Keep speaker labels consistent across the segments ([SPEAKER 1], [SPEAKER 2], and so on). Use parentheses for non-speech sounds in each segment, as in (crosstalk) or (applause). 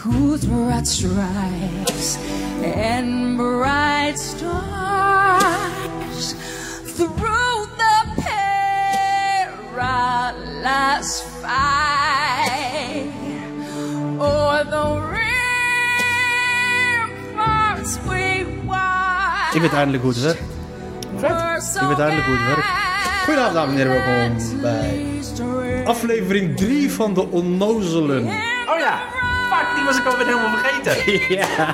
[SPEAKER 1] whose bright stripes and bright stars through the perilous fight o'er the ramparts we watched.
[SPEAKER 2] Ik weet eindelijk goed, hè? Ik weet duidelijk hoe het werkt. Goedenavond, dames en heren. Welkom bij aflevering 3 van de Onnozelen.
[SPEAKER 3] Oh ja, fuck, die was ik alweer helemaal vergeten.
[SPEAKER 2] Ja.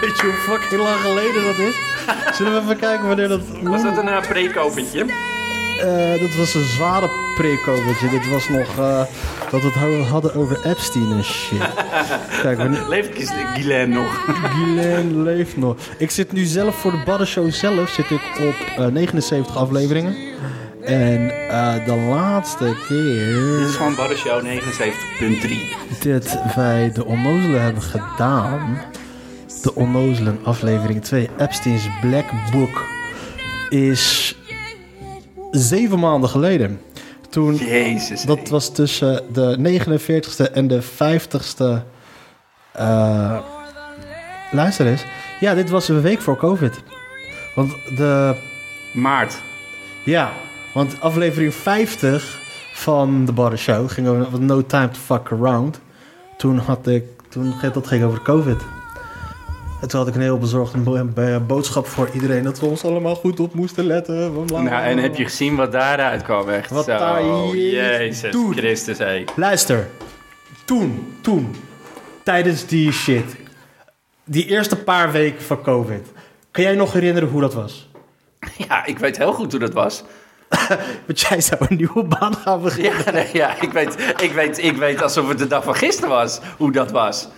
[SPEAKER 2] Weet je hoe fucking lang geleden dat is? Zullen we even kijken wanneer dat...
[SPEAKER 3] (laughs) Was dat een uh, preekopentje?
[SPEAKER 2] Eh, dat was een zware prekovertje. Dit was nog eh, dat we het ho- hadden over Epstein en shit. Kijk, wanneer...
[SPEAKER 3] Leef ik eens Guilaine nog?
[SPEAKER 2] Guylaine leeft nog. Ik zit nu zelf voor de Baddenshow zelf zit ik op eh, 79 afleveringen. En eh, de laatste keer...
[SPEAKER 3] (laughs) Dit is gewoon Barreshow 79.3.
[SPEAKER 2] dit wij de onnozelen hebben gedaan. De onnozelen aflevering 2, Epstein's Black Book, is zeven maanden geleden. Toen,
[SPEAKER 3] Jezus. hé.
[SPEAKER 2] dat was tussen de 49ste en de 50ste. eh, luister eens. Ja, dit was een week voor COVID. Want de
[SPEAKER 3] Maart.
[SPEAKER 2] ja, want aflevering 50 van de Barre Show ging over over No Time to Fuck Around. Toen had ik, toen ging- dat ging over COVID. En toen had ik een heel bezorgde bo- bo- boodschap voor iedereen dat we ons allemaal goed op moesten letten. bla, bla, bla,
[SPEAKER 3] Nou, en
[SPEAKER 2] bla.
[SPEAKER 3] heb je gezien wat daaruit kwam? Echt
[SPEAKER 2] Wat
[SPEAKER 3] zo.
[SPEAKER 2] daar je-
[SPEAKER 3] Jezus
[SPEAKER 2] doet.
[SPEAKER 3] Christus, hé.
[SPEAKER 2] Luister, toen, toen, tijdens die shit, die eerste paar weken van COVID, kan jij nog herinneren hoe dat was? (laughs)
[SPEAKER 3] Ja, ik weet heel goed hoe dat was.
[SPEAKER 2] Want jij zou een nieuwe baan gaan beginnen.
[SPEAKER 3] (laughs) Ja, nee, ja ik, weet, ik, weet, ik weet alsof het de dag van gisteren was, hoe dat was.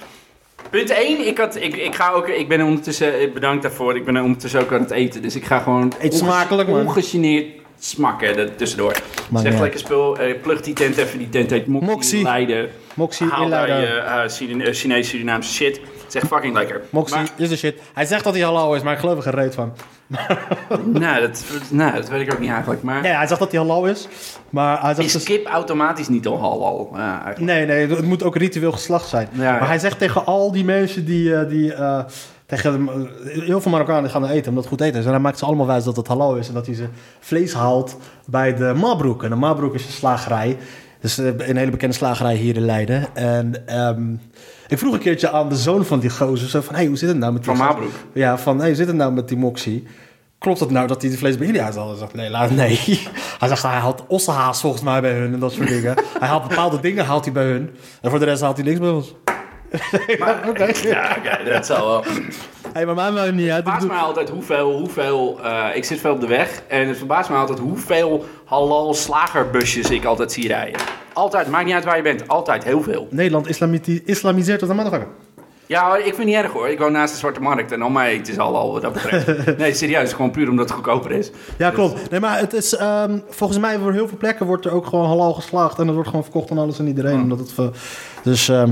[SPEAKER 3] Punt 1, ik, had, ik, ik, ga ook, ik ben ondertussen, eh, bedankt daarvoor, ik ben ondertussen ook aan het eten. Dus ik ga gewoon
[SPEAKER 2] Eet smakelijk, man.
[SPEAKER 3] ongegeneerd smakken er tussendoor.
[SPEAKER 2] Maar
[SPEAKER 3] zeg
[SPEAKER 2] ja.
[SPEAKER 3] lekker spul, eh, plug die tent even, die tent heet Moxie,
[SPEAKER 2] Moxie.
[SPEAKER 3] in Leiden.
[SPEAKER 2] Moxie in
[SPEAKER 3] Haal daar je
[SPEAKER 2] Leiden.
[SPEAKER 3] eh, Suri- eh, Chinees-Surinaamse shit. Zeg fucking lekker.
[SPEAKER 2] Moxie
[SPEAKER 3] Maar-
[SPEAKER 2] is de shit. Hij zegt dat hij hallo is, maar ik geloof er geen reet van.
[SPEAKER 3] nou, dat, nou, dat weet ik ook niet eigenlijk. Maar
[SPEAKER 2] Nee, hij zegt dat hij halal is, maar hij zegt...
[SPEAKER 3] is
[SPEAKER 2] dus-
[SPEAKER 3] kip automatisch niet al halal? Ja, eigenlijk.
[SPEAKER 2] Nee, nee, het moet ook ritueel geslacht zijn.
[SPEAKER 3] Ja, ja.
[SPEAKER 2] maar hij zegt tegen al die mensen die... eh, die eh, tegen, hem, eh, heel veel Marokkanen gaan eten, omdat het goed eten is. En hij maakt ze allemaal wijs dat het halal is. En dat hij ze vlees haalt bij de Mabroek. En de Mabroek is een slagerij. Dus eh, een hele bekende slagerij hier in Leiden. En ehm, ik vroeg een keertje aan de zoon van die gozer. Zo van, hey, hoe zit het nou met die...
[SPEAKER 3] Van Mabroek?
[SPEAKER 2] Ja, van, hey, hoe zit het nou met die moxie? Klopt het nou dat hij de vlees bij jullie haalt? Hij zegt, nee, laat, nee. (laughs) Hij zegt, hij haalt ossenhaas volgens mij bij hun en dat soort dingen. hij haalt bepaalde dingen haalt hij bij hun. En voor de rest haalt hij niks bij ons. Maar,
[SPEAKER 3] Ja, oké, dat zal wel.
[SPEAKER 2] Hey, maar mij maakt niet uit. Ik
[SPEAKER 3] Het
[SPEAKER 2] doe-
[SPEAKER 3] verbaast mij altijd hoeveel, hoeveel eh, ik zit veel op de weg en het verbaast mij altijd hoeveel halal slagerbusjes ik altijd zie rijden. Altijd, maakt niet uit waar je bent, altijd heel veel.
[SPEAKER 2] Nederland islamiti- islamiseert tot een motherfucker.
[SPEAKER 3] Ja, hoor, ik vind het niet erg hoor, ik woon naast de Zwarte Markt en al mijn eten is halal wat
[SPEAKER 2] (laughs)
[SPEAKER 3] dat betreft. Nee, serieus, gewoon puur omdat het goedkoper is.
[SPEAKER 2] Ja, klopt. Nee, maar het is, ehm, volgens mij voor heel veel plekken wordt er ook gewoon halal geslaagd. En dat wordt gewoon verkocht aan alles en iedereen. Omdat het, ver- dus, ehm,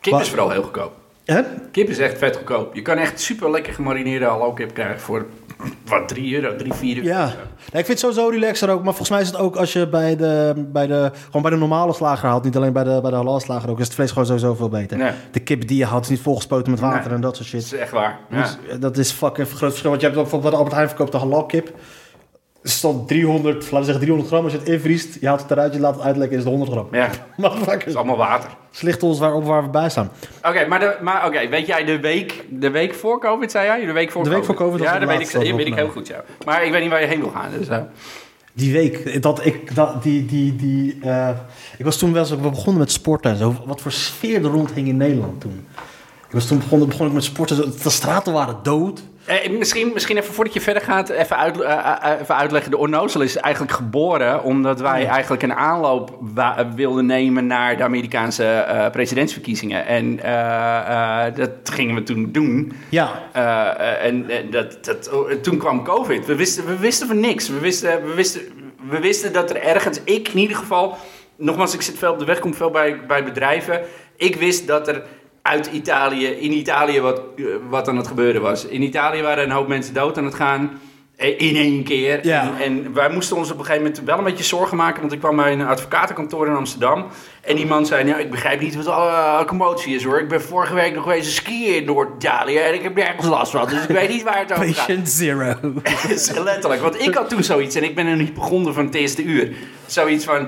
[SPEAKER 3] Kip
[SPEAKER 2] Maar-
[SPEAKER 3] is vooral heel goedkoop.
[SPEAKER 2] hè?
[SPEAKER 3] Kip is echt vet goedkoop. Je kan echt super lekker gemarineerde halal kip krijgen voor, wat, 3 euro, 3, 4 euro.
[SPEAKER 2] Ja. Nee, ik vind het sowieso relaxer ook. Maar volgens mij is het ook als je bij de, bij de, gewoon bij de normale slager haalt. Niet alleen bij de, bij de halal slager ook. Is het vlees gewoon sowieso veel beter.
[SPEAKER 3] Nee.
[SPEAKER 2] De kip die je haalt is niet volgespoten met water
[SPEAKER 3] Nee.
[SPEAKER 2] en dat soort shit.
[SPEAKER 3] Dat is echt waar. Ja.
[SPEAKER 2] Dus, eh, Dat is fucking een groot verschil. Want je hebt bijvoorbeeld bij de Albert Heijn verkoopt de halalkip. Er stond 300, laten we zeggen 300 gram. Als je het invriest, je haalt het eruit, je laat het uitlekken, is het 100 (laughs) gram.
[SPEAKER 3] Ja, het
[SPEAKER 2] Motherfuckers.
[SPEAKER 3] is allemaal water.
[SPEAKER 2] Slicht ons waarop waar we bij staan.
[SPEAKER 3] Oké, maar, de- maar oké, weet jij de week, de week voor COVID, zei jij? De week voor
[SPEAKER 2] De week voor COVID was
[SPEAKER 3] Ja,
[SPEAKER 2] het
[SPEAKER 3] dat weet ik,
[SPEAKER 2] laatste
[SPEAKER 3] dat
[SPEAKER 2] dat we
[SPEAKER 3] weet ik heel goed, ja. Maar ik weet niet waar je heen wil gaan, dus... eh,
[SPEAKER 2] Die week, dat ik, dat, die, die, die, eh, ik was toen wel zo, we begonnen met sporten en zo. Wat voor sfeer er rond hing in Nederland toen. Ik was toen begonnen, begon ik met sporten, zo, de straten waren dood.
[SPEAKER 3] Eh, misschien, misschien even voordat je verder gaat, even, uit, eh, eh, even uitleggen. De Onnozel is eigenlijk geboren omdat wij eigenlijk een aanloop wa- eh, wilden nemen naar de Amerikaanse eh, presidentsverkiezingen. En eh, eh, dat gingen we toen doen.
[SPEAKER 2] Ja,
[SPEAKER 3] Eh, eh, en en dat, dat, oh, eh, toen kwam COVID. We wisten, we wisten van niks. We wisten, we, wisten, we wisten dat er ergens, ik in ieder geval, nogmaals, ik zit veel op de weg, kom veel bij, bij bedrijven. Ik wist dat er uit Italië, in Italië, wat, eh, wat aan het gebeuren was. In Italië waren een hoop mensen dood aan het gaan. in één keer.
[SPEAKER 2] Ja.
[SPEAKER 3] En, en wij moesten ons op een gegeven moment wel een beetje zorgen maken. Want ik kwam bij een advocatenkantoor in Amsterdam. En die man zei, nou, ik begrijp niet wat alle commotie is hoor. Ik ben vorige week nog wezen skiën in Noord-Italië. En ik heb nergens last van. Dus ik weet niet waar het over gaat.
[SPEAKER 2] Patient (laughs) zero.
[SPEAKER 3] (laughs) Is Letterlijk. Want ik had toen zoiets, en ik ben een hypochonder van het eerste uur. Zoiets van.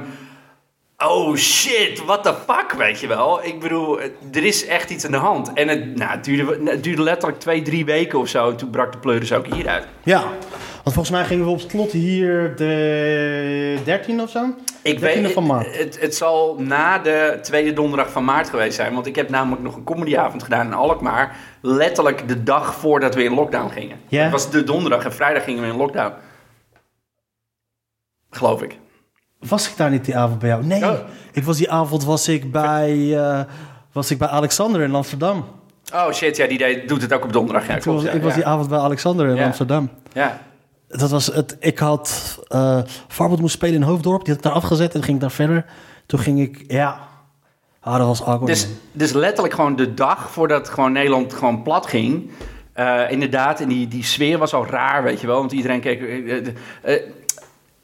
[SPEAKER 3] Oh shit, what the fuck, weet je wel. Ik bedoel, eh, er is echt iets aan de hand. En het, nou, het, duurde, het duurde letterlijk twee, drie weken of zo. En toen brak de pleuris ook hieruit.
[SPEAKER 2] Ja, want volgens mij gingen we op het slot hier de 13 of zo.
[SPEAKER 3] Ik
[SPEAKER 2] 13e
[SPEAKER 3] weet,
[SPEAKER 2] van maart.
[SPEAKER 3] Het, het zal na de tweede donderdag van maart geweest zijn. Want ik heb namelijk nog een comedyavond gedaan in Alkmaar. Letterlijk de dag voordat we in lockdown gingen.
[SPEAKER 2] Ja.
[SPEAKER 3] Het was de donderdag en vrijdag gingen we in lockdown. Geloof ik.
[SPEAKER 2] Was ik daar niet die avond bij jou? Nee,
[SPEAKER 3] Oh.
[SPEAKER 2] ik was die avond was ik bij, eh, was ik bij Alexander in Amsterdam.
[SPEAKER 3] Oh shit, ja, die deed, doet het ook op donderdag. Ja,
[SPEAKER 2] Toen
[SPEAKER 3] klopt,
[SPEAKER 2] was-
[SPEAKER 3] ja,
[SPEAKER 2] ik was
[SPEAKER 3] ja.
[SPEAKER 2] die avond bij Alexander in
[SPEAKER 3] Ja.
[SPEAKER 2] Amsterdam.
[SPEAKER 3] Ja.
[SPEAKER 2] Dat was het, ik had, eh Farbot moest spelen in Hoofddorp. Die had ik daar afgezet en toen ging ik daar verder. Toen ging ik, ja, ah, dat was awkward.
[SPEAKER 3] Dus, dus letterlijk gewoon de dag voordat gewoon Nederland gewoon plat ging. eh, inderdaad, en die, die sfeer was al raar, weet je wel. Want iedereen keek... eh, eh, eh,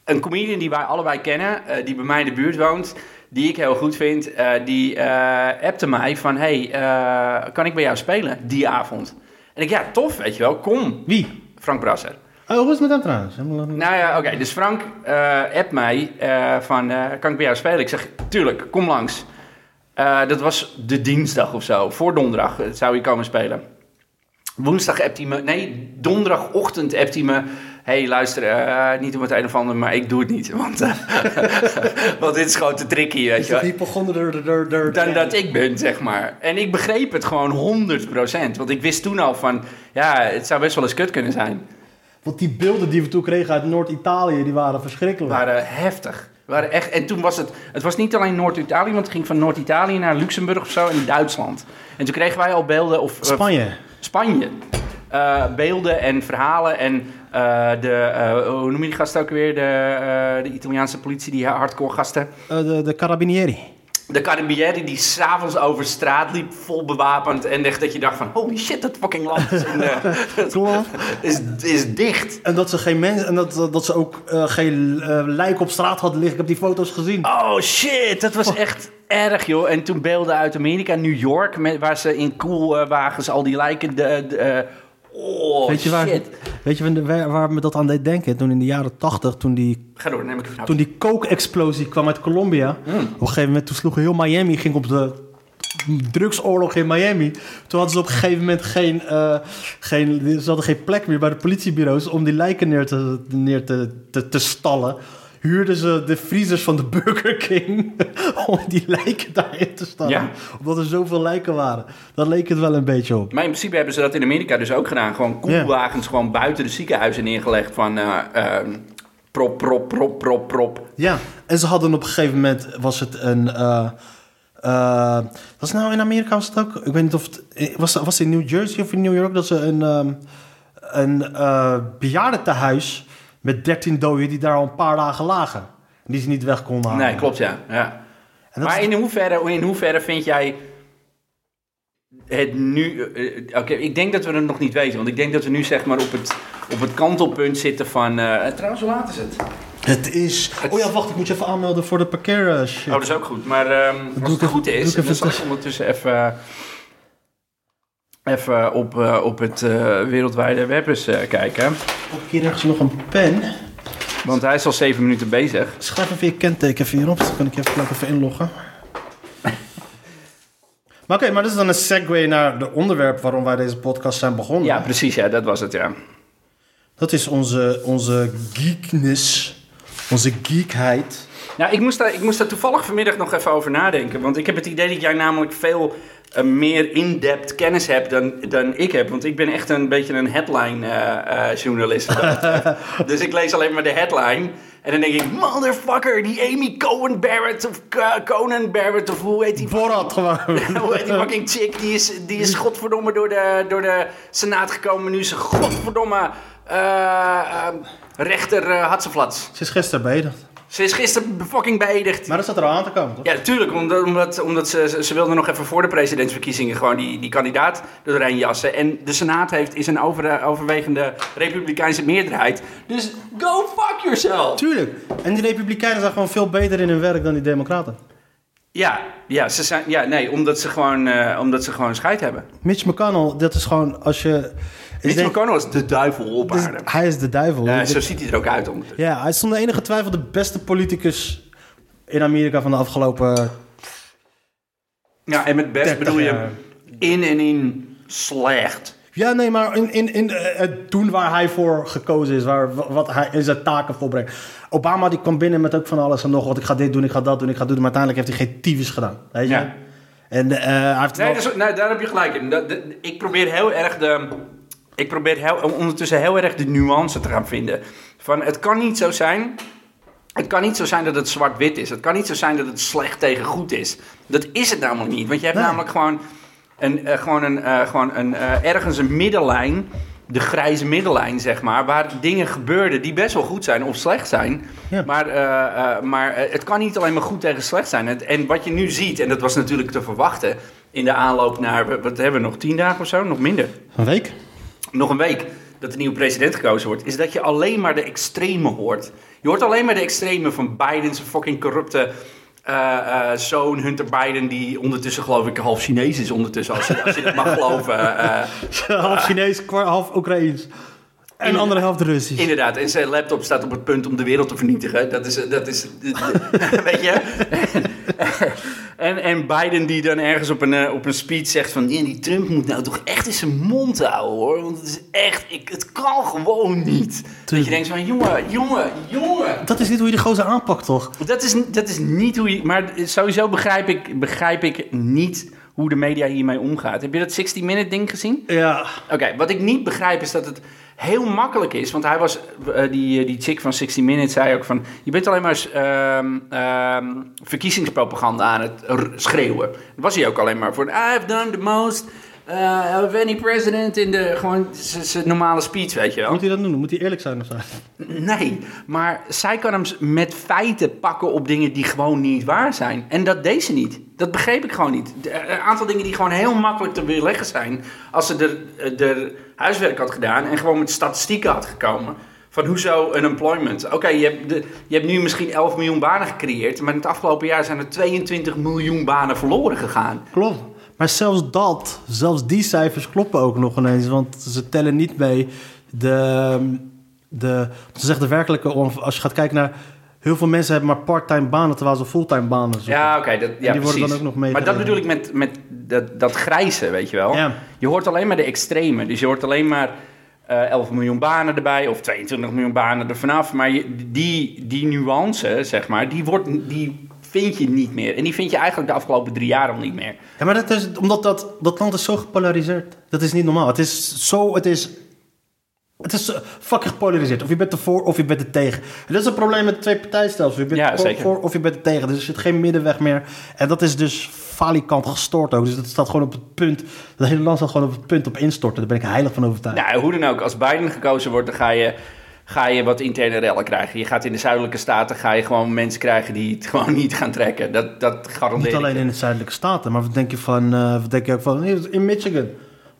[SPEAKER 3] een comedian die wij allebei kennen, eh, die bij mij in de buurt woont... die ik heel goed vind, eh, die eh appte mij van... hey, eh, kan ik bij jou spelen die avond? En ik, ja, tof, weet je wel, kom.
[SPEAKER 2] Wie?
[SPEAKER 3] Frank Brasser.
[SPEAKER 2] Oh, hoe is het met hem trouwens? Nou,
[SPEAKER 3] Nou ja, oké. Dus Frank eh appt mij eh, van, eh, kan ik bij jou spelen? Ik zeg, tuurlijk, kom langs. Eh, dat was de dinsdag of zo, voor donderdag eh, zou hij komen spelen. Woensdag appt hij me, nee, donderdagochtend appt hij me... Hé, hey, luister, eh, niet om het een of ander, maar ik doe het niet. (laughs) Want, eh, want dit is gewoon te tricky, weet je wel.
[SPEAKER 2] begonnen er, er, er,
[SPEAKER 3] Dan dat ik ben, zeg maar. En ik begreep het gewoon 100%. Want ik wist toen al van, ja, het zou best wel eens kut kunnen zijn.
[SPEAKER 2] Want die beelden die we toen kregen uit Noord-Italië, die waren verschrikkelijk.
[SPEAKER 3] waren heftig. Waren echt, en toen was het, het was niet alleen Noord-Italië, want het ging van Noord-Italië naar Luxemburg of zo en Duitsland. En toen kregen wij al beelden of eh,
[SPEAKER 2] Spanje.
[SPEAKER 3] Spanje. Eh, beelden en verhalen en eh, de, eh, hoe noem je die gasten ook weer? De, eh, de Italiaanse politie, die hardcore gasten.
[SPEAKER 2] Eh, de, de Carabinieri.
[SPEAKER 3] De Carabinieri die s'avonds over straat liep, vol bewapend. En echt dat je dacht van, holy shit, dat fucking land is, in de- (laughs)
[SPEAKER 2] Klopt.
[SPEAKER 3] is, is dicht.
[SPEAKER 2] En dat ze geen mensen en dat, dat ze ook eh, geen eh, lijk op straat hadden liggen. Ik heb die foto's gezien.
[SPEAKER 3] Oh shit, dat was echt erg joh. En toen beelden uit Amerika, New York, met, waar ze in koelwagens al die lijken. De, de, eh, oh
[SPEAKER 2] weet je waar,
[SPEAKER 3] shit.
[SPEAKER 2] weet je waar- waar, waar me dat aan deed denken? Toen in de jaren tachtig, toen die,
[SPEAKER 3] Ga door, neem ik een hap.
[SPEAKER 2] toen die coke-explosie kwam uit Colombia. Op een gegeven moment toen sloeg heel Miami, ging op de drugsoorlog in Miami. Toen hadden ze op een gegeven moment geen, eh, geen, ze hadden geen plek meer bij de politiebureaus om die lijken neer te, neer te, te, te stallen. Huurden ze de vriezers van de Burger King (laughs) om die lijken daarin te stallen.
[SPEAKER 3] Ja.
[SPEAKER 2] Omdat er zoveel lijken waren. Dat leek het wel een beetje op.
[SPEAKER 3] Maar in principe hebben ze dat in Amerika dus ook gedaan. Gewoon koelwagens gewoon buiten de ziekenhuizen neergelegd van eh, ehm, prop, prop, prop, prop, prop.
[SPEAKER 2] Ja, en ze hadden op een gegeven moment was het een. eh eh, was nou in Amerika was het ook? Ik weet niet of het. eh, Was, was het in New Jersey of in New York dat ze een, ehm een eh bejaardentehuis met 13 doden die daar al een paar dagen lagen. Die ze niet weg konden halen.
[SPEAKER 3] Nee, klopt ja. ja.
[SPEAKER 2] En dat
[SPEAKER 3] Maar
[SPEAKER 2] is-
[SPEAKER 3] in hoeverre, in hoeverre vind jij het nu... eh, eh, Oké, ik denk dat we het nog niet weten. Want ik denk dat we nu zeg maar op het, op het kantelpunt zitten van... eh, trouwens, hoe laat is het?
[SPEAKER 2] Het is. Oh ja, wacht, ik moet je even aanmelden voor de parkeer eh, shit.
[SPEAKER 3] Oh, dat is ook goed. Maar ehm,
[SPEAKER 2] ik
[SPEAKER 3] als het
[SPEAKER 2] even-
[SPEAKER 3] goed
[SPEAKER 2] doe ik
[SPEAKER 3] is,
[SPEAKER 2] even
[SPEAKER 3] dan zal ik
[SPEAKER 2] tussen-
[SPEAKER 3] ondertussen even, even op, eh, op het eh, wereldwijde web eens eh, kijken.
[SPEAKER 2] Heb ik hier ergens nog een pen?
[SPEAKER 3] Want hij is al zeven minuten bezig.
[SPEAKER 2] Schrijf even je kenteken even hierop, dan kan ik je even, gelijk even
[SPEAKER 3] (laughs)
[SPEAKER 2] inloggen. Maar oké, maar dat is dan een segue naar het onderwerp waarom wij deze podcast zijn begonnen.
[SPEAKER 3] Ja, precies. Ja, dat was het, ja.
[SPEAKER 2] Dat is onze, onze geekness, onze geekheid.
[SPEAKER 3] Nou, ik moest, daar, ik moest daar toevallig vanmiddag nog even over nadenken. Want ik heb het idee dat jij namelijk veel eh, meer in-depth kennis hebt dan, dan ik heb. Want ik ben echt een beetje een headline-journalist. dus ik lees alleen maar de headline. En dan denk ik, motherfucker, die Amy Cohen Barrett of K- Conan Barrett of hoe heet die
[SPEAKER 2] Borat
[SPEAKER 3] (laughs)
[SPEAKER 2] gewoon.
[SPEAKER 3] hoe heet die fucking chick? Die is, die is godverdomme door de, door de Senaat gekomen. Nu is ze godverdomme eh, eh, rechter eh Hatseflats.
[SPEAKER 2] Ze is gisteren bij dat.
[SPEAKER 3] Ze is gisteren fucking beëdigd.
[SPEAKER 2] Maar dat zat er al aan te komen, toch?
[SPEAKER 3] Ja, natuurlijk. Omdat, omdat, omdat ze, ze- ze wilden nog even voor de presidentsverkiezingen gewoon die, die kandidaat doorheen jassen. En de Senaat heeft, is een over, overwegende republikeinse meerderheid. Dus go fuck yourself.
[SPEAKER 2] Tuurlijk. En die Republikeinen zijn gewoon veel beter in hun werk dan die Democraten.
[SPEAKER 3] Ja, ja, ze zijn, ja nee, omdat ze gewoon, eh, omdat ze gewoon scheid hebben.
[SPEAKER 2] Mitch McConnell, dat is gewoon als je. ik
[SPEAKER 3] Mitch
[SPEAKER 2] denk-
[SPEAKER 3] McConnell is de duivel op
[SPEAKER 2] dus
[SPEAKER 3] aarde.
[SPEAKER 2] hij is de duivel.
[SPEAKER 3] Eh,
[SPEAKER 2] Ik
[SPEAKER 3] zo
[SPEAKER 2] denk-
[SPEAKER 3] ziet hij er ook uit ondertussen.
[SPEAKER 2] ja, hij is zonder enige twijfel de beste politicus in Amerika van de afgelopen.
[SPEAKER 3] Ja, en met best
[SPEAKER 2] 30
[SPEAKER 3] bedoel je
[SPEAKER 2] jaar.
[SPEAKER 3] in en in slecht.
[SPEAKER 2] Ja, nee, maar in, in, in eh, het doen waar hij voor gekozen is, waar, wa- wat hij in zijn taken volbrengt. Obama die kwam binnen met ook van alles en nog wat. Ik ga dit doen, ik ga dat doen, ik ga dat doen. Maar uiteindelijk heeft hij geen tyfus gedaan. Weet je?
[SPEAKER 3] Ja.
[SPEAKER 2] En eh, hij heeft
[SPEAKER 3] Nee,
[SPEAKER 2] wel-
[SPEAKER 3] dat is- nee, daar heb je gelijk in. Dat- dat- ik probeer heel erg de. Ik probeer heel, ondertussen heel erg de nuance te gaan vinden. Van het kan niet zo zijn. Het kan niet zo zijn dat het zwart-wit is. Het kan niet zo zijn dat het slecht tegen goed is. Dat is het namelijk niet. Want je hebt
[SPEAKER 2] Nee.
[SPEAKER 3] namelijk gewoon, een, eh, gewoon, een, eh, gewoon een, eh, ergens een middenlijn. De grijze middenlijn, zeg maar. Waar dingen gebeurden die best wel goed zijn of slecht zijn.
[SPEAKER 2] Ja.
[SPEAKER 3] Maar, eh, eh, maar eh, het kan niet alleen maar goed tegen slecht zijn. Het, en wat je nu ziet, en dat was natuurlijk te verwachten. In de aanloop naar, wat- wat hebben we nog, tien dagen of zo? Nog minder
[SPEAKER 2] Een week?
[SPEAKER 3] nog een week dat de nieuwe president gekozen wordt, is dat je alleen maar de extreme hoort. Je hoort alleen maar de extreme van Biden's fucking corrupte eh, eh, zoon Hunter Biden, die ondertussen geloof ik half Chinees is ondertussen, als je, als je dat mag geloven. eh,
[SPEAKER 2] (laughs) half Chinees, kwa- half Oekraïens. En de andere helft Russisch.
[SPEAKER 3] Inderdaad, en zijn laptop staat op het punt om de wereld te vernietigen. Dat is, eh, dat is (laughs) weet je? en, en Biden die dan ergens op een, eh, op een speech zegt van... "Ja, die Trump moet nou toch echt in zijn mond houden, hoor. Want het is echt, ik, het kan gewoon niet. Dat je denkt van, jongen, jongen, jongen.
[SPEAKER 2] Dat is niet hoe je die gozer aanpakt, toch?
[SPEAKER 3] Dat is, dat is niet hoe je... Maar sowieso begrijp ik, begrijp ik niet hoe de media hiermee omgaat. Heb je dat 60 Minute ding gezien?
[SPEAKER 2] Ja.
[SPEAKER 3] Oké, wat ik niet begrijp is dat het heel makkelijk is. Want hij was, eh, die, eh, die chick van 60 Minutes zei ook van... Je bent alleen maar eens, ehm, ehm, verkiezingspropaganda aan het r- schreeuwen. Dat was hij ook alleen maar voor. I've done the most eh, of any president in de... Gewoon zijn normale speech, weet je wel.
[SPEAKER 2] Moet hij dat doen? Moet hij eerlijk zijn of zo?
[SPEAKER 3] Nee, maar zij kan hem s- met feiten pakken op dingen die gewoon niet waar zijn. En dat deed ze niet. Dat begreep ik gewoon niet. De- eh, Een aantal dingen die gewoon heel makkelijk te weerleggen zijn. Als ze er, eh, er huiswerk had gedaan en gewoon met statistieken had gekomen. Van hoezo unemployment? Oké, je, hebt de- je hebt nu misschien 11 miljoen banen gecreëerd. Maar in het afgelopen jaar zijn er 22 miljoen banen verloren gegaan.
[SPEAKER 2] Klopt. Maar zelfs dat, zelfs die cijfers kloppen ook nog ineens. Want ze tellen niet mee de, de, ze zeggen de werkelijke... onaf- Als je gaat kijken naar... Heel veel mensen hebben maar part-time banen terwijl ze fulltime banen zoeken.
[SPEAKER 3] Ja, oké. dat- ja,
[SPEAKER 2] worden
[SPEAKER 3] precies.
[SPEAKER 2] dan ook nog
[SPEAKER 3] Maar dat
[SPEAKER 2] meegerekend.
[SPEAKER 3] bedoel ik met, met dat, dat grijze, weet je wel.
[SPEAKER 2] Ja.
[SPEAKER 3] Je hoort alleen maar de extreme. Dus je hoort alleen maar eh 11 miljoen banen erbij of 22 miljoen banen er vanaf. Maar je- die, die nuance, zeg maar, die, wordt, die vind je niet meer. En die vind je eigenlijk de afgelopen drie jaar al niet meer.
[SPEAKER 2] Ja, maar dat is omdat dat, dat land is zo gepolariseerd. Dat is niet normaal. Het is zo, het is. Het is eh, fucking gepolariseerd. Of je bent ervoor of je bent er tegen. En dat is een probleem met het twee-partijstelsel. Je bent
[SPEAKER 3] Ja,
[SPEAKER 2] er
[SPEAKER 3] zeker.
[SPEAKER 2] voor of je bent er tegen. Dus er zit geen middenweg meer. En dat is dus falikant gestoord ook. Dus dat staat gewoon op het punt. Dat hele land staat gewoon op het punt op instorten. Daar ben ik heilig van overtuigd.
[SPEAKER 3] Nou, hoe dan ook, als Biden gekozen wordt, dan ga je, ga je wat interne rellen krijgen. Je gaat in de zuidelijke staten ga je gewoon mensen krijgen die het (laughs) gewoon niet gaan trekken. Dat, dat garandeer
[SPEAKER 2] Niet
[SPEAKER 3] ik.
[SPEAKER 2] alleen in de zuidelijke staten, maar wat denk je van, eh, wat denk je ook van, in Michigan.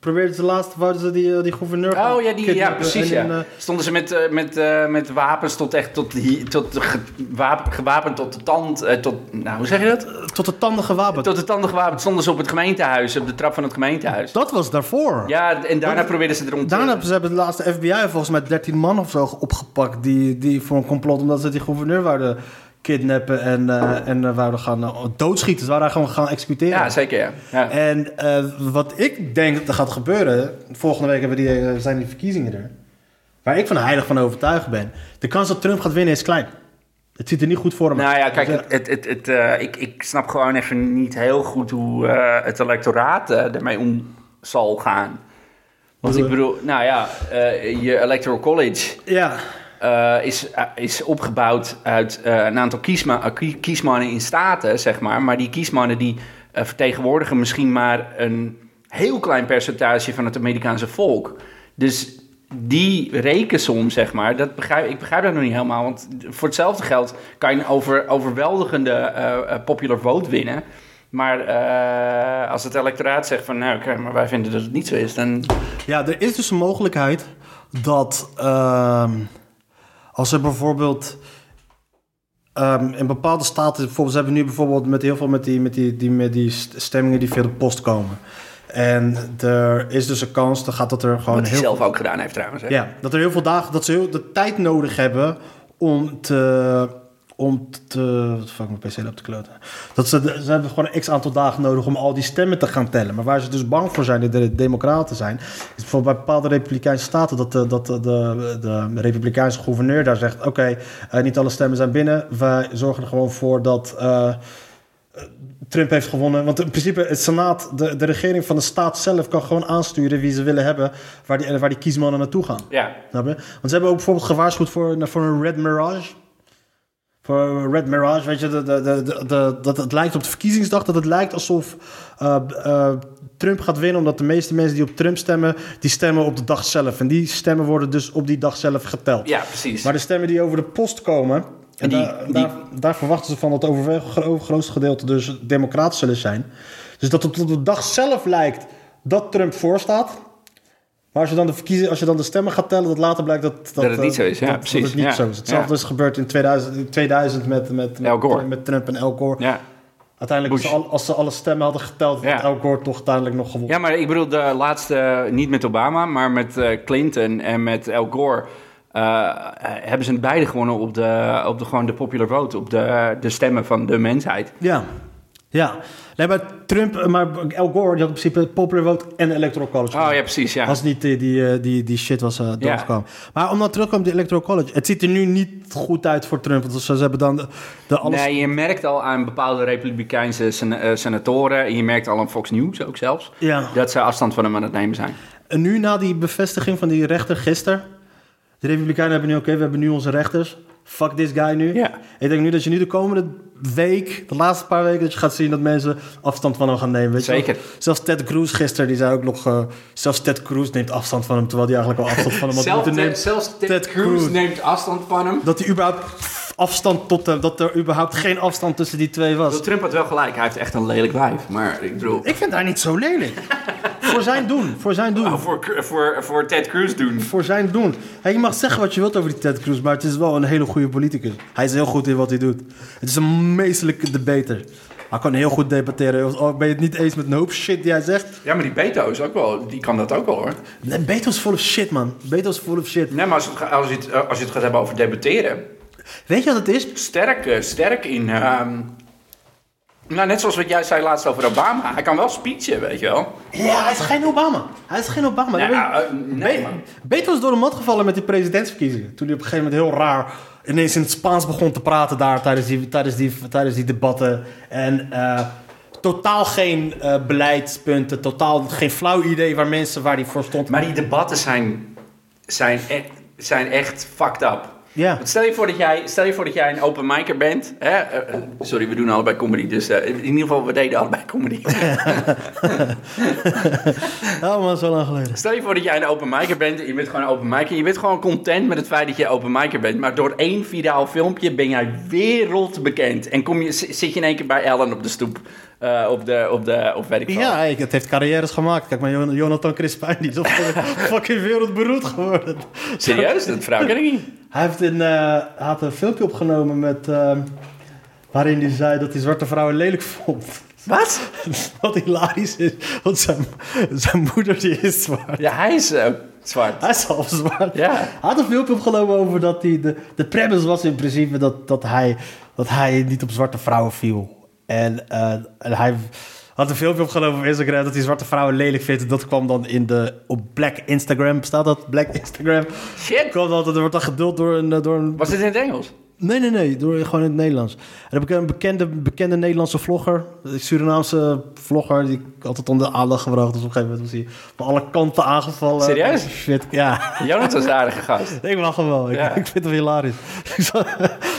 [SPEAKER 2] Probeerden ze laatst, wouden ze die, eh, die gouverneur gaan
[SPEAKER 3] Oh ja, die, ja
[SPEAKER 2] kidnappen.
[SPEAKER 3] precies.
[SPEAKER 2] En in,
[SPEAKER 3] Ja.
[SPEAKER 2] eh,
[SPEAKER 3] Stonden ze met, eh, met, eh, met wapens tot echt tot, die- tot de ge- wapen- gewapend tot de tand. eh, tot, nou, hoe zeg je dat?
[SPEAKER 2] tot de tanden gewapend.
[SPEAKER 3] Tot de tanden gewapend stonden ze op het gemeentehuis, op de trap van het gemeentehuis.
[SPEAKER 2] Dat was daarvoor.
[SPEAKER 3] Ja, en daarna probeerden ze erom te.
[SPEAKER 2] Daarna hebben ze hebben de laatste FBI volgens mij 13 man of zo opgepakt. Die, die voor een complot omdat ze die gouverneur wouden kidnappen en, eh, en eh, wouden gaan eh, doodschieten. Ze waren haar gewoon gaan executeren.
[SPEAKER 3] Ja, zeker ja. ja.
[SPEAKER 2] En eh, wat ik denk dat er gaat gebeuren. Volgende week hebben die, eh, zijn die verkiezingen er. Waar ik van heilig van overtuigd ben. De kans dat Trump gaat winnen is klein. Het ziet er niet goed voor hem uit.
[SPEAKER 3] Nou ja, kijk,
[SPEAKER 2] Dus, eh,
[SPEAKER 3] het, het, het, het, eh, ik, ik snap gewoon even niet heel goed hoe eh, het electoraat eh, ermee om zal gaan. Want ik
[SPEAKER 2] Bedoel-
[SPEAKER 3] bedoel, nou ja, eh, je electoral college.
[SPEAKER 2] ja,
[SPEAKER 3] eh, is, eh, is opgebouwd uit eh, een aantal kiesma eh, kie- kiesmannen in staten, zeg maar. Maar die kiesmannen die eh, vertegenwoordigen misschien maar een heel klein percentage van het Amerikaanse volk. Dus die rekensom, zeg maar, dat begrijp, ik begrijp dat nog niet helemaal. Want voor hetzelfde geld kan je een over, overweldigende eh, eh, popular vote winnen. Maar eh, als het electoraat zegt van, nou oké, maar wij vinden dat het niet zo is, dan...
[SPEAKER 2] Ja, er is dus een mogelijkheid dat ehm, als er bijvoorbeeld ehm, in bepaalde staten, bijvoorbeeld, ze hebben nu bijvoorbeeld met heel veel met die, met die, die, met die st- stemmingen die via de post komen. En er is dus een kans, dan gaat dat er gewoon
[SPEAKER 3] Wat hij
[SPEAKER 2] heel
[SPEAKER 3] zelf ook gedaan heeft trouwens. Hè?
[SPEAKER 2] ja, dat er heel veel dagen, dat ze heel de tijd nodig hebben om te, om te, wat fuck mijn pc op te kloten. Dat ze, ze hebben gewoon x aantal dagen nodig om al die stemmen te gaan tellen. Maar waar ze dus bang voor zijn, dat de democraten zijn, is bijvoorbeeld bij bepaalde republikeinse staten dat de, dat de, de, de republikeinse gouverneur daar zegt, oké, eh, niet alle stemmen zijn binnen, wij zorgen er gewoon voor dat... eh, Trump heeft gewonnen. Want in principe, het senaat, de, de regering van de staat zelf kan gewoon aansturen wie ze willen hebben, waar die, waar die kiesmannen naartoe gaan.
[SPEAKER 3] Ja.
[SPEAKER 2] Snap je? Want ze hebben ook bijvoorbeeld gewaarschuwd voor, voor een Red Mirage. Voor een Red Mirage, weet je, de, de, de, de, de- dat het lijkt op de verkiezingsdag, dat het lijkt alsof eh, eh, Trump gaat winnen, omdat de meeste mensen die op Trump stemmen, die stemmen op de dag zelf. En die stemmen worden dus op die dag zelf geteld.
[SPEAKER 3] Ja, precies.
[SPEAKER 2] Maar de stemmen die over de post komen. En
[SPEAKER 3] die-
[SPEAKER 2] daar,
[SPEAKER 3] die-
[SPEAKER 2] daar, daar verwachten ze van dat het overweg- gro- grootste gedeelte dus democraat zullen zijn. Dus dat het op de dag zelf lijkt dat Trump voorstaat. Maar als je dan de, verkiezen, als je dan de stemmen gaat tellen, dat later blijkt dat, dat,
[SPEAKER 3] het niet
[SPEAKER 2] eh,
[SPEAKER 3] zo is, ja,
[SPEAKER 2] dat- dat
[SPEAKER 3] precies,
[SPEAKER 2] het niet
[SPEAKER 3] ja,
[SPEAKER 2] zo is. Hetzelfde
[SPEAKER 3] ja.
[SPEAKER 2] is gebeurd in 2000, in 2000 met, met, met,
[SPEAKER 3] Al Gore.
[SPEAKER 2] met Trump en Al Gore.
[SPEAKER 3] ja.
[SPEAKER 2] Uiteindelijk, als ze,
[SPEAKER 3] Bush.
[SPEAKER 2] al- als ze alle stemmen hadden geteld,
[SPEAKER 3] Ja.
[SPEAKER 2] had Al Gore toch uiteindelijk nog gewonnen.
[SPEAKER 3] Ja, maar ik bedoel, de laatste, niet met Obama, maar met eh, Clinton en met Al Gore. eh, eh, hebben ze beide gewonnen op de, op de, gewoon de popular vote, op de, de stemmen van de mensheid.
[SPEAKER 2] Ja. Ja. Nee, maar Trump, eh, maar Al Gore, die had in principe popular vote en electoral college.
[SPEAKER 3] Oh ja, precies, ja.
[SPEAKER 2] Als het niet die, die, eh, die, die shit was eh doorgekomen. Maar om dan terug te komen op die Electoral College. Het ziet er nu niet goed uit voor Trump. Want ze hebben dan de, de alles...
[SPEAKER 3] Nee, je merkt al aan bepaalde republikeinse sen- eh, senatoren... en je merkt al aan Fox News ook zelfs...
[SPEAKER 2] Ja.
[SPEAKER 3] dat ze afstand van hem aan het nemen zijn.
[SPEAKER 2] En nu na die bevestiging van die rechter gisteren. De Republikeinen hebben nu, oké, we hebben nu onze rechters. Fuck this guy nu.
[SPEAKER 3] Ja.
[SPEAKER 2] Ik denk nu dat je nu de komende week, de laatste paar weken, dat je gaat zien dat mensen afstand van hem gaan nemen. Weet je wel?
[SPEAKER 3] Zeker.
[SPEAKER 2] Zelfs Ted Cruz gisteren, die zei ook nog, eh, zelfs Ted Cruz neemt afstand van hem, terwijl hij eigenlijk al afstand van hem had moeten nemen.
[SPEAKER 3] Ted,
[SPEAKER 2] Ted Cruz Cruz.
[SPEAKER 3] neemt afstand van hem.
[SPEAKER 2] Dat hij überhaupt afstand tot hem, dat er überhaupt geen afstand tussen die twee was.
[SPEAKER 3] Trump had wel gelijk, hij heeft echt een lelijk wijf. Maar ik bedoel...
[SPEAKER 2] Ik vind haar niet zo lelijk. voor zijn doen, voor zijn doen.
[SPEAKER 3] Voor, voor, voor Ted Cruz doen.
[SPEAKER 2] Voor zijn doen. Hey, je mag zeggen wat je wilt over die Ted Cruz, maar het is wel een hele goede politicus. Hij is heel goed in wat hij doet. Het is een meestelijke debater. Hij kan heel goed debatteren. Al ben je het niet eens met een hoop shit die hij zegt.
[SPEAKER 3] Ja, maar die Beto is ook wel, die kan dat ook wel hoor.
[SPEAKER 2] Nee, Beto is full of shit, man. Beto is full of shit.
[SPEAKER 3] Nee, maar als, het, ga- als, je het, eh, als je het gaat hebben over debatteren,
[SPEAKER 2] Weet je wat het is?
[SPEAKER 3] sterk, eh, sterk in. ehm, nou, net zoals wat jij zei laatst over Obama. Hij kan wel speechen, weet je wel.
[SPEAKER 2] Ja, hij is geen Obama. Hij is geen Obama.
[SPEAKER 3] Nou,
[SPEAKER 2] Je weet-
[SPEAKER 3] eh, nee, man.
[SPEAKER 2] Beto is door de mat gevallen met die presidentsverkiezingen. Toen hij op een gegeven moment heel raar ineens in het Spaans begon te praten daar tijdens die, tijdens die, tijdens die debatten. En eh, totaal geen eh, beleidspunten, totaal geen flauw idee waar mensen waar die voor stond.
[SPEAKER 3] Maar die debatten zijn, zijn, echt, zijn echt fucked up.
[SPEAKER 2] Ja.
[SPEAKER 3] Want Stel je voor dat jij, stel je voor dat jij een open micer bent. Hè? Eh, eh, sorry, we doen allebei comedy. Dus eh, in ieder geval, we deden allebei comedy.
[SPEAKER 2] Oh man, zo lang geleden.
[SPEAKER 3] Stel je voor dat jij een open micer bent. en Je bent gewoon een open micer. Je bent gewoon content met het feit dat je open micer bent. Maar door één viraal filmpje ben jij wereldbekend. En kom je, zi- zit je in één keer bij Ellen op de stoep. eh, op de, op de, of weet ik veel.
[SPEAKER 2] Ja, ik- het heeft carrières gemaakt. Kijk maar, Jon- Jonathan Crispijn die is (laughs) op fucking wereldberoemd geworden.
[SPEAKER 3] Serieus, dat vrouw ken ik niet.
[SPEAKER 2] Hij heeft een, eh, hij had een filmpje opgenomen met, ehm, waarin hij zei dat hij zwarte vrouwen lelijk vond.
[SPEAKER 3] Wat?
[SPEAKER 2] (laughs) Wat hilarisch is, want zijn, zijn moeder die is zwart.
[SPEAKER 3] Ja, hij is eh, zwart.
[SPEAKER 2] Hij is half zwart.
[SPEAKER 3] Ja.
[SPEAKER 2] Hij had een filmpje opgenomen over dat hij... De, de premise was in principe dat, dat, hij, dat hij niet op zwarte vrouwen viel. En, eh, en hij had een filmpje opgenomen op Instagram dat hij zwarte vrouwen lelijk vindt. En dat kwam dan in de... Op Black Instagram, staat dat? Black Instagram.
[SPEAKER 3] Shit.
[SPEAKER 2] Kwam dat, er wordt dan geduld door een... eh, Door een
[SPEAKER 3] Was dit in het Engels?
[SPEAKER 2] Nee, nee, nee. Door, gewoon in het Nederlands. En heb ik een bekende, bekende Nederlandse vlogger. een Surinaamse vlogger. Die ik altijd onder de aandacht gebracht. Dus op een gegeven moment was hij van alle kanten aangevallen.
[SPEAKER 3] Serieus?
[SPEAKER 2] Shit, ja. (laughs)
[SPEAKER 3] Jonathan is een aardige gast.
[SPEAKER 2] Ik mag hem wel. Ik, (laughs)
[SPEAKER 3] Ja.
[SPEAKER 2] ik vind hem hilarisch. Ik zag-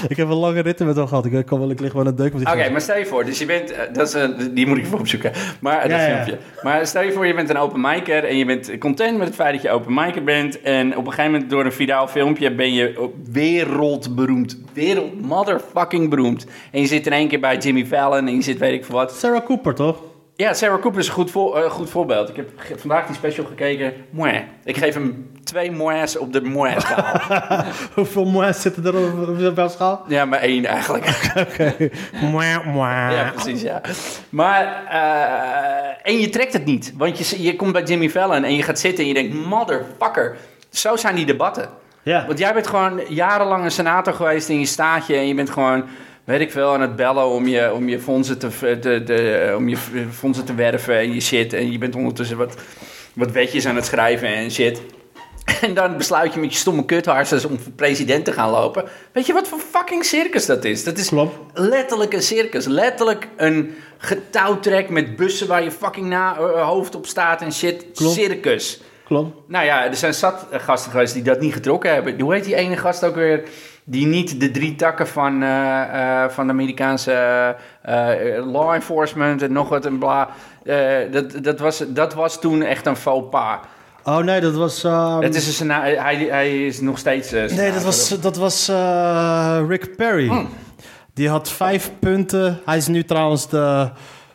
[SPEAKER 2] Ik heb een lange ritten met hem gehad. Ik, kan wel, ik lig wel een deuk met die
[SPEAKER 3] Oké,
[SPEAKER 2] gozer.
[SPEAKER 3] maar stel je voor, dus je bent, eh, dat is, een- die moet ik even opzoeken, maar eh, dat
[SPEAKER 2] Ja, ja.
[SPEAKER 3] filmpje. Maar stel je voor, je bent een open micer en je bent content met het feit dat je open micer bent en op een gegeven moment door een viraal filmpje ben je ook wereldberoemd, wereld motherfucking beroemd. En je zit in één keer bij Jimmy Fallon en je zit weet ik veel wat.
[SPEAKER 2] Sarah Cooper, toch? (laughs)
[SPEAKER 3] Ja, Sarah Cooper is een goed, voor, eh, goed voorbeeld. Ik heb ge- vandaag die special gekeken. Mwah. Ik geef hem twee moes op de moes
[SPEAKER 2] (laughs) Hoeveel moes zitten er op- op jouw schaal?
[SPEAKER 3] Ja, maar één eigenlijk.
[SPEAKER 2] Oké. Mwah, mwah.
[SPEAKER 3] Ja, precies, ja. Maar, eh, en je trekt het niet. Want je, je komt bij Jimmy Fallon en je gaat zitten en je denkt, motherfucker. Zo zijn die debatten.
[SPEAKER 2] Ja.
[SPEAKER 3] Want jij bent gewoon jarenlang een senator geweest in je staatje en je bent gewoon... Weet ik veel, aan het bellen om je, om je, fondsen, te, v- te- te- om je v- fondsen te werven en je shit. En je bent ondertussen wat, wat wetjes aan het schrijven en shit. (laughs) En dan besluit je met je stomme kutharsers om voor president te gaan lopen. Weet je wat voor fucking circus dat is? Dat is
[SPEAKER 2] Klopt.
[SPEAKER 3] letterlijk een circus. Letterlijk een getouwtrek met bussen waar je fucking na, eh, hoofd op staat en shit.
[SPEAKER 2] Klopt.
[SPEAKER 3] Circus.
[SPEAKER 2] Klopt.
[SPEAKER 3] Nou ja, er zijn zat gasten geweest die dat niet getrokken hebben. Hoe heet die ene gast ook weer? Die niet de drie takken van, eh, eh, van de Amerikaanse eh, eh, law enforcement en nog wat en bla. Eh, dat, dat, was, dat was toen echt een faux pas.
[SPEAKER 2] Oh nee, dat was... ehm,
[SPEAKER 3] Het is een sena- hij, hij is nog steeds. eh,
[SPEAKER 2] Nee, dat
[SPEAKER 3] senator.
[SPEAKER 2] was, dat was eh, Rick Perry.
[SPEAKER 3] Oh.
[SPEAKER 2] Die had vijf punten. Hij is nu trouwens de...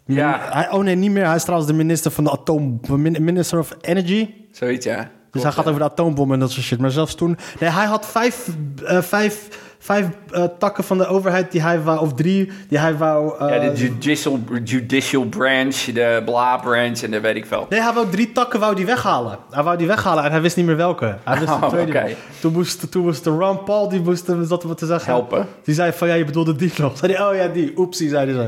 [SPEAKER 3] Ja.
[SPEAKER 2] Hij, oh nee, niet meer. Hij is trouwens de minister van de atoom... min- Minister of Energy.
[SPEAKER 3] Zoiets, ja.
[SPEAKER 2] Dus hij gaat over de atoombom en dat soort shit. Maar zelfs toen... Nee, hij had vijf, eh, vijf, vijf eh, takken van de overheid die hij wou... Of drie die hij wou... eh,
[SPEAKER 3] Ja, de judicial, judicial branch, de bla branch en de weet ik veel.
[SPEAKER 2] Nee, hij wou drie takken wou die weghalen. Hij wou die weghalen en hij wist niet meer welke. Hij wist de
[SPEAKER 3] Oh,
[SPEAKER 2] tweede.
[SPEAKER 3] oké.
[SPEAKER 2] Toen, moest, toen moest de Ron Paul, die moest hem zat hem wat te zeggen.
[SPEAKER 3] Helpen.
[SPEAKER 2] Die zei van, ja, je bedoelde die nog. Zei hij, oh ja, die. Oepsie, zei hij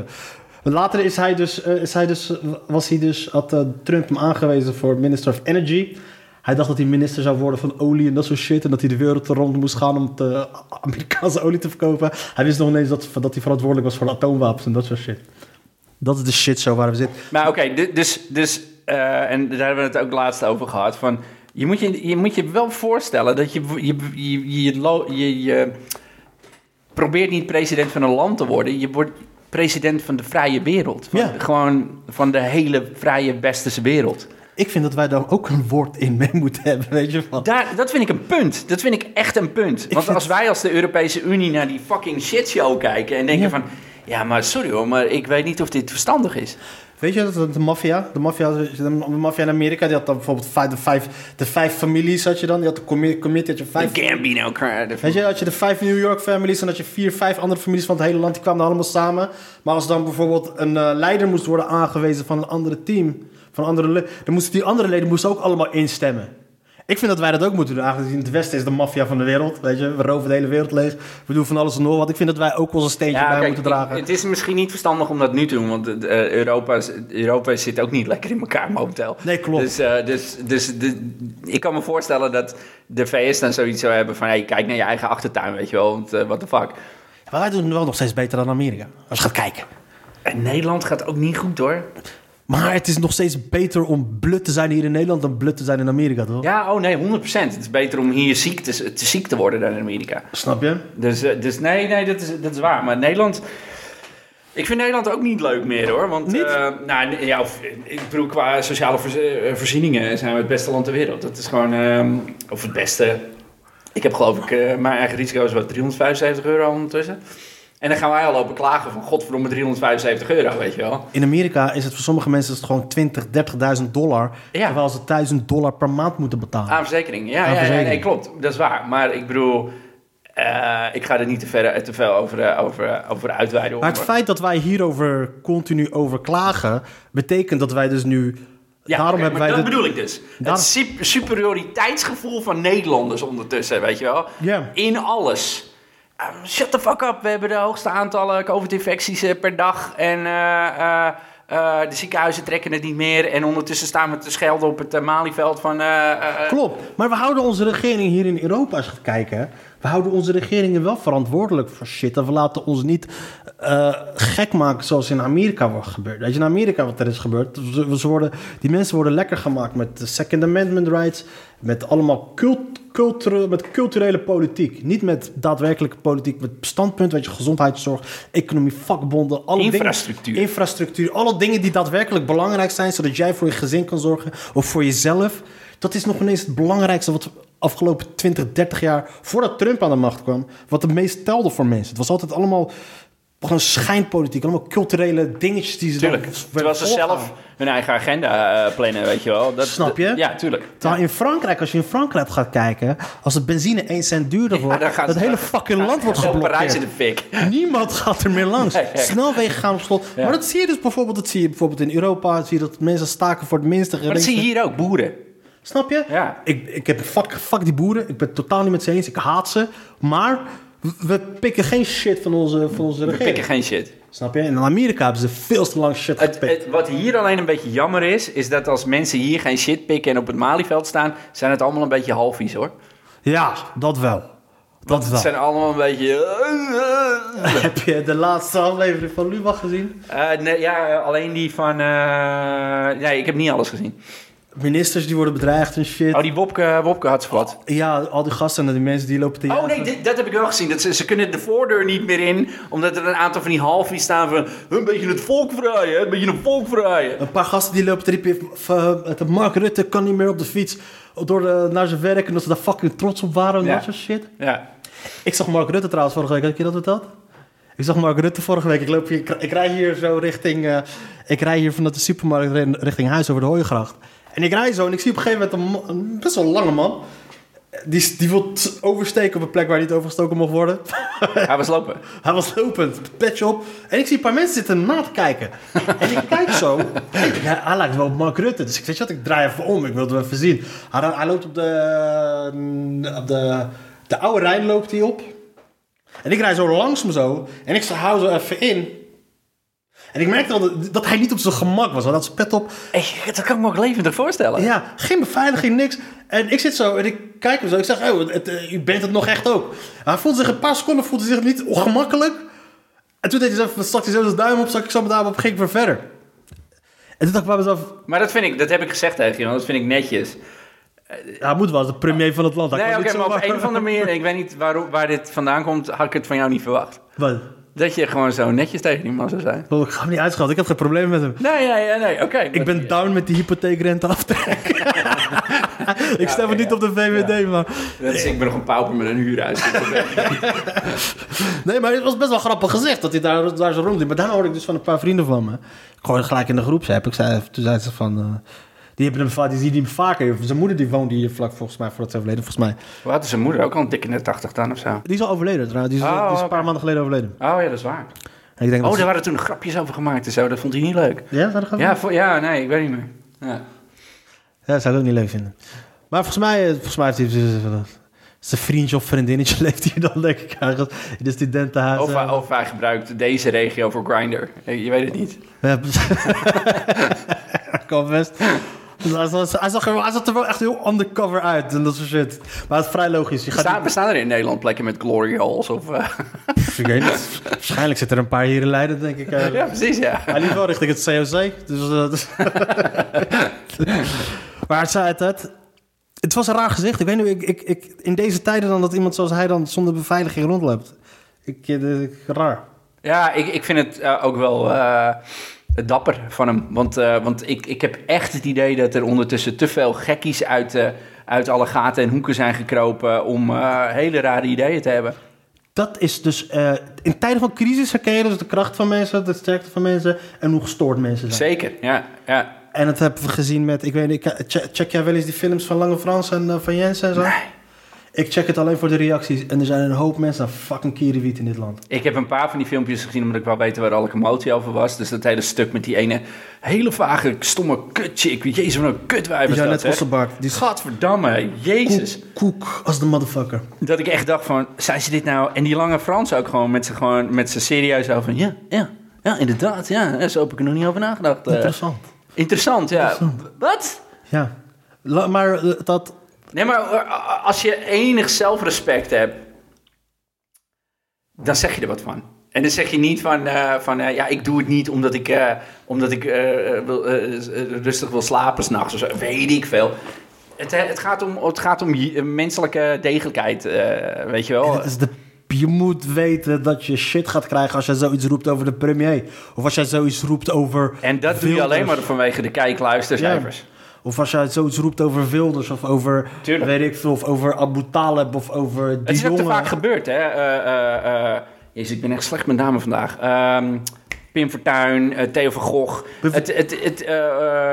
[SPEAKER 2] zo. Later is hij dus, eh, is hij dus, was hij dus, had eh, Trump hem aangewezen voor Minister of Energy. Hij dacht dat hij minister zou worden van olie en dat soort shit. En dat hij de wereld rond moest gaan om de (laughs) Amerikaanse olie te verkopen. Hij wist nog ineens dat, dat hij verantwoordelijk was voor de atoomwapens en dat soort shit. Dat is de shit zo waar we zitten.
[SPEAKER 3] Maar oké, du- dus, dus eh, en daar hebben we het ook laatst over gehad. Van, je, moet je, je moet je wel voorstellen dat je je, je, je, lo- je, je probeert niet president van een land te worden. Je wordt president van de vrije wereld. Van,
[SPEAKER 2] Ja.
[SPEAKER 3] Gewoon van de hele vrije westerse wereld.
[SPEAKER 2] Ik vind dat wij daar ook een woord in mee moeten hebben, weet je van.
[SPEAKER 3] Daar, dat vind ik een punt. Dat vind ik echt een punt. Want
[SPEAKER 2] vind-
[SPEAKER 3] als wij als de Europese Unie naar die fucking shitshow kijken en denken
[SPEAKER 2] Ja.
[SPEAKER 3] van... Ja, maar sorry hoor, maar ik weet niet of dit verstandig is.
[SPEAKER 2] Weet je dat dat de maffia, de maffia, de maffia in Amerika, die had dan bijvoorbeeld vijf, de, vijf, de vijf families had je dan, die had de commi- committee, had je
[SPEAKER 3] De
[SPEAKER 2] vijf.
[SPEAKER 3] Gambino crowd.
[SPEAKER 2] Weet je, had je de vijf New York families en had je vier, vijf andere families van het hele land, die kwamen dan allemaal samen. Maar als dan bijvoorbeeld een eh, leider moest worden aangewezen van een andere team, van andere le- dan moesten die andere leden moesten ook allemaal instemmen. Ik vind dat wij dat ook moeten doen. Aangezien het Westen is de maffia van de wereld. Weet je, we roven de hele wereld leeg. We doen van alles en nog wat. Ik vind dat wij ook onze steentje bij
[SPEAKER 3] kijk,
[SPEAKER 2] moeten dragen.
[SPEAKER 3] Het is misschien niet verstandig om dat nu te doen, want eh, Europa, is- Europa zit ook niet lekker in elkaar momenteel.
[SPEAKER 2] Nee, klopt.
[SPEAKER 3] Dus, eh, dus, dus de- ik kan me voorstellen dat de VS dan zoiets zou hebben van, hey, kijk naar je eigen achtertuin, weet je wel, want eh, what the fuck.
[SPEAKER 2] Maar wij doen het wel nog steeds beter dan Amerika. Als je gaat kijken.
[SPEAKER 3] En Nederland gaat ook niet goed hoor.
[SPEAKER 2] Maar het is nog steeds beter om blut te zijn hier in Nederland dan blut te zijn in Amerika, toch?
[SPEAKER 3] Ja, oh nee, 100%. Het is beter om hier ziek te, te ziek te worden dan in Amerika.
[SPEAKER 2] Snap je?
[SPEAKER 3] Dus, eh, dus nee, nee dat, is, dat is waar. Maar Nederland. Ik vind Nederland ook niet leuk meer hoor. Want
[SPEAKER 2] Niet?
[SPEAKER 3] eh, nou, nee, ja, of- ik bedoel, qua sociale voorz- eh, voorzieningen zijn we het beste land ter wereld. Dat is gewoon. ehm, of het beste. Ik heb geloof ik. eh, mijn eigen risico is wat 375 euro ondertussen. En dan gaan wij al lopen klagen van godverdomme 375 euro, weet je wel.
[SPEAKER 2] In Amerika is het voor sommige mensen is het gewoon 20, 30.000 dollar.
[SPEAKER 3] Ja.
[SPEAKER 2] Terwijl ze 1000 dollar per maand moeten betalen.
[SPEAKER 3] Aan verzekering. Ja,
[SPEAKER 2] Aan
[SPEAKER 3] ja,
[SPEAKER 2] verzekering.
[SPEAKER 3] Ja, nee, klopt. Dat is waar. Maar ik bedoel, eh, ik ga er niet te, ver, te veel over, eh, over, eh, over uitweiden.
[SPEAKER 2] maar het feit dat wij hierover continu over klagen, betekent dat wij dus nu.
[SPEAKER 3] Ja,
[SPEAKER 2] daarom
[SPEAKER 3] oké,
[SPEAKER 2] hebben
[SPEAKER 3] maar
[SPEAKER 2] wij
[SPEAKER 3] dat
[SPEAKER 2] dit-
[SPEAKER 3] bedoel ik dus.
[SPEAKER 2] Daarom-
[SPEAKER 3] Het sup- superioriteitsgevoel van Nederlanders ondertussen, weet je wel.
[SPEAKER 2] Ja.
[SPEAKER 3] In alles. Eh, shut the fuck up. We hebben de hoogste aantallen COVID-infecties eh, per dag. En eh, eh, eh, de ziekenhuizen trekken het niet meer. En ondertussen staan we te schelden op het eh, Malieveld van... eh, eh, eh,
[SPEAKER 2] Klopt. Maar we houden onze regering hier in Europa, als je gaat kijken, we houden onze regeringen wel verantwoordelijk voor shit. En we laten ons niet eh, gek maken zoals in Amerika wordt gebeurd. Weet je, in Amerika wat er is gebeurd. Ze- we- ze worden, die mensen worden lekker gemaakt met de Second Amendment rights. Met allemaal cult, culture- met culturele politiek. Niet met daadwerkelijke politiek. Met standpunt, weet je, gezondheidszorg, economie, vakbonden. Alle dingen-
[SPEAKER 3] Infrastructuur.
[SPEAKER 2] infrastructuur. Alle dingen die daadwerkelijk belangrijk zijn. Zodat jij voor je gezin kan zorgen. Of voor jezelf. Dat is nog ineens het belangrijkste wat afgelopen 20, 30 jaar. voordat Trump aan de macht kwam. wat het meest telde voor mensen. Het was altijd allemaal. Gewoon schijnpolitiek, allemaal culturele dingetjes die ze
[SPEAKER 3] Tuurlijk.
[SPEAKER 2] dan... werden
[SPEAKER 3] Terwijl ze
[SPEAKER 2] voorgehouden.
[SPEAKER 3] zelf hun eigen agenda eh, plannen, weet je wel. Dat,
[SPEAKER 2] Snap je?
[SPEAKER 3] Ja, tuurlijk.
[SPEAKER 2] Terwijl in Frankrijk, als je in Frankrijk gaat kijken... als de benzine 1 cent duurder
[SPEAKER 3] Ja,
[SPEAKER 2] wordt...
[SPEAKER 3] dan gaan
[SPEAKER 2] dat
[SPEAKER 3] ze-
[SPEAKER 2] hele fucking land wordt
[SPEAKER 3] Zo Parijs in
[SPEAKER 2] geblokkeerd.
[SPEAKER 3] de fik.
[SPEAKER 2] Niemand gaat er meer
[SPEAKER 3] (laughs)
[SPEAKER 2] langs.
[SPEAKER 3] Nee, echt.
[SPEAKER 2] Snelwegen gaan op slot. Maar dat zie je dus bijvoorbeeld, dat zie je bijvoorbeeld in Europa. Zie je dat mensen staken voor het minste.
[SPEAKER 3] Maar dat zie je hier ook, boeren.
[SPEAKER 2] Snap je?
[SPEAKER 3] Ja.
[SPEAKER 2] Ik, ik heb fuck, fuck die boeren. Ik ben het totaal niet met ze eens. Ik haat ze. Maar we- we pikken geen shit van onze, van onze
[SPEAKER 3] We
[SPEAKER 2] regering.
[SPEAKER 3] pikken geen shit.
[SPEAKER 2] Snap je? En in Amerika hebben ze veel te lang shit
[SPEAKER 3] Het,
[SPEAKER 2] gepikt.
[SPEAKER 3] het- wat hier alleen een beetje jammer is, is dat als mensen hier geen shit pikken en op het Malieveld staan, zijn het allemaal een beetje halfies hoor.
[SPEAKER 2] Ja, dat wel. Dat
[SPEAKER 3] Het
[SPEAKER 2] wel.
[SPEAKER 3] zijn allemaal een beetje. eh,
[SPEAKER 2] (laughs) Heb je de laatste aflevering van Lubach gezien?
[SPEAKER 3] Eh, nee, ja, eh, alleen die van. eh, nee, ik heb niet alles gezien.
[SPEAKER 2] Ministers die worden bedreigd en shit.
[SPEAKER 3] Oh, die Wopke, Wopke had squat.
[SPEAKER 2] Ja, al die gasten en die mensen die lopen te
[SPEAKER 3] Oh nee,
[SPEAKER 2] jagen.
[SPEAKER 3] dit- dat heb ik wel gezien. Dat ze, ze kunnen de voordeur niet meer in, omdat er een aantal van die halfies staan van. Een beetje het volk verraaien, een beetje het volk verraaien.
[SPEAKER 2] Een paar gasten die lopen te riepen... v- eh, de Mark Rutte kan niet meer op de fiets door de- naar zijn werk... en dat ze daar fucking trots op waren en
[SPEAKER 3] Ja.
[SPEAKER 2] dat soort shit.
[SPEAKER 3] Ja.
[SPEAKER 2] Ik zag Mark Rutte trouwens vorige week. Had je dat verteld? Ik zag Mark Rutte vorige week. Ik, loop hier, ik, ik rij hier zo richting... eh, ik rij hier vanuit de supermarkt ren- richting huis over de Hooiengracht. En ik rij zo en ik zie op een gegeven moment een, ma- een best wel lange man... Die, die wil t- oversteken op een plek waar niet overgestoken mocht worden.
[SPEAKER 3] Hij was (laughs) lopen.
[SPEAKER 2] Hij was lopend, petje op. En ik zie een paar mensen zitten na te kijken. En ik kijk zo. Ik denk, hij lijkt wel op Mark Rutte. Dus ik zeg, wat, ik draai even om. Ik wilde hem even zien. Hij, hij loopt op de, mm, op de... De oude Rijn loopt hij op. En ik rij zo langs hem zo. En ik hou zo even in. En ik merkte al dat, dat hij niet op zijn gemak was. Hij had zijn pet op.
[SPEAKER 3] Hey, dat kan ik me ook levendig voorstellen.
[SPEAKER 2] Ja, geen beveiliging, niks. En ik zit zo en ik kijk hem zo. Ik zeg, oh, het, eh, u bent het nog echt ook. Hij voelde zich een paar seconden voelde hij zich niet ongemakkelijk. En toen deed hij zo, even- stak hij zo zijn duim op, stak ik zo mijn duim op, ging ik weer verder. En toen dacht ik bij mezelf,
[SPEAKER 3] Maar dat vind ik, dat heb ik gezegd tegen je, want dat vind ik netjes.
[SPEAKER 2] ja, hij moet wel, de premier van het land. Hij
[SPEAKER 3] Nee,
[SPEAKER 2] kan
[SPEAKER 3] oké,
[SPEAKER 2] niet
[SPEAKER 3] maar op
[SPEAKER 2] zomaar-
[SPEAKER 3] een of andere manier, ik weet niet waar, waar dit vandaan komt, had ik het van jou niet verwacht.
[SPEAKER 2] (laughs) Wat?
[SPEAKER 3] Dat je gewoon zo netjes tegen die man zou zijn.
[SPEAKER 2] Oh, ik ga hem niet uitschelden, ik heb geen probleem met hem.
[SPEAKER 3] Nee, nee, nee, nee, oké.
[SPEAKER 2] Ik ben down met die hypotheekrente aftrekken. (laughs) ik stem
[SPEAKER 3] oké,
[SPEAKER 2] het niet
[SPEAKER 3] ja.
[SPEAKER 2] op de VVD, maar...
[SPEAKER 3] Dat is- ik ben nog een pauper met een huurhuis. (laughs)
[SPEAKER 2] Nee, maar het was best wel grappig gezegd dat hij daar, daar zo rondliep. Maar daarna hoorde ik dus van een paar vrienden van me. Ik gooi gelijk in de groep. Zei, ik zei, toen zei ze van... eh, die, hebben hem, va- die zien hem vaker. Zijn moeder die woonde hier vlak volgens mij voordat ze overleden. Volgens mij.
[SPEAKER 3] Wat is zijn moeder ook al een dikke net 80 dan of zo? Oh
[SPEAKER 2] Die is al overleden trouwens. Die is,
[SPEAKER 3] Oh,
[SPEAKER 2] die is een
[SPEAKER 3] oké.
[SPEAKER 2] paar maanden geleden overleden.
[SPEAKER 3] ja, dat is waar.
[SPEAKER 2] En ik denk
[SPEAKER 3] Oh,
[SPEAKER 2] dat
[SPEAKER 3] daar
[SPEAKER 2] ze-
[SPEAKER 3] waren toen grapjes over gemaakt en zo. Dat vond hij niet leuk.
[SPEAKER 2] Ja, zou dat
[SPEAKER 3] Ja, vo- ja nee, ik weet niet meer. Ja.
[SPEAKER 2] Ja, dat zou ik ook niet leuk vinden. Maar volgens mij, eh, volgens mij heeft hij... Zijn vriendje of vriendinnetje (laughs) leeft hier dan denk ik ergens. In de studentenhuis.
[SPEAKER 3] Of,
[SPEAKER 2] eh.
[SPEAKER 3] hij- of hij gebruikt deze regio voor Grindr. Eh, Je weet het niet.
[SPEAKER 2] Ja, (laughs) kan best. Dus hij, zag, hij, zag er, hij zag er wel echt heel undercover uit en dat soort shit. Maar het is vrij logisch. Je gaat
[SPEAKER 3] Bestaan, bestaan er in Nederland plekken met glory holes? Of, eh,
[SPEAKER 2] niet- Ik (laughs) weet niet. Waarschijnlijk zitten er een paar hier in Leiden, denk ik. eh.
[SPEAKER 3] (laughs) ja, precies, ja.
[SPEAKER 2] Hij liep wel richting het COC. Dus, eh, dus- (laughs) maar hij zei het, het. Het was een raar gezicht. Ik weet nu, ik, ik, ik, in deze tijden dan dat iemand zoals hij dan zonder beveiliging rondloopt. Ik, eh, ik- raar.
[SPEAKER 3] Ja, ik, ik vind het eh, ook wel eh, dapper van hem. Want, eh, want ik, ik heb echt het idee dat er ondertussen te veel gekkies uit, eh, uit alle gaten en hoeken zijn gekropen om eh, hele rare ideeën te hebben.
[SPEAKER 2] Dat is dus... eh, in tijden van crisis herken je dus de kracht van mensen, de sterkte van mensen... en hoe gestoord mensen zijn.
[SPEAKER 3] Zeker, ja. ja.
[SPEAKER 2] En dat hebben we gezien met, ik weet niet, ik- check, check jij wel eens die films van Lange Frans en eh, van Jens en zo? Ik check het alleen voor de reacties. En er zijn een hoop mensen aan fucking kierenwiet in dit land.
[SPEAKER 3] Ik heb een paar van die filmpjes gezien omdat ik wel weten waar alle commotie over was. Dus dat hele stuk met die ene hele vage, stomme kutje. Ik weet jezus, wat een kutwijf
[SPEAKER 2] Die
[SPEAKER 3] is
[SPEAKER 2] zijn
[SPEAKER 3] dat,
[SPEAKER 2] net
[SPEAKER 3] zeg.
[SPEAKER 2] Osselbart. Die is
[SPEAKER 3] Gadverdamme, jezus.
[SPEAKER 2] koek, koek als de motherfucker.
[SPEAKER 3] Dat ik echt dacht van, zijn ze dit nou... En die lange Frans ook gewoon met ze, gewoon, met ze serieus over van... Ja, ja, ja, inderdaad, ja. Zo heb ik er nog niet over nagedacht. eh.
[SPEAKER 2] Interessant.
[SPEAKER 3] interessant, ja. Wat?
[SPEAKER 2] Ja. La- maar eh, dat...
[SPEAKER 3] Nee, maar eh, als je enig zelfrespect hebt... dan zeg je er wat van. En dan zeg je niet van, eh, van eh, ja, ik doe het niet omdat ik, eh, omdat ik eh, eh, wil, eh, s- eh, rustig wil slapen s'nachts. of zo. Weet ik veel. Het, eh, het, gaat om, het gaat om je- eh, menselijke degelijkheid, eh, weet je wel.
[SPEAKER 2] Het is de, je moet weten dat je shit gaat krijgen als jij zoiets roept over de premier. Of als jij zoiets roept over.
[SPEAKER 3] En dat doe je
[SPEAKER 2] Wilders.
[SPEAKER 3] alleen maar vanwege de kijkluistercijfers.
[SPEAKER 2] Ja. Of als jij zoiets roept over Wilders of over.
[SPEAKER 3] Tuurlijk.
[SPEAKER 2] Weet ik veel, of over Abu Talib of over. Die
[SPEAKER 3] Het is ook te
[SPEAKER 2] jongen.
[SPEAKER 3] vaak gebeurd, hè? Eh, eh, eh, jezus, ik ben echt slecht met namen vandaag. Ehm, Pim Fortuyn, eh, Theo van Gogh.
[SPEAKER 2] Pim-
[SPEAKER 3] Het, het, het, eh,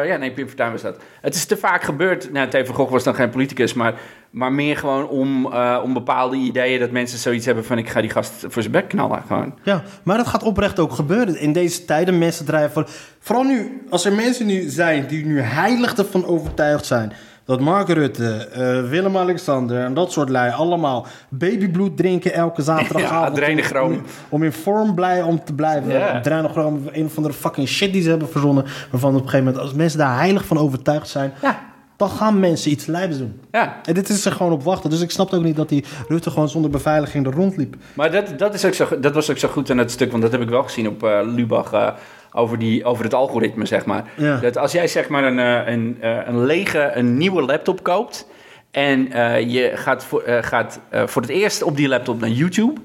[SPEAKER 3] eh, ja, nee, Pim Fortuyn was dat. Het is te vaak gebeurd. Nou, Theo van Gogh was dan geen politicus, maar, maar meer gewoon om, eh, om bepaalde ideeën dat mensen zoiets hebben van ik ga die gast voor zijn bek knallen. Gewoon.
[SPEAKER 2] Ja, maar dat gaat oprecht ook gebeuren. In deze tijden mensen drijven van... Vooral nu, als er mensen nu zijn die nu heilig ervan overtuigd zijn... dat Mark Rutte, eh, Willem-Alexander en dat soort lui allemaal babybloed drinken elke zaterdagavond...
[SPEAKER 3] (laughs) Ja, adrenochroom.
[SPEAKER 2] Om, om in vorm blij om te blijven.
[SPEAKER 3] Ja.
[SPEAKER 2] Adrenochroom, een of andere fucking shit die ze hebben verzonnen... waarvan op een gegeven moment, als mensen daar heilig van overtuigd zijn...
[SPEAKER 3] Ja.
[SPEAKER 2] dan gaan mensen iets lijps doen.
[SPEAKER 3] Ja,
[SPEAKER 2] En dit is er gewoon op wachten. Dus ik snapte ook niet dat die Rutte gewoon zonder beveiliging er rondliep.
[SPEAKER 3] Maar dat, dat, is ook zo, go- dat was ook zo goed aan het stuk, want dat heb ik wel gezien op eh, Lubach. eh, over, die, over het algoritme, zeg maar.
[SPEAKER 2] Ja.
[SPEAKER 3] Dat als jij zeg maar een, eh, een, eh, een lege, een nieuwe laptop koopt. En eh, je gaat, voor, eh, gaat eh, voor het eerst op die laptop naar YouTube.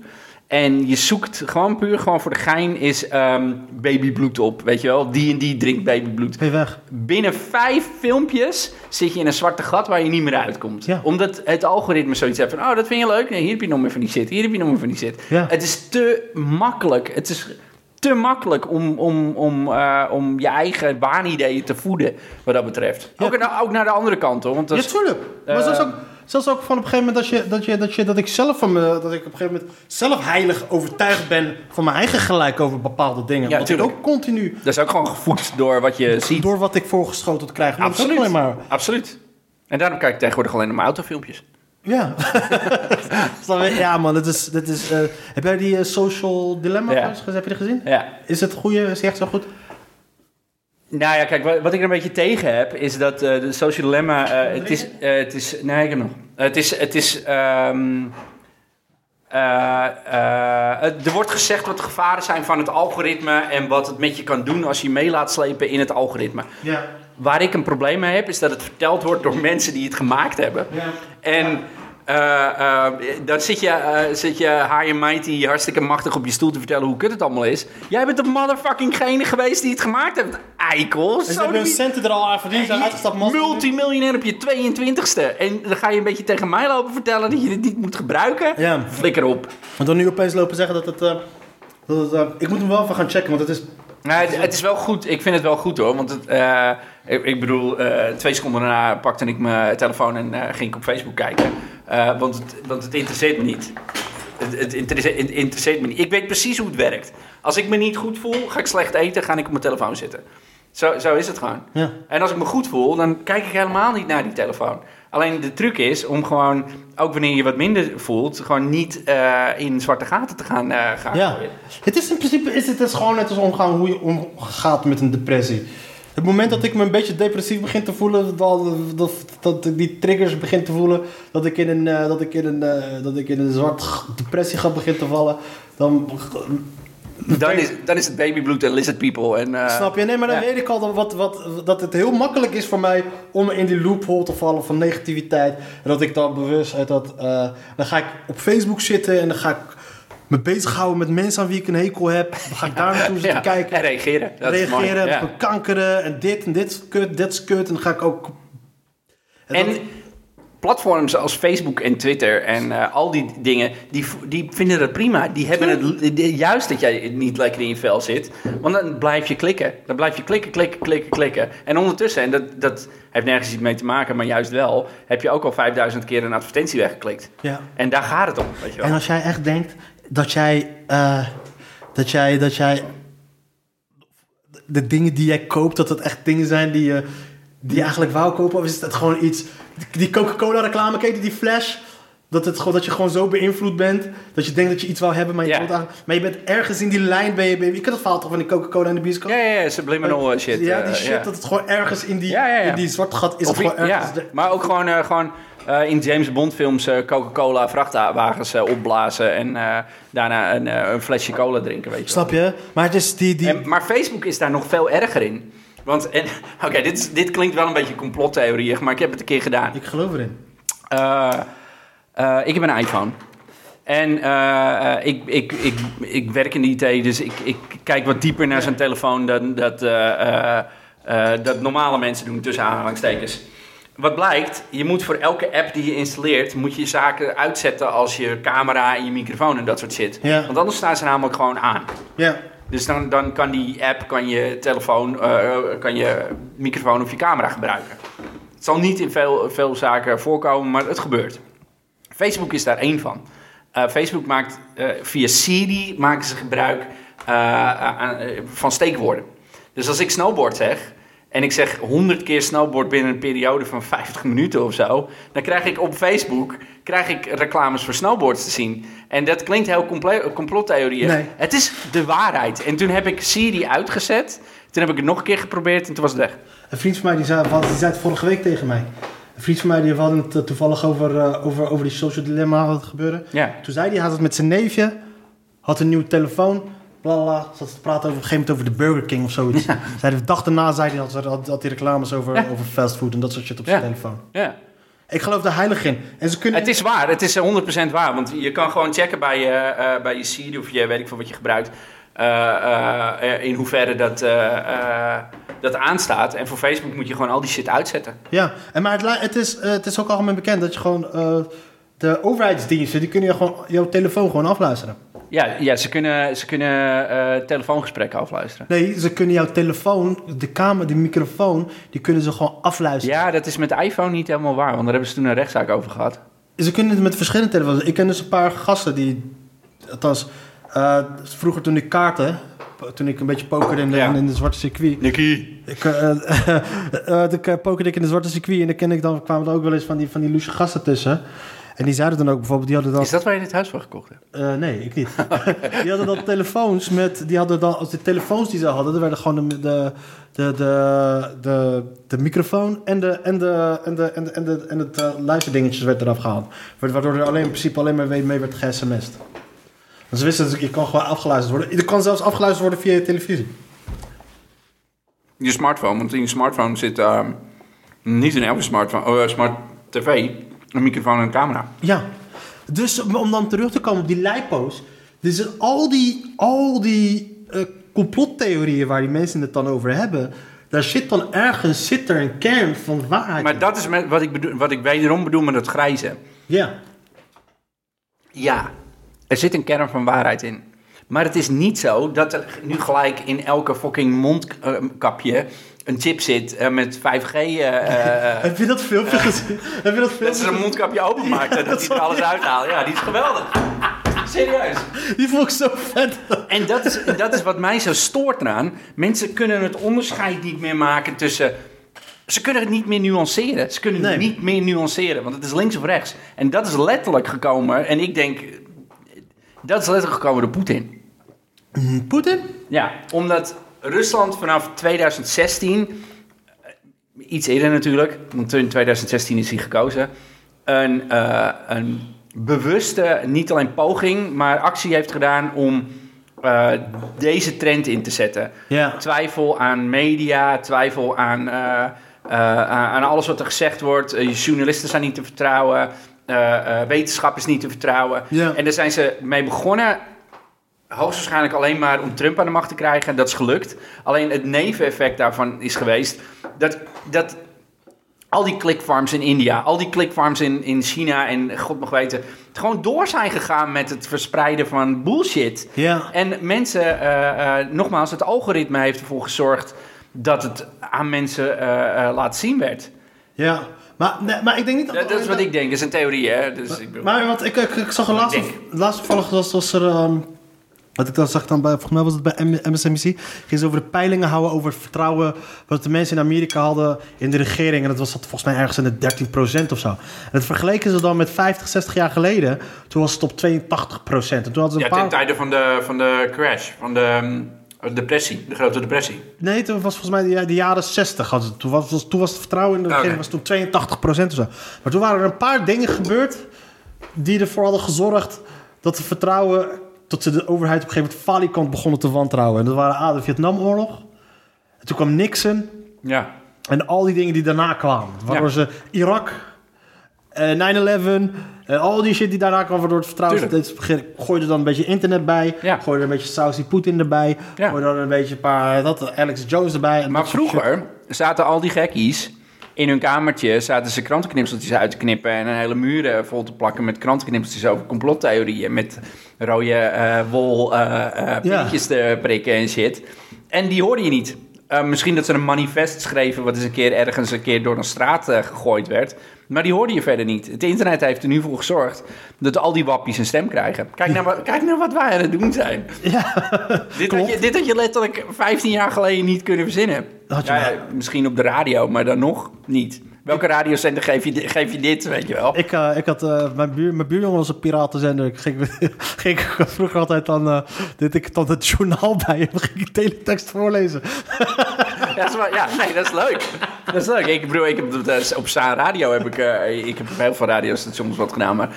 [SPEAKER 3] En je zoekt gewoon puur, gewoon voor de gein, is ehm, babybloed op. Weet je wel, die en die drinkt babybloed.
[SPEAKER 2] Ben je weg.
[SPEAKER 3] Binnen vijf filmpjes zit je in een zwarte gat waar je niet meer uitkomt.
[SPEAKER 2] Ja.
[SPEAKER 3] Omdat het algoritme zoiets heeft van... oh, dat vind je leuk. Nee, hier heb je nog meer van die shit. Hier heb je nog meer van die shit.
[SPEAKER 2] Ja.
[SPEAKER 3] Het is te makkelijk. Het is te makkelijk om, om, om, eh, om je eigen waanideeën te voeden wat dat betreft.
[SPEAKER 2] Ja.
[SPEAKER 3] Ook, na- ook naar de andere kant, hoor. Want dat
[SPEAKER 2] Ja,
[SPEAKER 3] is-
[SPEAKER 2] tuurlijk. Maar
[SPEAKER 3] eh,
[SPEAKER 2] zelfs, ook, zelfs ook van op een gegeven moment dat, je, dat, je, dat, je, dat ik zelf van me, dat ik op een gegeven moment zelf heilig overtuigd ben van mijn eigen gelijk over bepaalde dingen.
[SPEAKER 3] Ja,
[SPEAKER 2] Want ik
[SPEAKER 3] tuurlijk.
[SPEAKER 2] ook continu
[SPEAKER 3] dat is ook gewoon gevoed door wat je ziet.
[SPEAKER 2] door wat ik voorgeschoteld krijg. Maar dat is ook
[SPEAKER 3] Absoluut.
[SPEAKER 2] alleen maar.
[SPEAKER 3] Absoluut. En daarom kijk ik tegenwoordig alleen naar mijn autofilmpjes.
[SPEAKER 2] Ja. (laughs) Snap je? ja, man, dat is. Dat is eh, heb jij die eh, social dilemma?
[SPEAKER 3] Ja.
[SPEAKER 2] films gezien? Heb je die gezien?
[SPEAKER 3] Ja.
[SPEAKER 2] Is het goede? Is die echt zo goed?
[SPEAKER 3] Nou ja, kijk, wat, wat ik er een beetje tegen heb, is dat eh, de social dilemma. eh, het, is, eh, het is. Nee, ik heb nog. Het is. Het is ehm, eh, eh, het- er wordt gezegd wat de gevaren zijn van het algoritme en wat het met je kan doen als je je mee laat slepen in het algoritme.
[SPEAKER 2] Ja.
[SPEAKER 3] Waar ik een probleem mee heb, is dat het verteld wordt door mensen die het gemaakt hebben. En eh, eh, dan zit je, eh, zit je high and mighty, hartstikke machtig op je stoel te vertellen hoe kut het allemaal is. Jij bent de motherfucking gene geweest die het gemaakt heeft, eikel.
[SPEAKER 2] Dus
[SPEAKER 3] Zo
[SPEAKER 2] hebben hun
[SPEAKER 3] die-
[SPEAKER 2] centen er al aan verdiend, zijn uitgestapt. man.
[SPEAKER 3] Multimiljonair op je 22ste. En dan ga je een beetje tegen mij lopen vertellen dat je dit niet moet gebruiken.
[SPEAKER 2] Ja.
[SPEAKER 3] Flikker op.
[SPEAKER 2] En dan nu opeens lopen zeggen dat het. eh, dat het eh, ik moet hem wel even gaan checken, want het is
[SPEAKER 3] Nou, het, het is wel goed. Ik vind het wel goed hoor. Want het, eh, ik, ik bedoel, eh, twee seconden daarna pakte ik mijn telefoon en eh, ging ik op Facebook kijken. Eh, want, het, want het interesseert me niet. Het, het interesse- het interesseert me niet. Ik weet precies hoe het werkt. Als ik me niet goed voel, ga ik slecht eten, ga ik op mijn telefoon zitten. Zo, zo is het gewoon.
[SPEAKER 2] Ja.
[SPEAKER 3] En als ik me goed voel, dan kijk ik helemaal niet naar die telefoon. Alleen de truc is om gewoon, ook wanneer je wat minder voelt, gewoon niet eh, in zwarte gaten te gaan, eh gaan
[SPEAKER 2] Ja.
[SPEAKER 3] gooien.
[SPEAKER 2] Het is in principe is het is gewoon net als omgaan hoe je omgaat met een depressie. Het moment dat ik me een beetje depressief begin te voelen, dat, dat, dat ik die triggers begin te voelen, dat ik in een, eh, dat ik in een, eh, dat ik in een zwart g- depressie ga begin te vallen, dan
[SPEAKER 3] Dan is, dan is het babybloed en lizard people. En, eh,
[SPEAKER 2] snap je? Nee, maar dan
[SPEAKER 3] ja.
[SPEAKER 2] weet ik al dat, wat, wat, dat het heel makkelijk is voor mij om in die loophole te vallen van negativiteit. En dat ik dan bewust uit dat, eh, dan ga ik op Facebook zitten en dan ga ik me bezighouden met mensen aan wie ik een hekel heb. Dan ga ik daar
[SPEAKER 3] (laughs)
[SPEAKER 2] naartoe zitten
[SPEAKER 3] ja,
[SPEAKER 2] kijken.
[SPEAKER 3] En reageren. Dat is mooi,
[SPEAKER 2] reageren,
[SPEAKER 3] ja.
[SPEAKER 2] bekankeren en dit en dit is kut, dit is kut. En dan ga ik ook...
[SPEAKER 3] En
[SPEAKER 2] dat-
[SPEAKER 3] platforms als Facebook en Twitter en eh, al die dingen, die, v- die vinden dat prima. Die hebben het die- die- juist dat jij niet lekker in je vel zit. Want dan blijf je klikken. Dan blijf je klikken, klikken, klikken, klikken. En ondertussen, en dat, dat heeft nergens iets mee te maken, maar juist wel, heb je ook al 5000 keer een advertentie weggeklikt.
[SPEAKER 2] Ja.
[SPEAKER 3] En daar gaat het om, weet je wel.
[SPEAKER 2] En als jij echt denkt dat jij... eh, dat jij... Dat jij de dingen die jij koopt, dat het echt dingen zijn die je, die je eigenlijk wou kopen? Of is het gewoon iets... Die Coca-Cola reclame, kijk je die flash... Dat, het, gewoon- dat je gewoon zo beïnvloed bent. Dat je denkt dat je iets wou hebben, maar je,
[SPEAKER 3] Ja.
[SPEAKER 2] wilt eigenlijk- maar je bent ergens in die lijn. Ben je, ben je, je kent het verhaal toch van die Coca-Cola en de bioscoop?
[SPEAKER 3] Ja, ja, ja, subliminal eh, shit.
[SPEAKER 2] Ja,
[SPEAKER 3] eh,
[SPEAKER 2] die shit, dat het gewoon ergens in die,
[SPEAKER 3] Ja, ja, ja.
[SPEAKER 2] In die zwart gat is.
[SPEAKER 3] Of
[SPEAKER 2] het
[SPEAKER 3] i-
[SPEAKER 2] gewoon ergens
[SPEAKER 3] ja, maar ook gewoon, eh, gewoon eh, in James Bond films eh, Coca-Cola vrachtwagens eh, opblazen en eh, daarna een, eh, een flesje cola drinken, weet je wel.
[SPEAKER 2] Snap je? Maar het is die... die...
[SPEAKER 3] En- maar Facebook is daar nog veel erger in. Want, en- (laughs) oké, dit, is- dit klinkt wel een beetje complottheorie, maar ik heb het een keer gedaan.
[SPEAKER 2] Ik geloof erin.
[SPEAKER 3] Eh, eh, ik heb een iPhone. En eh, eh, ik, ik, ik, ik werk in de IT, dus ik, ik kijk wat dieper naar zo'n telefoon dan dat, eh, eh, eh, dat normale mensen doen, tussen aanhalingstekens. Wat blijkt, je moet voor elke app die je installeert, moet je zaken uitzetten als je camera en je microfoon en dat soort shit.
[SPEAKER 2] Ja.
[SPEAKER 3] Want anders staan ze namelijk gewoon aan.
[SPEAKER 2] Ja.
[SPEAKER 3] Dus dan, dan kan die app, kan je telefoon, eh, kan je microfoon of je camera gebruiken. Het zal niet in veel, veel zaken voorkomen, maar het gebeurt. Facebook is daar één van. Eh, Facebook maakt eh, via Siri maken ze gebruik eh, aan- eh, van steekwoorden. Dus als ik snowboard zeg en ik zeg 100 keer snowboard binnen een periode van (laughs) 50 minuten of zo, dan krijg ik op Facebook krijg ik reclames voor snowboards te zien. En dat klinkt heel comple- complottheorie.
[SPEAKER 2] Nee.
[SPEAKER 3] Het is de waarheid. En toen heb ik Siri uitgezet. Toen heb ik het nog een keer geprobeerd en toen was het weg.
[SPEAKER 2] Een vriend van mij die zei, wat, die zei het vorige week tegen mij. Een vriend van mij die had het eh, toevallig over, eh, over, over die social dilemma wat gebeuren.
[SPEAKER 3] Ja.
[SPEAKER 2] Toen zei hij, hij had het met zijn neefje, had een nieuwe telefoon, bla bla, bla, zat te praten over, op een gegeven moment over de Burger King of
[SPEAKER 3] (laughs)
[SPEAKER 2] zoiets. Zei, de dag daarna zei hij, had, had, had hij reclames over,
[SPEAKER 3] Ja.
[SPEAKER 2] over fastfood en dat soort shit op zijn
[SPEAKER 3] Ja.
[SPEAKER 2] telefoon.
[SPEAKER 3] Ja.
[SPEAKER 2] Ik geloof daar heilig in. En ze kunnen...
[SPEAKER 3] Het is waar, het is eh, 100% waar. Want je kan gewoon checken bij je, eh, bij je Siri of je weet ik veel wat je gebruikt. eh, eh, eh, in hoeverre dat, eh, eh, dat aanstaat. En voor Facebook moet je gewoon al die shit uitzetten.
[SPEAKER 2] Ja, en maar het, li- het, is, eh, het is ook algemeen bekend dat je gewoon... eh, de overheidsdiensten, die kunnen je gewoon, jouw telefoon gewoon afluisteren.
[SPEAKER 3] Ja, ja ze kunnen, ze kunnen eh, telefoongesprekken afluisteren.
[SPEAKER 2] Nee, ze kunnen jouw telefoon, de kamer, de microfoon, die kunnen ze gewoon afluisteren.
[SPEAKER 3] Ja, dat is met iPhone niet helemaal waar. Want daar hebben ze toen een rechtszaak over gehad.
[SPEAKER 2] Ze kunnen het met verschillende telefoons. Ik ken dus een paar gasten die, althans, eh, vroeger toen ik kaarten, toen ik een beetje pokerde in de,
[SPEAKER 3] Ja.
[SPEAKER 2] in de zwarte circuit.
[SPEAKER 3] Nicky.
[SPEAKER 2] Ik, eh (laughs) eh, toen, eh, pokerde ik in de zwarte circuit en dan, ken ik dan kwamen er ook wel eens van die, van die loesje gasten tussen. En die zeiden dan ook bijvoorbeeld, die hadden dan...
[SPEAKER 3] Is dat waar je dit huis voor gekocht hebt?
[SPEAKER 2] Eh, nee, ik niet. (laughs) die hadden dan telefoons met. Die hadden dan, als de telefoons die ze hadden, er werden gewoon de, de, de, de, de, de microfoon en de en de en de en de en de en het eh, luisterdingetjes werd eraf gehaald. Wa- Waardoor er alleen in principe alleen maar mee, mee werd ge-sms'd. Want ze wisten dat je kan gewoon afgeluisterd worden. Je kan zelfs afgeluisterd worden via je televisie.
[SPEAKER 3] Je smartphone, want in je smartphone zit eh, niet in elke smartphone, oh, eh, smart tv, een microfoon en een camera.
[SPEAKER 2] Ja. Dus om- om dan terug te komen op die lipo's. Dus al die, al die eh, complottheorieën waar die mensen het dan over hebben. Daar zit dan ergens zit er een kern van waarheid
[SPEAKER 3] Maar
[SPEAKER 2] in.
[SPEAKER 3] dat is met, wat, ik bedoel, wat ik wederom bedoel met het grijze.
[SPEAKER 2] Ja.
[SPEAKER 3] Ja, er zit een kern van waarheid in. Maar het is niet zo dat er nu gelijk in elke fucking mondkapje een chip zit eh, met 5G. (laughs) eh, eh,
[SPEAKER 2] Heb je dat filmpje gezien? Heb je dat
[SPEAKER 3] dat ze
[SPEAKER 2] filmpje
[SPEAKER 3] een
[SPEAKER 2] gezien?
[SPEAKER 3] mondkapje openmaakt en dat hij er alles uithaalt. Ja, die is geweldig. Serieus.
[SPEAKER 2] Die vond ik zo vet.
[SPEAKER 3] En dat is, dat is wat mij zo stoort eraan. Mensen kunnen het onderscheid niet meer maken tussen. Ze kunnen het niet meer nuanceren. Ze kunnen het
[SPEAKER 2] Nee.
[SPEAKER 3] niet meer nuanceren, want het is links of rechts. En dat is letterlijk gekomen. En ik denk. Dat is letterlijk gekomen door Poetin.
[SPEAKER 2] Poetin?
[SPEAKER 3] Ja, omdat Rusland vanaf 2016, eh, iets eerder natuurlijk, want in 2016 is hij gekozen, een, eh, een bewuste, niet alleen poging, maar actie heeft gedaan om eh, deze trend in te zetten.
[SPEAKER 2] Ja.
[SPEAKER 3] Twijfel aan media, twijfel aan, eh, eh, aan aan alles wat er gezegd wordt. Eh, journalisten zijn niet te vertrouwen, eh, eh, wetenschap is niet te vertrouwen.
[SPEAKER 2] Ja.
[SPEAKER 3] En daar zijn ze mee begonnen hoogstwaarschijnlijk alleen maar om Trump aan de macht te krijgen. En dat is gelukt. Alleen het neveneffect daarvan is geweest dat, dat al die clickfarms in India, al die clickfarms in, in China en god mag weten, gewoon door zijn gegaan met het verspreiden van bullshit.
[SPEAKER 2] Ja.
[SPEAKER 3] En mensen, eh, eh, nogmaals, het algoritme heeft ervoor gezorgd dat het aan mensen eh, eh, laat zien werd.
[SPEAKER 2] Ja. Maar, nee, maar ik denk niet
[SPEAKER 3] Dat, dat is wat ik denk, dat is een theorie, hè? Dus ik bedoel-
[SPEAKER 2] Maar want ik, ik, ik zag er laatst,
[SPEAKER 3] Ik
[SPEAKER 2] laatst toevallig was, was er... ehm, wat ik dan zag dan bij, volgens mij was het bij M- MSNBC, ging ze over de peilingen houden over het vertrouwen wat de mensen in Amerika hadden in de regering. En dat was dat volgens mij ergens in de 13% of zo. En dat vergeleken ze dan met 50, 60 jaar geleden. Toen was het op 82%. En toen hadden ze een
[SPEAKER 3] Ja,
[SPEAKER 2] paar...
[SPEAKER 3] ten tijde van de, van de crash, van de ehm, Eh, Depressie, de grote depressie.
[SPEAKER 2] Nee, toen was volgens mij de, de jaren 60. Hadden ze, toen, was, was- toen was het vertrouwen in de
[SPEAKER 3] Oké.
[SPEAKER 2] regering was toen 82 of zo. Maar toen waren er een paar dingen gebeurd die ervoor hadden gezorgd dat het vertrouwen, dat ze de overheid op een gegeven moment falikant begonnen te wantrouwen. En dat waren A, de Vietnamoorlog. En toen kwam Nixon
[SPEAKER 3] Ja.
[SPEAKER 2] en al die dingen die daarna kwamen. Waardoor
[SPEAKER 3] Ja.
[SPEAKER 2] ze Irak, eh, 9-11, eh, al die shit die daarna kwam, waardoor het vertrouwen
[SPEAKER 3] Tuurlijk.
[SPEAKER 2] steeds begin- Gooi er dan een beetje internet bij.
[SPEAKER 3] Ja.
[SPEAKER 2] Gooi er een beetje Saucy Poetin erbij.
[SPEAKER 3] Ja.
[SPEAKER 2] Gooi er dan een beetje een paar dat, Alex Jones erbij. En
[SPEAKER 3] Maar
[SPEAKER 2] dat soort shit.
[SPEAKER 3] vroeger zaten al die gekkies in hun kamertje, zaten ze krantenknipseltjes uit te knippen en een hele muren vol te plakken met krantenknipseltjes over complottheorieën, met rode eh, wol eh, eh, pilletjes te prikken en shit. En die hoorde je niet. Eh, misschien dat ze een manifest schreven wat eens een keer ergens een keer door een straat eh, gegooid werd. Maar die hoorde je verder niet. Het internet heeft er nu voor gezorgd dat al die wappies een stem krijgen. Kijk nou, wat- kijk nou wat wij aan het doen zijn. Dit had, je, dit had je letterlijk 15 jaar geleden niet kunnen verzinnen.
[SPEAKER 2] Had je
[SPEAKER 3] Ja,
[SPEAKER 2] wel.
[SPEAKER 3] misschien op de radio, maar dan nog niet. Welke radiozender geef je, di- geef je dit, weet je wel?
[SPEAKER 2] Ik, eh, ik had, eh, mijn, buur, mijn buurjongen was een piratenzender. Ik ging, (laughs) ging ik vroeger altijd dan, eh deed ik dan het journaal bij hem. (laughs) ging ik teletext voorlezen.
[SPEAKER 3] (laughs) Dat is wel- ja, nee, dat is leuk. Dat is leuk. Ik bedoel, ik heb, dat is- op Saan Radio heb ik, eh, ik heb op heel veel radiostations wat gedaan, maar...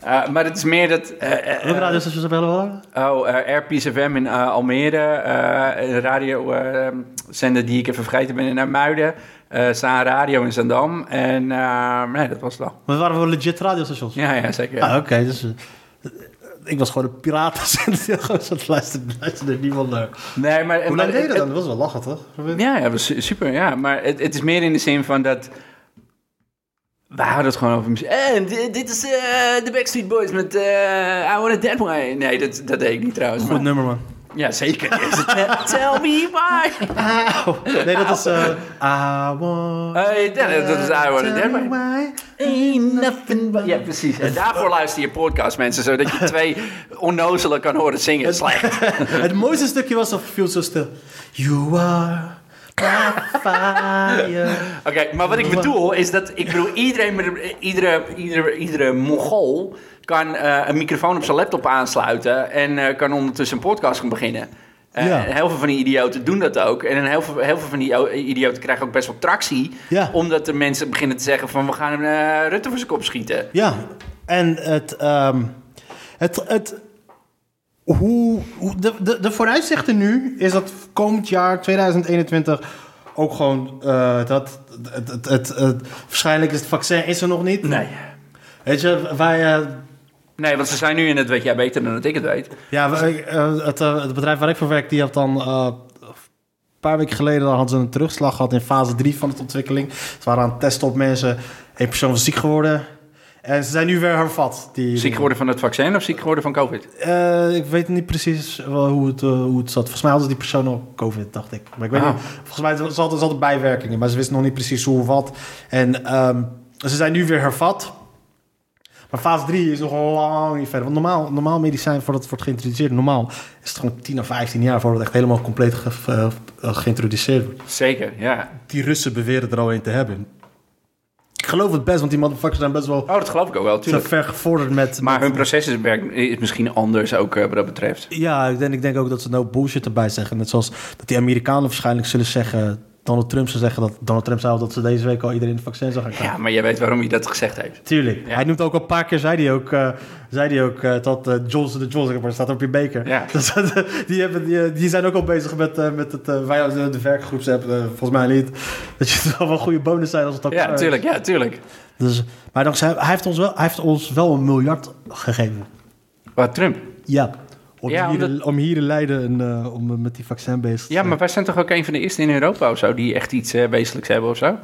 [SPEAKER 3] eh, maar het is meer dat... eh, eh,
[SPEAKER 2] Welke radiostations hebben we wel?
[SPEAKER 3] oh, eh, RPSFM in eh, Almere. eh, een radiozender die ik even vergeten ben in Muiden. eh Saan Radio in Zandam. En eh, nee, dat was het wel.
[SPEAKER 2] Maar het waren wel legit radiostations.
[SPEAKER 3] Ja, ja, zeker. ja.
[SPEAKER 2] Ah, oké. dus, eh, ik was gewoon een (laughs) Dus piratenzender. Gewoon zo luisterde, luisterde niemand naar.
[SPEAKER 3] Nee, maar...
[SPEAKER 2] Hoe
[SPEAKER 3] maar
[SPEAKER 2] lang deed je
[SPEAKER 3] het-
[SPEAKER 2] dat dan? Dat was wel lachen, toch?
[SPEAKER 3] Ja, ja, was su- super. Ja. Maar het, het is meer in de zin van dat. We houden het gewoon over muziek. En di- dit is eh, de Backstreet Boys met eh I Want It That Way. Nee, dat, dat deed ik niet trouwens.
[SPEAKER 2] Goed
[SPEAKER 3] Maar,
[SPEAKER 2] nummer, man.
[SPEAKER 3] ja, zeker. (laughs) Tell me why.
[SPEAKER 2] Nee, dat is... eh I want...
[SPEAKER 3] Eh, ja, dat is I Want It That Way.
[SPEAKER 2] Why.
[SPEAKER 3] Ain't nothing but- Ja, precies. En daarvoor luister je podcast, mensen. Zodat je twee onnozelen kan horen zingen. Slecht.
[SPEAKER 2] Het mooiste stukje was of viel zo stil. You are my
[SPEAKER 3] (laughs)
[SPEAKER 2] fire.
[SPEAKER 3] Oké, maar wat ik bedoel is dat ik bedoel, iedereen, met een- iedere, iedere, iedere Mongool kan eh, een microfoon op zijn laptop aansluiten en eh, kan ondertussen een podcast gaan beginnen. Eh,
[SPEAKER 2] Ja.
[SPEAKER 3] en Heel veel van die idioten doen dat ook. En heel veel, heel veel van die io- idioten krijgen ook best wel tractie.
[SPEAKER 2] Ja.
[SPEAKER 3] Omdat de mensen beginnen te zeggen van we gaan eh, Rutte voor zijn kop schieten.
[SPEAKER 2] Ja, en het... ehm, het, het hoe, hoe- de, de, de vooruitzichten nu is dat komend jaar 2021 ook gewoon eh, dat het, het, het, het- waarschijnlijk is het vaccin is er nog niet.
[SPEAKER 3] Nee.
[SPEAKER 2] Weet je, wij, eh,
[SPEAKER 3] Nee, want ze zijn nu in het weet jij beter dan dat ik het weet.
[SPEAKER 2] ja, wij, eh, het, eh, het bedrijf waar ik voor werk, die had dan eh, een paar weken geleden dan hadden ze een terugslag gehad in fase 3 van de ontwikkeling. Ze waren aan het testen op mensen. Eén persoon was ziek geworden. En ze zijn nu weer hervat. Die,
[SPEAKER 3] Ziek geworden van het vaccin of ziek geworden van COVID?
[SPEAKER 2] Eh, ik weet niet precies wel hoe het, eh, hoe het zat. Volgens mij hadden die persoon al COVID, dacht ik. Maar ik weet
[SPEAKER 3] Ah.
[SPEAKER 2] niet. Volgens mij zat- zat er zat er bijwerkingen, maar ze wisten nog niet precies hoe of wat. En ehm, ze zijn nu weer hervat. Maar fase 3 is nog lang niet verder. Want normaal, normaal medicijn, voordat het wordt geïntroduceerd, normaal is het gewoon 10 of 15 jaar voordat het echt helemaal compleet ge- ge- eh, geïntroduceerd wordt.
[SPEAKER 3] Zeker, ja.
[SPEAKER 2] Die Russen beweren er al een te hebben. Ik geloof het best, want die motherfuckers zijn best wel
[SPEAKER 3] Oh, dat geloof ik ook wel,
[SPEAKER 2] zo
[SPEAKER 3] tuurlijk.
[SPEAKER 2] ver gevorderd met...
[SPEAKER 3] Maar hun proces is, werkt- is misschien anders ook eh, wat dat betreft.
[SPEAKER 2] Ja, ik denk, ik denk ook dat ze nou bullshit erbij zeggen. Net zoals dat die Amerikanen waarschijnlijk zullen zeggen... Donald Trump zou zeggen dat Donald Trump zou dat ze deze week al iedereen het vaccin zou gaan krijgen.
[SPEAKER 3] Ja, maar jij weet waarom hij dat gezegd heeft.
[SPEAKER 2] Tuurlijk. Hij noemt ook al een paar keer, zei hij ook, eh, zei hij ook eh, dat eh, Johnson de Johnson, maar dat staat op je beker.
[SPEAKER 3] Ja.
[SPEAKER 2] Dus, (laughs) dat, eh, die, hebben, die, eh, die zijn ook al bezig met, eh, met het, eh, wij als, eh, de werkgroeps hebben, eh, volgens mij niet, (laughs) dat je het wel een goede bonus zijn als het ook
[SPEAKER 3] Ja,
[SPEAKER 2] eh,
[SPEAKER 3] tuurlijk, ja, tuurlijk.
[SPEAKER 2] Dus, maar dankzij, hij, heeft ons wel, hij heeft ons wel een miljard gegeven.
[SPEAKER 3] Wat, Trump?
[SPEAKER 2] Ja. Om,
[SPEAKER 3] Ja,
[SPEAKER 2] hier,
[SPEAKER 3] omdat-
[SPEAKER 2] om hier in Leiden en, eh, om eh, met die vaccin bezig te
[SPEAKER 3] Ja,
[SPEAKER 2] zijn.
[SPEAKER 3] maar wij zijn toch ook een van de eerste in Europa of zo die echt iets eh, wezenlijks hebben of zo?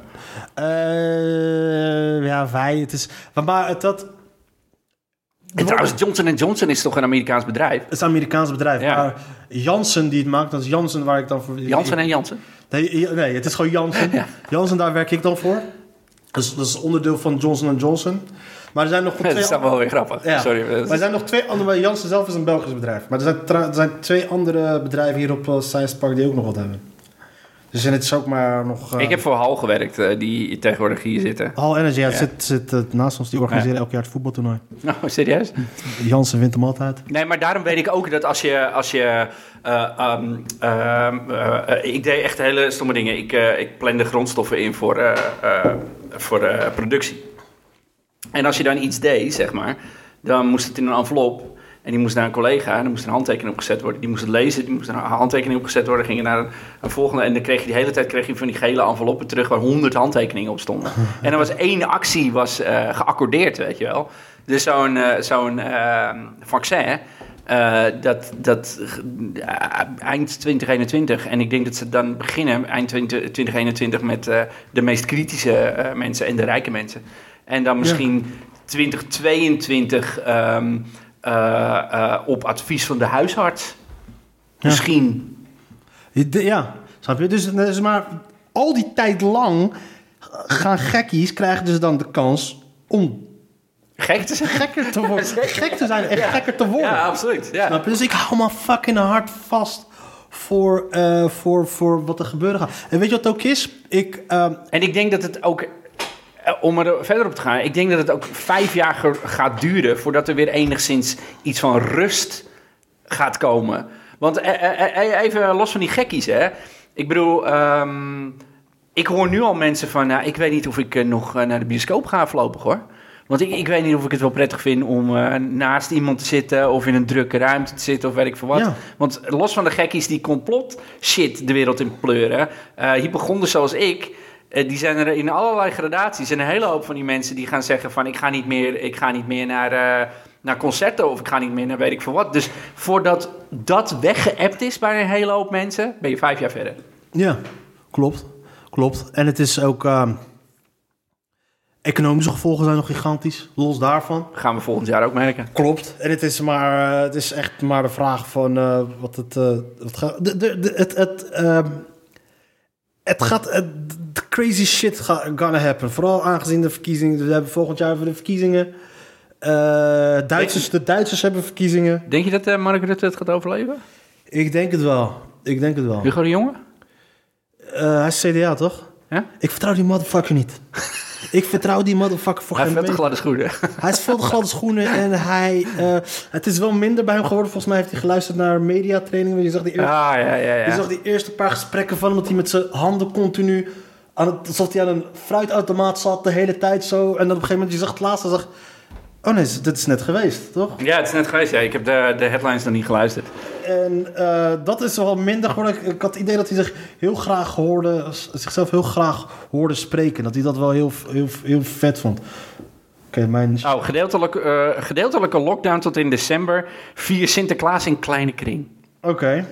[SPEAKER 2] Eh, ja, wij. Het is, maar, maar het, dat,
[SPEAKER 3] En trouwens, Johnson Johnson is toch een Amerikaans bedrijf?
[SPEAKER 2] het is een Amerikaans bedrijf.
[SPEAKER 3] Ja.
[SPEAKER 2] Maar Janssen die het maakt, dat is Janssen waar ik dan voor...
[SPEAKER 3] Janssen en Janssen?
[SPEAKER 2] Nee, nee, het is gewoon
[SPEAKER 3] (laughs)
[SPEAKER 2] Janssen. Janssen, daar werk ik dan voor. Dus dat is onderdeel van Johnson Johnson. Maar er zijn nog
[SPEAKER 3] Ja, (laughs) (laughs) dat is
[SPEAKER 2] twee...
[SPEAKER 3] dan wel weer grappig.
[SPEAKER 2] Ja.
[SPEAKER 3] Sorry. maar dat is-
[SPEAKER 2] Maar er zijn nog twee andere... maar Janssen zelf is een Belgisch bedrijf. Maar er zijn, tra- er zijn twee andere bedrijven hier op eh, Science Park die ook nog wat hebben. Dus en het is ook maar nog... eh,
[SPEAKER 3] Ik heb voor Hal gewerkt, eh, die tegenwoordig hier zitten.
[SPEAKER 2] Hal Energy ja, zit, zit eh, naast ons. Die organiseren elk jaar het voetbaltoernooi.
[SPEAKER 3] Nou, (laughs) serieus?
[SPEAKER 2] Jansen wint hem altijd.
[SPEAKER 3] Nee, maar daarom weet ik ook dat als je. Als je eh, ehm, ehm, eh, eh, ik deed echt hele stomme dingen. Ik, eh, ik plande grondstoffen in voor, eh, eh, voor eh, productie. En als je dan iets deed, zeg maar, dan moest het in een envelop. En die moest naar een collega en er moest een handtekening op gezet worden. Die moest het lezen, die moest een handtekening op gezet worden. Ging je naar een, een volgende en dan kreeg je die hele tijd kreeg je van die gele enveloppen terug... waar honderd handtekeningen op stonden. En dan was één actie was, eh, geaccordeerd, weet je wel. Dus zo'n eh, zo'n eh, vaccin, eh, dat, dat eh, eind 2021... en ik denk dat ze dan beginnen eind 20, 2021 met eh, de meest kritische eh, mensen en de rijke mensen. En dan misschien 2022 ehm, eh, eh, op advies van de huisarts.
[SPEAKER 2] Ja.
[SPEAKER 3] Misschien.
[SPEAKER 2] Je- de- Ja, snap je? Dus, dus maar al die tijd lang gaan gekkies, krijgen ze dan de kans om
[SPEAKER 3] Gek
[SPEAKER 2] (laughs)
[SPEAKER 3] te zeggen.
[SPEAKER 2] gekker te
[SPEAKER 3] (laughs)
[SPEAKER 2] worden. Gek te zijn en gekker te worden.
[SPEAKER 3] Ja, absoluut. Ja.
[SPEAKER 2] Snap je? Dus ik hou mijn fucking hart vast voor, eh, voor, voor wat er gebeuren gaat. En weet je wat het ook is? Ik, ehm,
[SPEAKER 3] En ik denk dat het ook, eh, om er verder op te gaan, ik denk dat het ook vijf jaar ge- gaat duren voordat er weer enigszins iets van rust gaat komen. Want eh, eh, eh, even los van die gekkies, hè. Ik bedoel, ehm, ik hoor nu al mensen van, nou, ik weet niet of ik eh, nog eh, naar de bioscoop ga voorlopig hoor. Want ik, ik weet niet of ik het wel prettig vind om eh, naast iemand te zitten of in een drukke ruimte te zitten of weet ik veel wat.
[SPEAKER 2] Ja.
[SPEAKER 3] Want los van de gekkies die complot shit de wereld in pleuren, eh hypochonders zoals ik, eh, die zijn er in allerlei gradaties. En een hele hoop van die mensen die gaan zeggen van ik ga niet meer, ik ga niet meer naar, eh, naar concerten of ik ga niet meer naar weet ik veel wat. Dus voordat dat weggeëpt is bij een hele hoop mensen, ben je vijf jaar verder.
[SPEAKER 2] ja, klopt. Klopt. En het is ook... ehm, economische gevolgen zijn nog gigantisch. Los daarvan.
[SPEAKER 3] Gaan we volgend jaar ook merken.
[SPEAKER 2] Klopt. En het is, maar, eh, het is echt maar de vraag van eh, wat het... eh, wat ga- de, de, de- het, het, ehm, het gaat... het- de crazy shit ga, gonna happen. Vooral aangezien de verkiezingen... We hebben volgend jaar weer de verkiezingen. Eh, Duitsers, de Duitsers hebben verkiezingen.
[SPEAKER 3] Denk je dat eh Mark Rutte het gaat overleven?
[SPEAKER 2] Ik denk het wel. Ik denk het wel.
[SPEAKER 3] Hugo de Jonge?
[SPEAKER 2] Eh, hij is CDA, toch?
[SPEAKER 3] Ja?
[SPEAKER 2] Ik vertrouw die motherfucker niet. Ik vertrouw die motherfucker voor
[SPEAKER 3] Hij
[SPEAKER 2] geen
[SPEAKER 3] heeft te
[SPEAKER 2] meter.
[SPEAKER 3] gladde schoenen.
[SPEAKER 2] Hij is veel te gladde schoenen en hij... eh, het is wel minder bij hem geworden. Volgens mij heeft hij geluisterd naar mediatraining. want Je zag die
[SPEAKER 3] Ah,
[SPEAKER 2] eerste,
[SPEAKER 3] (laughs) ja, ja,
[SPEAKER 2] je
[SPEAKER 3] ja.
[SPEAKER 2] zag die eerste paar gesprekken van hem... dat hij met zijn handen continu... Aan het, alsof hij aan een fruitautomaat zat de hele tijd zo. En dan op een gegeven moment, je zag het laatste, zag... Oh nee, dit is net geweest, toch?
[SPEAKER 3] Ja, het is net geweest. Ja. Ik heb de, de headlines nog niet geluisterd.
[SPEAKER 2] En eh, dat is wel minder geworden. Ik, ik had het idee dat hij zich heel graag hoorde, z- zichzelf heel graag hoorde spreken. Dat hij dat wel heel, heel, heel vet vond. Oké, mijn...
[SPEAKER 3] Oh, gedeeltelijke, eh, gedeeltelijke lockdown tot in december. Vier Sinterklaas in kleine kring.
[SPEAKER 2] Oké.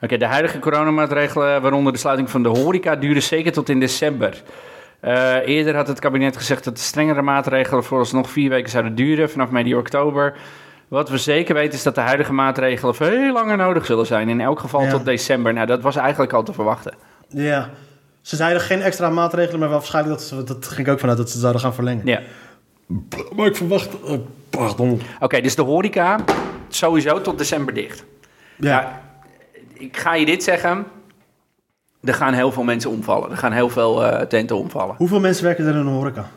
[SPEAKER 3] Oké, de huidige coronamaatregelen, waaronder de sluiting van de horeca, duren zeker tot in december. Eh, eerder had het kabinet gezegd dat de strengere maatregelen vooralsnog vier weken zouden duren, vanaf medio oktober. Wat we zeker weten is dat de huidige maatregelen veel langer nodig zullen zijn. In elk geval
[SPEAKER 2] Ja.
[SPEAKER 3] tot december. Nou, dat was eigenlijk al te verwachten.
[SPEAKER 2] Ja. Ze zeiden geen extra maatregelen, maar wel waarschijnlijk dat ze... Dat ging ik ook vanuit dat ze het zouden gaan verlengen.
[SPEAKER 3] Ja.
[SPEAKER 2] Maar ik verwacht... eh, pardon.
[SPEAKER 3] Oké, dus de horeca sowieso tot december dicht.
[SPEAKER 2] Ja.
[SPEAKER 3] Ja, ik ga je dit zeggen. Er gaan heel veel mensen omvallen. Er gaan heel veel eh, tenten omvallen.
[SPEAKER 2] Hoeveel mensen werken er in een horeca?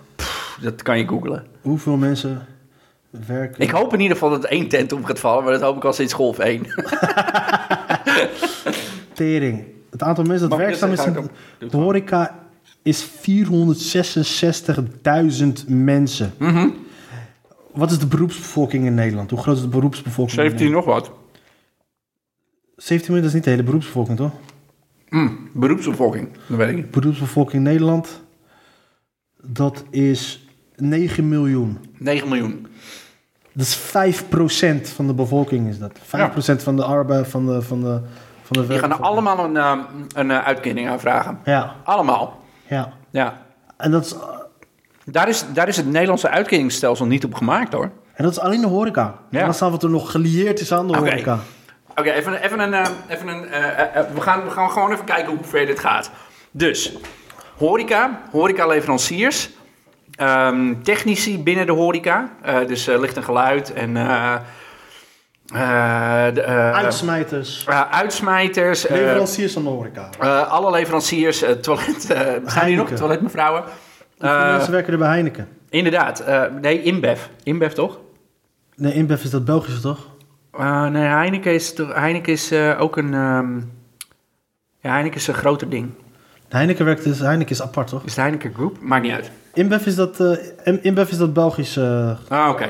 [SPEAKER 3] Dat kan je googlen.
[SPEAKER 2] Hoeveel mensen werken...
[SPEAKER 3] Ik hoop in ieder geval dat één tent om gaat vallen, maar dat hoop ik al sinds golf (laughs) 1.
[SPEAKER 2] Tering. Het aantal mensen dat
[SPEAKER 3] Mag ik
[SPEAKER 2] werkzaam
[SPEAKER 3] dit
[SPEAKER 2] is
[SPEAKER 3] zeggen?
[SPEAKER 2] in
[SPEAKER 3] Ga ik hem- doe
[SPEAKER 2] de
[SPEAKER 3] het maar.
[SPEAKER 2] horeca is 466.000 mensen.
[SPEAKER 3] Mhm.
[SPEAKER 2] Wat is de beroepsbevolking in Nederland? Hoe groot is de beroepsbevolking? in Nederland?
[SPEAKER 3] nog wat.
[SPEAKER 2] 17 miljoen, dat is niet de hele beroepsbevolking, toch?
[SPEAKER 3] beroepsopvolging, dat weet ik niet.
[SPEAKER 2] Beroepsbevolking Nederland, dat is 9 miljoen.
[SPEAKER 3] 9 miljoen.
[SPEAKER 2] Dat is 5% van de bevolking is dat. 5% van de arbeid, van de, van de, van de
[SPEAKER 3] Die gaan er
[SPEAKER 2] werkbevolking.
[SPEAKER 3] allemaal een, eh, een eh, uitkering aanvragen.
[SPEAKER 2] Ja,
[SPEAKER 3] Allemaal.
[SPEAKER 2] ja.
[SPEAKER 3] Ja.
[SPEAKER 2] En dat is,
[SPEAKER 3] Daar is, daar is het Nederlandse uitkeringsstelsel niet op gemaakt hoor.
[SPEAKER 2] en dat is alleen de horeca.
[SPEAKER 3] Ja.
[SPEAKER 2] En dan staan wat er nog gelieerd is aan de
[SPEAKER 3] Oké.
[SPEAKER 2] horeca.
[SPEAKER 3] Oké, even, even een. eh, even een eh, eh, eh, we, gaan, we gaan gewoon even kijken hoe ver dit gaat. Dus, horeca, horecaleveranciers, ehm technici binnen de horeca. eh, dus eh, licht en geluid en eh, eh, de, eh,
[SPEAKER 2] Uitsmijters,
[SPEAKER 3] eh, uitsmijters. eh,
[SPEAKER 2] leveranciers van de horeca.
[SPEAKER 3] eh, alle leveranciers, eh, toilet. eh zijn hier nog
[SPEAKER 2] Heineken.
[SPEAKER 3] toiletmevrouwen?
[SPEAKER 2] Hoeveel
[SPEAKER 3] eh,
[SPEAKER 2] mensen werken er bij Heineken?
[SPEAKER 3] Inderdaad. eh, nee, InBev. InBev toch?
[SPEAKER 2] Nee, InBev is dat Belgische toch?
[SPEAKER 3] Eh, nee, Heineken is, toch- Heineken is eh, ook een... ehm, ja, Heineken is een groter ding.
[SPEAKER 2] Heineken werkt dus, Heineken is apart toch?
[SPEAKER 3] Is het Heineken Group? Maakt niet uit.
[SPEAKER 2] InBev is dat, eh, In- InBev is dat Belgische. eh,
[SPEAKER 3] Ah, oké.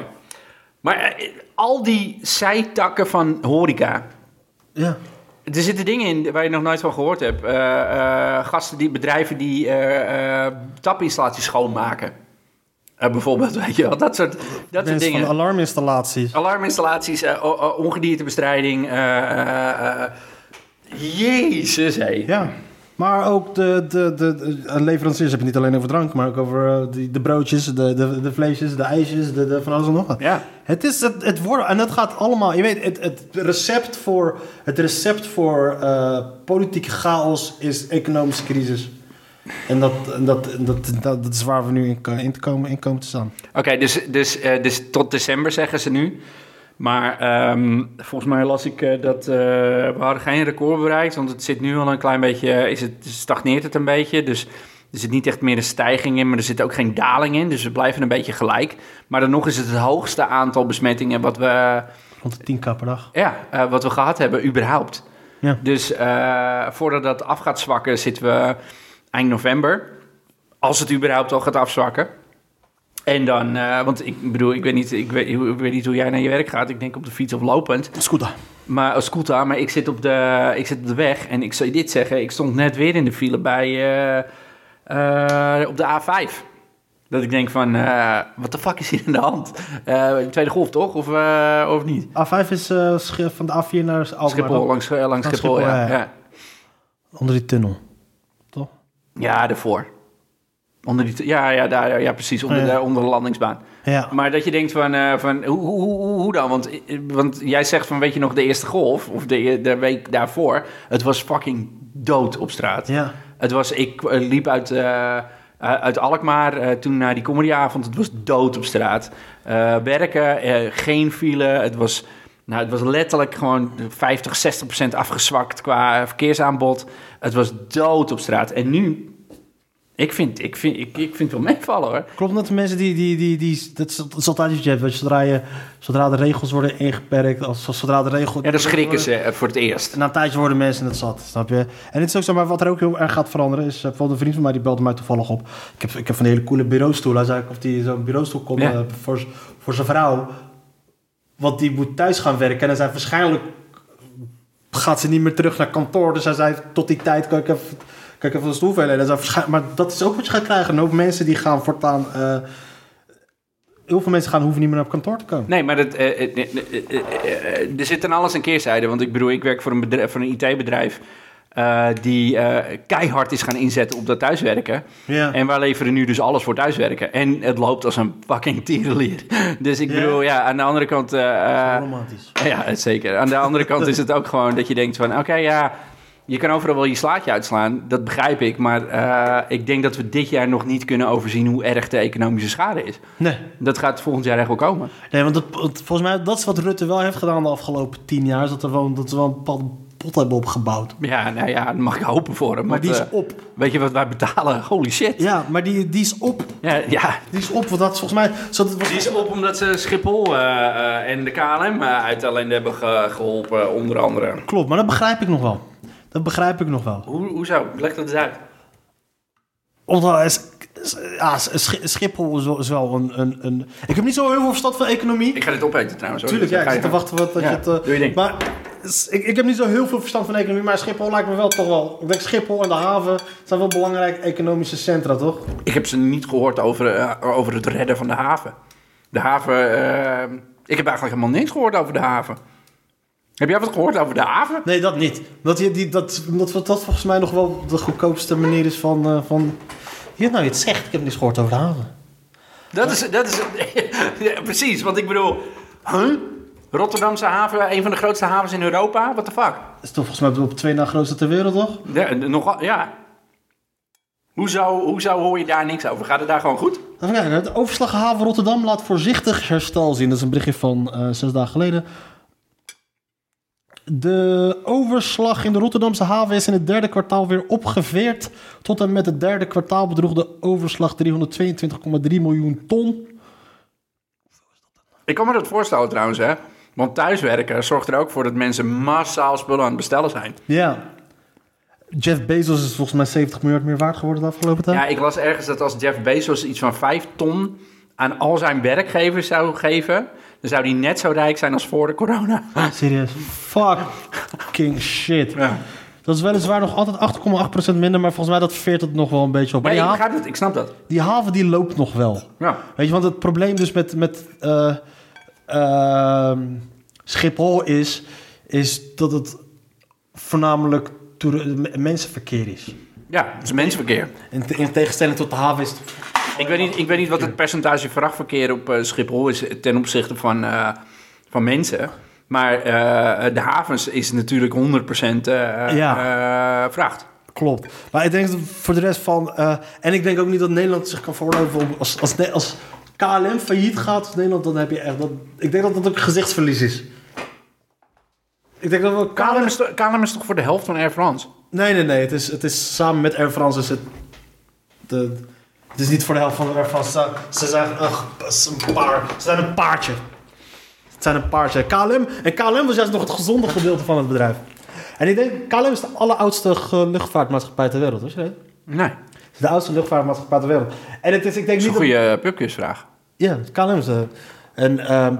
[SPEAKER 3] Maar eh, al die zijtakken van horeca.
[SPEAKER 2] ja.
[SPEAKER 3] Er zitten dingen in waar je nog nooit van gehoord hebt. Eh, eh, gasten die, bedrijven die eh, eh, tapinstallaties schoonmaken. Eh, bijvoorbeeld, (laughs) weet je wel. Dat soort, dat soort
[SPEAKER 2] Mensen
[SPEAKER 3] dingen.
[SPEAKER 2] van alarminstallaties.
[SPEAKER 3] Alarminstallaties, eh, o- o- ongediertebestrijding. eh, eh, eh. Jezus, hé.
[SPEAKER 2] Ja. Maar ook de, de, de, de eh, leveranciers heb je niet alleen over drank, maar ook over eh, die, de broodjes, de, de, de vleesjes, de ijsjes, de, de, van alles en nog wat.
[SPEAKER 3] Ja.
[SPEAKER 2] Het is het, het worden, en dat gaat allemaal. Je weet, het, het recept voor, het recept voor eh, politieke chaos is economische crisis. En dat, en dat, en dat, dat, dat is waar we nu in, ko- in, te komen, in komen te staan.
[SPEAKER 3] Oké, dus, dus, eh, dus tot december zeggen ze nu. Maar ehm, volgens mij las ik eh, dat eh, we hadden geen record bereikt. Want het zit nu al een klein beetje, eh, is het, stagneert het een beetje. Dus er zit niet echt meer een stijging in, maar er zit ook geen daling in. Dus we blijven een beetje gelijk. Maar dan nog is het het hoogste aantal besmettingen wat we,
[SPEAKER 2] Rond de 10k per dag.
[SPEAKER 3] ja, eh, wat we gehad hebben, überhaupt.
[SPEAKER 2] Ja.
[SPEAKER 3] Dus eh, voordat dat af gaat zwakken, zitten we eind november. Als het überhaupt al gaat afzwakken. En dan, eh, want ik bedoel, ik weet, niet, ik, weet, ik weet niet hoe jij naar je werk gaat. Ik denk op de fiets of lopend.
[SPEAKER 2] Scooter.
[SPEAKER 3] Maar als scooter, maar ik zit, op de, ik zit op de weg. En ik zou je dit zeggen, ik stond net weer in de file bij, eh, eh, op de A5. Dat ik denk van, eh, wat de fuck is hier aan de hand? Eh, tweede golf toch? Of, eh, of niet?
[SPEAKER 2] A5 is eh, sch- van de A4 naar Alkmaar.
[SPEAKER 3] Schiphol,
[SPEAKER 2] toch?
[SPEAKER 3] langs, eh, langs Schiphol,
[SPEAKER 2] Schiphol,
[SPEAKER 3] ja.
[SPEAKER 2] ja.
[SPEAKER 3] ja.
[SPEAKER 2] Onder die tunnel. Toch?
[SPEAKER 3] Ja, daarvoor. Onder die, ja, ja, daar, ja, precies. Onder,
[SPEAKER 2] Oh, Ja.
[SPEAKER 3] daar- onder de landingsbaan.
[SPEAKER 2] Ja.
[SPEAKER 3] Maar dat je denkt van, eh, van hoe, hoe, hoe, hoe dan? Want, eh, want jij zegt van, weet je nog, de eerste golf, of de, de week daarvoor, het was fucking dood op straat.
[SPEAKER 2] Ja.
[SPEAKER 3] Het was, ik eh, liep uit, eh, eh, uit Alkmaar eh, toen naar die comedyavond. Het was dood op straat. Eh, werken, eh, geen file. Het was, nou, het was letterlijk gewoon 50, 60 procent afgezwakt qua verkeersaanbod. Het was dood op straat. En nu, ik vind, ik vind, ik, ik vind het wel meevallen hoor.
[SPEAKER 2] Klopt dat de mensen die, die, die, die dat is, dat is altijd wat je hebt. want Zodra, je, zodra de regels worden ingeperkt, als, als zodra de regels...
[SPEAKER 3] Ja, dan schrikken ze eh, voor het eerst.
[SPEAKER 2] Na een tijdje worden mensen het zat, snap je? En het is ook zo, maar wat er ook heel erg gaat veranderen is... eh, Bijvoorbeeld een vriend van mij, die belde mij toevallig op. Ik heb, ik heb van die hele coole bureaustoel. Hij zei of die zo'n bureaustoel kon
[SPEAKER 3] Ja.
[SPEAKER 2] eh, voor, z- voor zijn vrouw. Want die moet thuis gaan werken. En hij zei, waarschijnlijk gaat ze niet meer terug naar kantoor. Dus hij zei, tot die tijd kan ik even, kan ik even een stoel velen. Hij zei, "Waarschijn- Maar dat is ook wat je gaat krijgen. En ook mensen die gaan voortaan... eh, heel veel mensen gaan hoeven niet meer naar kantoor te komen.
[SPEAKER 3] Nee, maar dat, eh, eh, eh, eh, eh, eh, er zit aan alles een keerzijde. Want ik bedoel, ik werk voor een, bedrijf- voor een IT-bedrijf eh, die eh, keihard is gaan inzetten op dat thuiswerken.
[SPEAKER 2] Ja.
[SPEAKER 3] En wij leveren nu dus alles voor thuiswerken. En het loopt als een fucking tierenlier. (laughs) Dus ik
[SPEAKER 2] Ja.
[SPEAKER 3] bedoel, ja, aan de andere kant... eh, eh,
[SPEAKER 2] Romantisch.
[SPEAKER 3] ja, (laughs) zeker. Aan de andere kant is het ook gewoon dat je denkt van... Oké, ja, je kan overal wel je slaatje uitslaan. Dat begrijp ik. Maar eh, ik denk dat we dit jaar nog niet kunnen overzien hoe erg de economische schade is.
[SPEAKER 2] Nee.
[SPEAKER 3] Dat gaat volgend jaar echt wel komen.
[SPEAKER 2] Nee, want dat, het- volgens mij dat is wat Rutte wel heeft gedaan de afgelopen tien jaar. Is dat, er wel, dat ze wel een bepaald pot hebben opgebouwd.
[SPEAKER 3] Ja, nou ja, dan mag ik hopen voor hem.
[SPEAKER 2] Maar
[SPEAKER 3] want,
[SPEAKER 2] die is
[SPEAKER 3] eh,
[SPEAKER 2] op.
[SPEAKER 3] weet je wat wij betalen? Holy shit.
[SPEAKER 2] Ja, maar die, die is op.
[SPEAKER 3] Ja, ja.
[SPEAKER 2] Die is op, want dat is volgens mij... Zodat het
[SPEAKER 3] Die is op omdat ze Schiphol eh, en de KLM uit ellende eh, hebben geholpen, eh, onder andere.
[SPEAKER 2] Klopt, maar dat begrijp ik nog wel. Dat begrijp ik nog wel.
[SPEAKER 3] Hoe, hoezo? Leg dat eens uit.
[SPEAKER 2] Omdat is, is- ja, Sch- Schiphol is wel, is wel een, een, een... Ik heb niet zo heel veel verstand van economie.
[SPEAKER 3] Ik ga dit opeten trouwens. hoor.
[SPEAKER 2] Tuurlijk,
[SPEAKER 3] Dus
[SPEAKER 2] ja, ik zit
[SPEAKER 3] dan ga
[SPEAKER 2] te wachten
[SPEAKER 3] je
[SPEAKER 2] wat, wat
[SPEAKER 3] Ja,
[SPEAKER 2] je het... eh,
[SPEAKER 3] doe je ding.
[SPEAKER 2] Maar s- ik, ik heb niet zo heel veel verstand van economie, maar Schiphol lijkt me wel toch wel... Ik denk Schiphol en de haven zijn wel belangrijke economische centra, toch?
[SPEAKER 3] gang. Ik heb ze niet gehoord over, eh, over het redden van de haven. De haven... eh, ik heb eigenlijk helemaal niks gehoord over de haven. Heb jij wat gehoord over de haven?
[SPEAKER 2] Nee, dat niet. Dat, je, die, dat, dat, dat volgens mij nog wel de goedkoopste manier is van... eh van... Hier nou je het zegt, ik heb niks gehoord over de haven.
[SPEAKER 3] Dat is, dat is (laughs) ja, precies, want ik bedoel, huh? Rotterdamse haven, een van de grootste havens in Europa, what the fuck?
[SPEAKER 2] Dat is toch volgens mij op de twee na grootste ter wereld, toch?
[SPEAKER 3] Ja, nog, ja. Hoezo, hoezo hoor je daar niks over? Gaat het daar gewoon goed?
[SPEAKER 2] Even kijken, het overslaghaven Rotterdam laat voorzichtig herstel zien. Dat is een berichtje van eh, zes dagen geleden. De overslag in de Rotterdamse haven is in het derde kwartaal weer opgeveerd. Tot en met het derde kwartaal bedroeg de overslag 322,3 miljoen ton.
[SPEAKER 3] Ik kan me dat voorstellen trouwens, hè. Want thuiswerken zorgt er ook voor dat mensen massaal spullen aan het bestellen zijn.
[SPEAKER 2] Ja. Jeff Bezos is volgens mij 70 miljard meer waard geworden de afgelopen tijd.
[SPEAKER 3] Ja, ik las ergens dat als Jeff Bezos iets van 5 ton aan al zijn werkgevers zou geven, dan zou die net zo rijk zijn als voor de corona.
[SPEAKER 2] Ah, Serieus. Fucking shit. Dat is weliswaar nog altijd 8,8% minder, maar volgens mij dat veert het nog wel een beetje op. Maar
[SPEAKER 3] Nee,
[SPEAKER 2] die,
[SPEAKER 3] ik
[SPEAKER 2] haven,
[SPEAKER 3] begrijp het, ik snap dat.
[SPEAKER 2] die haven die loopt nog wel.
[SPEAKER 3] Ja.
[SPEAKER 2] Weet je, want het probleem dus met, met eh, ehm, Schiphol is, is dat het voornamelijk toer- m- mensenverkeer is.
[SPEAKER 3] Ja, het is mensenverkeer.
[SPEAKER 2] In, te- in tegenstelling tot de haven is het...
[SPEAKER 3] Ik weet niet, ik weet niet wat het percentage vrachtverkeer op eh, Schiphol is ten opzichte van, eh, van mensen. Maar eh, de havens is natuurlijk 100% eh, eh, vracht.
[SPEAKER 2] Klopt. Maar ik denk dat voor de rest van... eh, en ik denk ook niet dat Nederland zich kan voorlopen om- als, als, Ne- als KLM failliet gaat als Nederland, dan heb je echt... Dat, ik denk dat dat ook gezichtsverlies is. Ik denk dat we
[SPEAKER 3] KLM is, to- KLM is toch voor de helft van Air France?
[SPEAKER 2] Nee, nee, nee. Het is, het is samen met Air France. Is het, de, het is niet voor de helft van Air France. Ze, ze zijn, ach, ze een paar, ze zijn een paardje. Het zijn een paardje. KLM, en KLM was juist nog het gezonde gedeelte van het bedrijf. En ik denk, KLM is de alleroudste eh, luchtvaartmaatschappij ter wereld. Weet je dat?
[SPEAKER 3] Nee. Dat
[SPEAKER 2] Het is de oudste luchtvaartmaatschappij ter wereld. En het is, ik denk
[SPEAKER 3] is een
[SPEAKER 2] niet... dat-
[SPEAKER 3] goede pubquizvraag.
[SPEAKER 2] Ja, KLM is de... En, ehm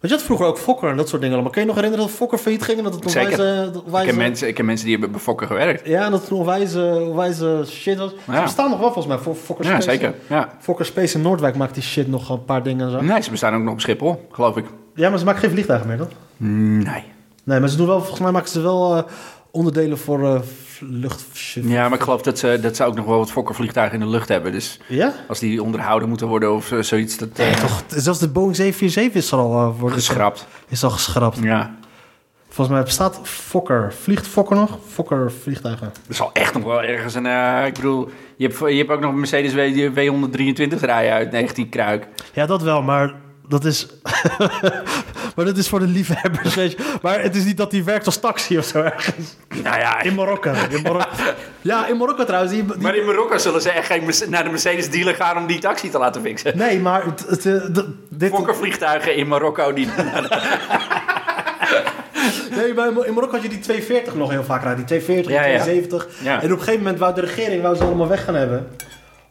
[SPEAKER 2] weet je, dat vroeger ook Fokker en dat soort dingen allemaal. Kun je, je nog herinneren dat Fokker failliet ging? En dat het
[SPEAKER 3] Zeker.
[SPEAKER 2] onwijze- dat
[SPEAKER 3] Ik
[SPEAKER 2] onwijze-
[SPEAKER 3] ken, mensen, ik ken mensen die hebben befokken gewerkt.
[SPEAKER 2] Ja, en dat het een onwijze, onwijze shit was. Ze
[SPEAKER 3] Ja.
[SPEAKER 2] bestaan nog wel volgens mij. Fo- Fokker
[SPEAKER 3] Ja,
[SPEAKER 2] Space.
[SPEAKER 3] zeker. Ja.
[SPEAKER 2] Fokker Space in Noordwijk maakt die shit nog een paar dingen en zo.
[SPEAKER 3] Nee, ze bestaan ook nog op Schiphol, geloof ik.
[SPEAKER 2] Ja, maar ze maken geen vliegtuigen meer, toch?
[SPEAKER 3] Nee.
[SPEAKER 2] Nee, maar ze doen wel, volgens mij maken ze wel eh, onderdelen voor eh, v- lucht... shit.
[SPEAKER 3] Ja, maar ik geloof dat ze, dat ze ook nog wel wat fokkervliegtuigen in de lucht hebben. Dus
[SPEAKER 2] Ja?
[SPEAKER 3] als die onderhouden moeten worden of eh, zoiets, dat eh,
[SPEAKER 2] Toch, zelfs de Boeing 747 is er al, eh, wordt, is, al,
[SPEAKER 3] geschrapt.
[SPEAKER 2] is al geschrapt.
[SPEAKER 3] Ja.
[SPEAKER 2] Volgens mij bestaat Fokker. Vliegt Fokker nog? Fokker vliegtuigen.
[SPEAKER 3] Er zal echt nog wel ergens een... eh, ik bedoel, je hebt, je hebt ook nog een Mercedes W- W123 rijden uit 19 Kruik.
[SPEAKER 2] Ja, dat wel, maar dat is... (laughs) maar dat is voor de liefhebbers, weet je. Maar het is niet dat die werkt als taxi of zo ergens.
[SPEAKER 3] Nou ja,
[SPEAKER 2] In Marokko. In Marokko. ja, in Marokko trouwens. Die, die-
[SPEAKER 3] maar in Marokko zullen ze echt geen Merce- naar de Mercedes dealer gaan om die taxi te laten fixen.
[SPEAKER 2] Nee, maar het, het, eh, d- dit,
[SPEAKER 3] Fokkervliegtuigen in Marokko die...
[SPEAKER 2] nee, maar in Mar- in Marokko had je die 240 nog heel vaak raad. Die 240,
[SPEAKER 3] Ja, ja.
[SPEAKER 2] 270.
[SPEAKER 3] Ja.
[SPEAKER 2] En op een gegeven moment wou de regering wou ze allemaal weg gaan hebben.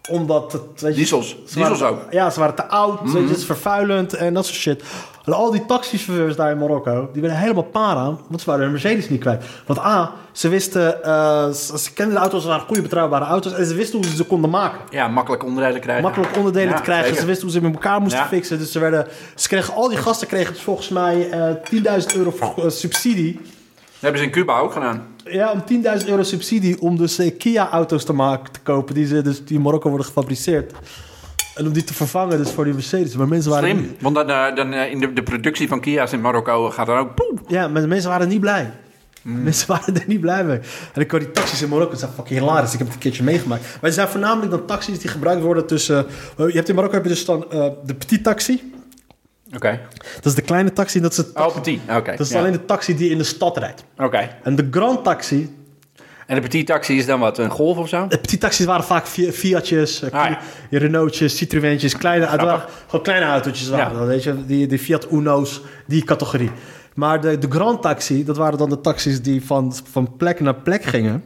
[SPEAKER 2] Omdat het... Weet je,
[SPEAKER 3] Diesels.
[SPEAKER 2] ze waren-
[SPEAKER 3] Diesels ook. Mhm.
[SPEAKER 2] Ja, ze waren te oud. weet je, het is vervuilend en dat soort shit. En al die taxichauffeurs daar in Marokko, die werden helemaal para. Want ze waren hun Mercedes niet kwijt. Want A, ze wisten... eh, ze, ze kenden de auto's, ze waren goede betrouwbare auto's. En ze wisten hoe ze ze konden maken.
[SPEAKER 3] Ja, makkelijk onderdelen krijgen.
[SPEAKER 2] makkelijk onderdelen
[SPEAKER 3] Ja,
[SPEAKER 2] te krijgen.
[SPEAKER 3] zeker.
[SPEAKER 2] Ze wisten hoe ze met elkaar moesten
[SPEAKER 3] Ja.
[SPEAKER 2] fixen. Dus ze, werden, ze kregen, al die gasten kregen dus volgens mij eh 10.000 euro voor- eh, subsidie.
[SPEAKER 3] Dat hebben ze in Cuba ook gedaan.
[SPEAKER 2] Ja, om 10.000 euro subsidie om dus eh, Kia-auto's te, maken, te kopen. Die, ze, dus, die in Marokko worden gefabriceerd. En om die te vervangen dus voor die Mercedes. Maar mensen waren,
[SPEAKER 3] Slim. Want dan, eh, dan, eh, in de, de productie van Kia's in Marokko gaat dan ook... Poep.
[SPEAKER 2] ja, maar de mensen waren niet blij.
[SPEAKER 3] Hmm.
[SPEAKER 2] Mensen waren er niet blij mee. En ik hoor die taxis in Marokko. Dat zijn fucking hilarisch. Ik heb het een keertje meegemaakt. Maar het zijn voornamelijk dan taxis die gebruikt worden tussen... eh, je hebt in Marokko heb je dus dan eh, de petit taxi.
[SPEAKER 3] Oké.
[SPEAKER 2] Dat is de kleine taxi. en Dat is het
[SPEAKER 3] Oh, petit. Oké.
[SPEAKER 2] Dat is
[SPEAKER 3] ja.
[SPEAKER 2] alleen de taxi die in de stad rijdt.
[SPEAKER 3] Oké.
[SPEAKER 2] En de Grand Taxi,
[SPEAKER 3] En de petit taxi is dan wat? Een golf of zo?
[SPEAKER 2] de petit taxis waren vaak Fi- Fiatjes, eh,
[SPEAKER 3] Ah, ja.
[SPEAKER 2] Renaultjes, Citroëntjes, kleine, het waren gewoon kleine autootjes waren
[SPEAKER 3] Ja.
[SPEAKER 2] dat, weet je, die, die Fiat Uno's, die categorie. Maar de, de Grand Taxi, dat waren dan de taxis die van, van plek naar plek gingen.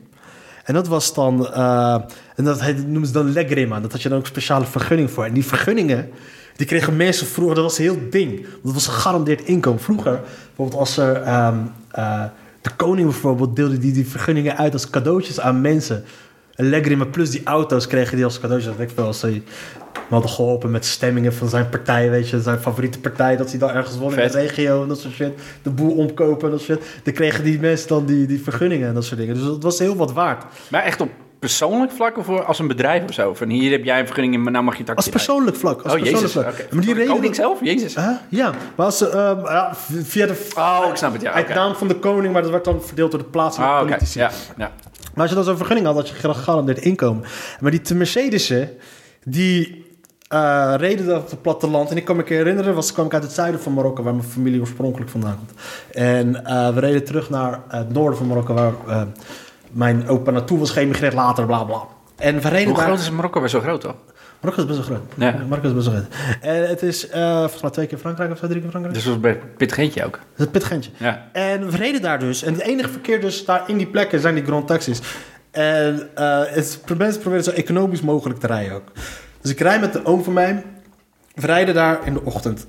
[SPEAKER 2] En dat was dan, eh, en dat heet- noemen ze dan legrima. Dat had je dan ook speciale vergunning voor. En die vergunningen, die kregen mensen vroeger, dat was een heel ding. Want dat was een gegarandeerd inkomen. Vroeger, bijvoorbeeld als er, ehm, eh, de koning bijvoorbeeld, deelde die, die vergunningen uit als cadeautjes aan mensen. En legrima plus die auto's kregen die als cadeautjes. Dat weet ik wel, als ze hem hadden geholpen met stemmingen van zijn partij, weet je, zijn favoriete partij, dat hij dan ergens won in
[SPEAKER 3] Vet.
[SPEAKER 2] de regio en dat soort shit. De boel omkopen en dat soort shit. Dan kregen die mensen dan die, die vergunningen en dat soort dingen. Dus dat was heel wat waard.
[SPEAKER 3] Maar echt op persoonlijk vlak of voor- als een bedrijf of zo? Van hier heb jij een vergunning in, maar nou mag je taxi
[SPEAKER 2] Als persoonlijk vlak. Als
[SPEAKER 3] rijden. Oh,
[SPEAKER 2] persoonlijk
[SPEAKER 3] jezus.
[SPEAKER 2] vlak.
[SPEAKER 3] oké.
[SPEAKER 2] Maar die
[SPEAKER 3] Voor de
[SPEAKER 2] reden.
[SPEAKER 3] koning zelf? Jezus.
[SPEAKER 2] Huh? Ja, maar als ze, ehm, ja, v- via de.
[SPEAKER 3] Oh, ik snap het, ja.
[SPEAKER 2] Uit
[SPEAKER 3] oké.
[SPEAKER 2] naam van de koning, maar dat werd dan verdeeld door de plaatselijke
[SPEAKER 3] Ah, oké.
[SPEAKER 2] politici.
[SPEAKER 3] Ja, ja.
[SPEAKER 2] Maar als je dan zo'n vergunning had, had je gegarandeerd inkomen. Maar die te Mercedes'en, die eh, reden dat op het platteland. En ik kan me een keer herinneren, was, kwam ik uit het zuiden van Marokko, waar mijn familie oorspronkelijk vandaan komt. En eh, we reden terug naar het noorden van Marokko, waar eh, mijn opa naartoe was geëmigreerd later, bla bla. En we reden
[SPEAKER 3] Hoe
[SPEAKER 2] daar-
[SPEAKER 3] groot is Marokko? Best zo groot, toch?
[SPEAKER 2] Marokko is best wel groot.
[SPEAKER 3] Ja.
[SPEAKER 2] Marokko is best wel groot. En het is eh, volgens mij twee keer Frankrijk of zo, drie keer Frankrijk.
[SPEAKER 3] Dus dat was bij Pit Geentje ook.
[SPEAKER 2] Het is pitgentje.
[SPEAKER 3] Ja.
[SPEAKER 2] En we reden daar dus. En het enige verkeer dus daar in die plekken zijn die grand taxis. En eh het, mensen proberen zo economisch mogelijk te rijden ook. Dus ik rij met de oom van mij. We rijden daar in de ochtend.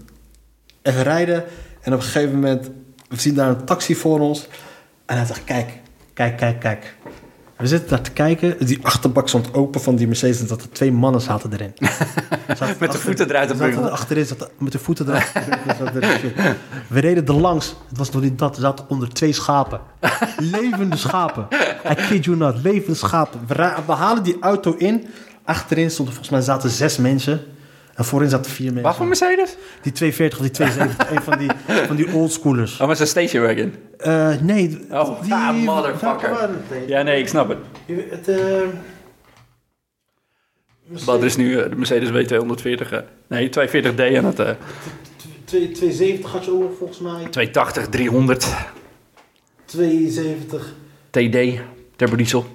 [SPEAKER 2] En we rijden. En op een gegeven moment, we zien daar een taxi voor ons. En hij zegt, kijk, kijk, kijk, kijk. We zitten daar te kijken. Die achterbak stond open van die Mercedes. En dat er twee mannen zaten
[SPEAKER 3] (laughs)
[SPEAKER 2] erin. Zaten
[SPEAKER 3] Met de
[SPEAKER 2] achter-
[SPEAKER 3] voeten eruit te
[SPEAKER 2] zaten
[SPEAKER 3] bungelen.
[SPEAKER 2] Achterin zaten met de voeten eruit. Zaten erin. Shit. We reden er langs. Het was nog niet dat. We zaten onder twee schapen. Levende schapen. I kid you not. Levende schapen. We, ra- we halen die auto in. Achterin stonden volgens mij zaten zes mensen. En voorin zaten vier mensen.
[SPEAKER 3] Wat voor Mercedes?
[SPEAKER 2] Die 240 of die
[SPEAKER 3] (laughs)
[SPEAKER 2] 270, een van die, van die oldschoolers.
[SPEAKER 3] Oh, maar zo'n station wagon.
[SPEAKER 2] Eh nee.
[SPEAKER 3] Oh,
[SPEAKER 2] die,
[SPEAKER 3] ah, motherfucker.
[SPEAKER 2] Welke waren het?
[SPEAKER 3] Ja, nee, ik snap het.
[SPEAKER 2] Het, eh,
[SPEAKER 3] Badr is nu eh, de Mercedes W240. eh, nee, 240D en het eh,
[SPEAKER 2] tw- twee- 270 had je ook volgens mij.
[SPEAKER 3] 280, 300
[SPEAKER 2] 270.
[SPEAKER 3] TD, turbodiesel.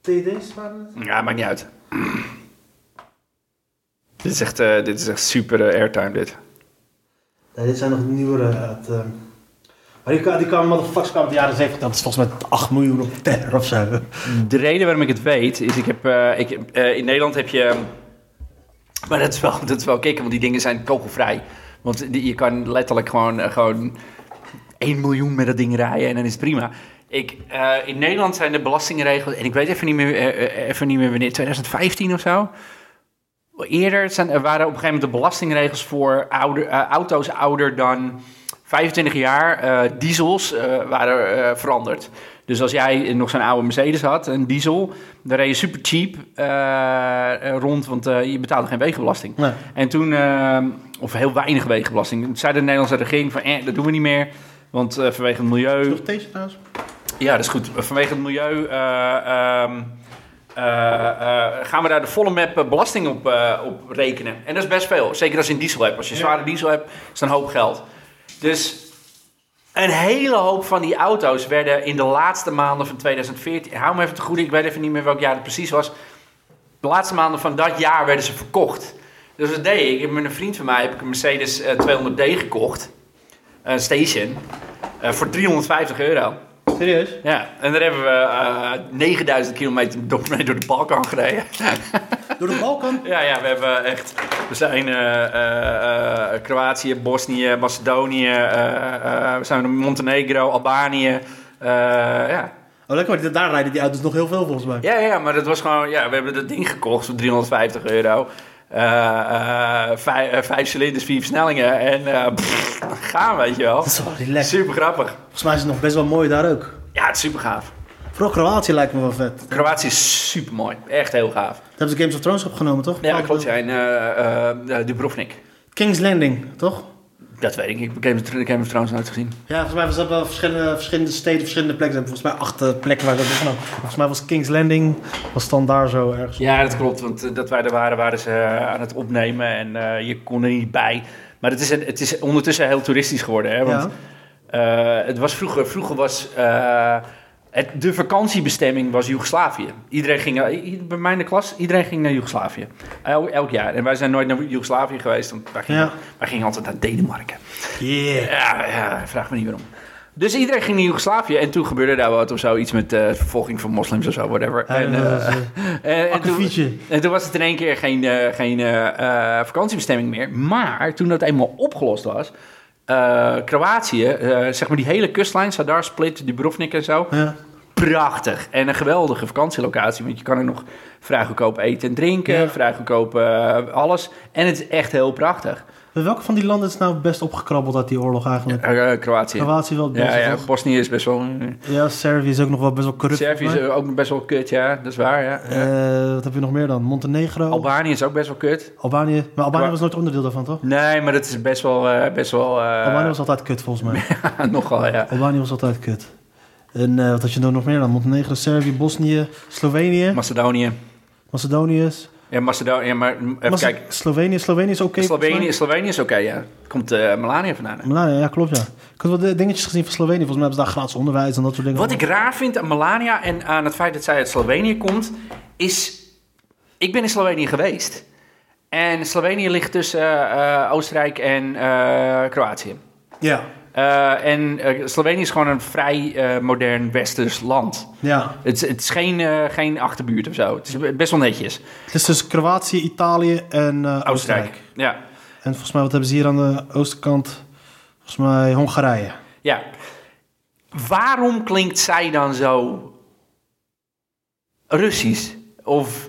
[SPEAKER 2] TD's waren het?
[SPEAKER 3] Ja, maakt niet uit. Dit is echt, eh, dit is echt super eh, airtime, dit.
[SPEAKER 2] Nee, dit zijn nog nieuwere. Het, ehm, maar die, kwa- die kwamen motherfuckers kwamen uit de jaren 70. Dat is volgens mij 8 miljoen op terror of zo.
[SPEAKER 3] De reden waarom ik het weet is, ik heb, eh, ik, heb, eh, in Nederland heb je, maar dat is wel, (laughs) dat is wel kicken, want die dingen zijn kogelvrij. Want die, je kan letterlijk gewoon, eh, gewoon 1 miljoen met dat ding rijden en dan is het prima. Ik, eh, in Nederland zijn de belastingregels, en ik weet even niet meer, eh, eh, even niet meer wanneer, 2015 of zo. Eerder zijn, er waren op een gegeven moment de belastingregels voor ouder, eh, auto's ouder dan 25 jaar. eh, diesels eh, waren eh, veranderd. Dus als jij nog zo'n oude Mercedes had, een diesel, dan reed je super cheap eh, eh, rond, want eh, je betaalde geen wegenbelasting.
[SPEAKER 2] Nee.
[SPEAKER 3] En toen, eh, of heel weinig wegenbelasting, toen zei de Nederlandse regering van eh, dat doen we niet meer. Want eh, vanwege het milieu.
[SPEAKER 2] Nog deze trouwens?
[SPEAKER 3] Ja, dat is goed. Vanwege het milieu eh, ehm, eh, eh, gaan we daar de volle map eh, belasting op, eh, op rekenen. En dat is best veel. Zeker als je een diesel hebt. Als je een zware diesel hebt, is dat een hoop geld. Dus een hele hoop van die auto's werden in de laatste maanden van 2014... Hou me even te goede, ik weet even niet meer welk jaar het precies was. De laatste maanden van dat jaar werden ze verkocht. Dus wat deed ik? Ik heb Met een vriend van mij heb ik een Mercedes eh, 200D gekocht. Een station. eh, voor 350 euro.
[SPEAKER 2] Serieus?
[SPEAKER 3] Ja, en daar hebben we eh, 9000 kilometer door, mee door de Balkan gereden.
[SPEAKER 2] Door de Balkan?
[SPEAKER 3] ja, ja, we hebben echt... We zijn eh, eh, eh, Kroatië, Bosnië, Macedonië... eh, eh, we zijn in Montenegro, Albanië... eh, ja.
[SPEAKER 2] Oh, lekker, want daar rijden die auto's nog heel veel volgens mij.
[SPEAKER 3] Ja, ja, maar dat was gewoon... Ja, we hebben dat ding gekocht voor 350 euro. Eh, eh, vij- eh, vijf cilinders, vier versnellingen. En eh, pff, gaan, weet je wel.
[SPEAKER 2] Dat is wel relaxed.
[SPEAKER 3] (laughs) Super grappig.
[SPEAKER 2] Volgens mij is het nog best wel mooi daar ook.
[SPEAKER 3] Ja, het is super gaaf.
[SPEAKER 2] Vooral Kroatië lijkt me wel vet. Daar
[SPEAKER 3] Kroatië is super mooi. Echt heel gaaf.
[SPEAKER 2] hebben ze Games of Thrones opgenomen, toch?
[SPEAKER 3] Ja, klopt. Ja, en eh, eh, eh, Dubrovnik.
[SPEAKER 2] King's Landing, toch?
[SPEAKER 3] Dat weet ik. Ik heb Game of- ik heb hem trouwens nooit gezien.
[SPEAKER 2] Ja, volgens mij was dat wel verschillende, verschillende steden, verschillende plekken. Ze hebben volgens mij acht eh, plekken waar ze dat opgenomen. Volgens mij was King's Landing, was dan daar zo ergens.
[SPEAKER 3] Ja, dat klopt. Want eh, dat wij er waren, waren ze eh, aan het opnemen. En eh, je kon er niet bij. Maar het is, een- het is ondertussen heel toeristisch geworden. Hè? Want eh, het was vroeger, vroeger was... eh, het, de vakantiebestemming was Joegoslavië. Iedereen ging, eh, i- bij mij in de klas, iedereen ging naar Joegoslavië. El- elk jaar. En wij zijn nooit naar Joegoslavië geweest. Want wij gingen,
[SPEAKER 2] Ja.
[SPEAKER 3] wij gingen altijd naar Denemarken.
[SPEAKER 2] Yeah.
[SPEAKER 3] Ja, ja, vraag me niet waarom. Dus iedereen ging naar Joegoslavië en toen gebeurde daar wat of zo. Iets met eh, vervolging van moslims of zo, whatever.
[SPEAKER 2] Ja,
[SPEAKER 3] en,
[SPEAKER 2] dat
[SPEAKER 3] eh,
[SPEAKER 2] was, eh,
[SPEAKER 3] (laughs) en- en, toen,
[SPEAKER 2] akkefietje.
[SPEAKER 3] en toen was het in één keer geen, eh, geen eh, eh, vakantiebestemming meer. Maar toen dat eenmaal opgelost was, eh, Kroatië, eh, zeg maar die hele kustlijn, Sadar, Split, Dubrovnik en zo.
[SPEAKER 2] ja.
[SPEAKER 3] Prachtig en een geweldige vakantielocatie, want je kan er nog vrij goedkoop eten en drinken,
[SPEAKER 2] Ja.
[SPEAKER 3] vrij goedkoop eh, alles. En het is echt heel prachtig.
[SPEAKER 2] Maar Eh, Welke van die landen is nou best opgekrabbeld uit die oorlog eigenlijk?
[SPEAKER 3] Eh, Kroatië.
[SPEAKER 2] Kroatië wel het
[SPEAKER 3] Ja,
[SPEAKER 2] beste,
[SPEAKER 3] ja,
[SPEAKER 2] toch?
[SPEAKER 3] Bosnië is best wel... eh,
[SPEAKER 2] Ja, Servië is ook nog wel best wel corrupt.
[SPEAKER 3] Servië is
[SPEAKER 2] volgens
[SPEAKER 3] ook nog best wel kut, ja. Dat is waar, ja.
[SPEAKER 2] mij. Eh, wat heb je nog meer dan? Montenegro?
[SPEAKER 3] Albanië is ook best wel kut.
[SPEAKER 2] Albanië. Maar Albanië
[SPEAKER 3] Kwa-
[SPEAKER 2] was nooit onderdeel daarvan, toch?
[SPEAKER 3] Nee, maar dat is best wel... eh, best wel eh, (laughs)
[SPEAKER 2] Albanië was altijd kut, volgens mij.
[SPEAKER 3] Nogal, ja.
[SPEAKER 2] Albanië was altijd kut. En eh, wat had je dan nog meer dan? Montenegro, Servië, Bosnië, Slovenië,
[SPEAKER 3] Macedonië.
[SPEAKER 2] Macedonië. is-
[SPEAKER 3] Ja, Macedonië, ja, maar even
[SPEAKER 2] Mace-
[SPEAKER 3] kijken.
[SPEAKER 2] Slovenië, Slovenië is oké. volgens mij.
[SPEAKER 3] Slovenië, Slovenië is oké, ja. Komt eh Melania vandaan. hè?
[SPEAKER 2] Melania, ja, klopt ja. Ik had wel de dingetjes gezien van Slovenië. Volgens mij hebben ze daar gratis onderwijs en dat soort dingen.
[SPEAKER 3] Wat ik raar vind aan Melania en aan het feit dat zij uit Slovenië komt, is... Ik ben in Slovenië geweest. En Slovenië ligt tussen eh, eh, Oostenrijk en eh, Kroatië.
[SPEAKER 2] Ja.
[SPEAKER 3] Eh, en eh, Slovenië is gewoon een vrij eh, modern westers land.
[SPEAKER 2] Ja.
[SPEAKER 3] Het, is- het is geen, eh, geen achterbuurt of zo. Het is best wel netjes.
[SPEAKER 2] Het is dus Kroatië, Italië en eh, Oostenrijk.
[SPEAKER 3] Oostenrijk. Ja.
[SPEAKER 2] En volgens mij, wat hebben ze hier aan de oostenkant? Volgens mij Hongarije.
[SPEAKER 3] ja. Waarom klinkt zij dan zo Russisch? Of.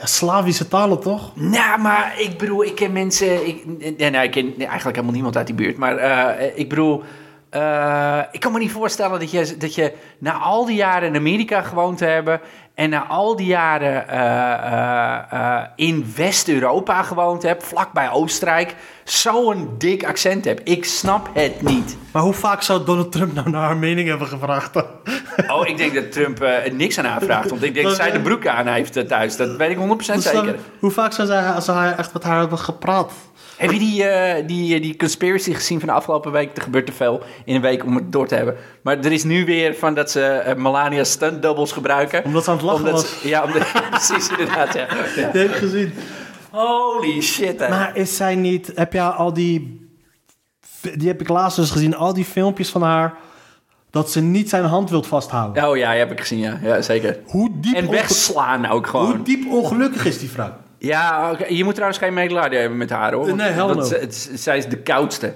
[SPEAKER 2] Ja, Slavische talen toch?
[SPEAKER 3] Nou, maar ik bedoel, ik ken mensen. Ik, nee, nee, ik ken eigenlijk helemaal niemand uit die buurt. Maar eh, ik bedoel. eh, ik kan me niet voorstellen dat je, dat je na al die jaren in Amerika gewoond te hebben. en na al die jaren eh, eh, eh, in West-Europa gewoond hebt. vlakbij Oostenrijk. zo'n dik accent hebt. Ik snap het niet.
[SPEAKER 2] Maar hoe vaak zou Donald Trump nou naar haar mening hebben gevraagd?
[SPEAKER 3] Oh, ik denk dat Trump eh, niks aan haar vraagt. Want ik denk dat zij de broek aan heeft eh, thuis. Dat weet ik 100%
[SPEAKER 2] Dus dan-
[SPEAKER 3] zeker.
[SPEAKER 2] hoe vaak zou, zij, zou hij echt met haar hebben gepraat?
[SPEAKER 3] Heb je die, eh, die, eh, die conspiracy gezien van de afgelopen week? Er gebeurt te veel in een week om het door te hebben. Maar er is nu weer van dat ze eh, Melania stunt doubles gebruiken.
[SPEAKER 2] Omdat ze aan het lachen
[SPEAKER 3] Omdat
[SPEAKER 2] was.
[SPEAKER 3] ze- ja, omdat, (laughs) precies inderdaad. Ja. Ja.
[SPEAKER 2] Je hebt gezien.
[SPEAKER 3] Holy shit. hè.
[SPEAKER 2] Maar is zij niet... Heb jij al die... Die heb ik laatst dus gezien. Al die filmpjes van haar. Dat ze niet zijn hand wilt vasthouden.
[SPEAKER 3] Oh ja, die heb ik gezien. Ja, ja zeker.
[SPEAKER 2] Hoe, diep
[SPEAKER 3] En
[SPEAKER 2] onge-
[SPEAKER 3] wegslaan ook gewoon.
[SPEAKER 2] hoe diep ongelukkig is die vrouw?
[SPEAKER 3] Ja, oké, je moet trouwens geen medelijden hebben met haar hoor. want
[SPEAKER 2] Nee, hell no.
[SPEAKER 3] ze- het is- zij is de koudste.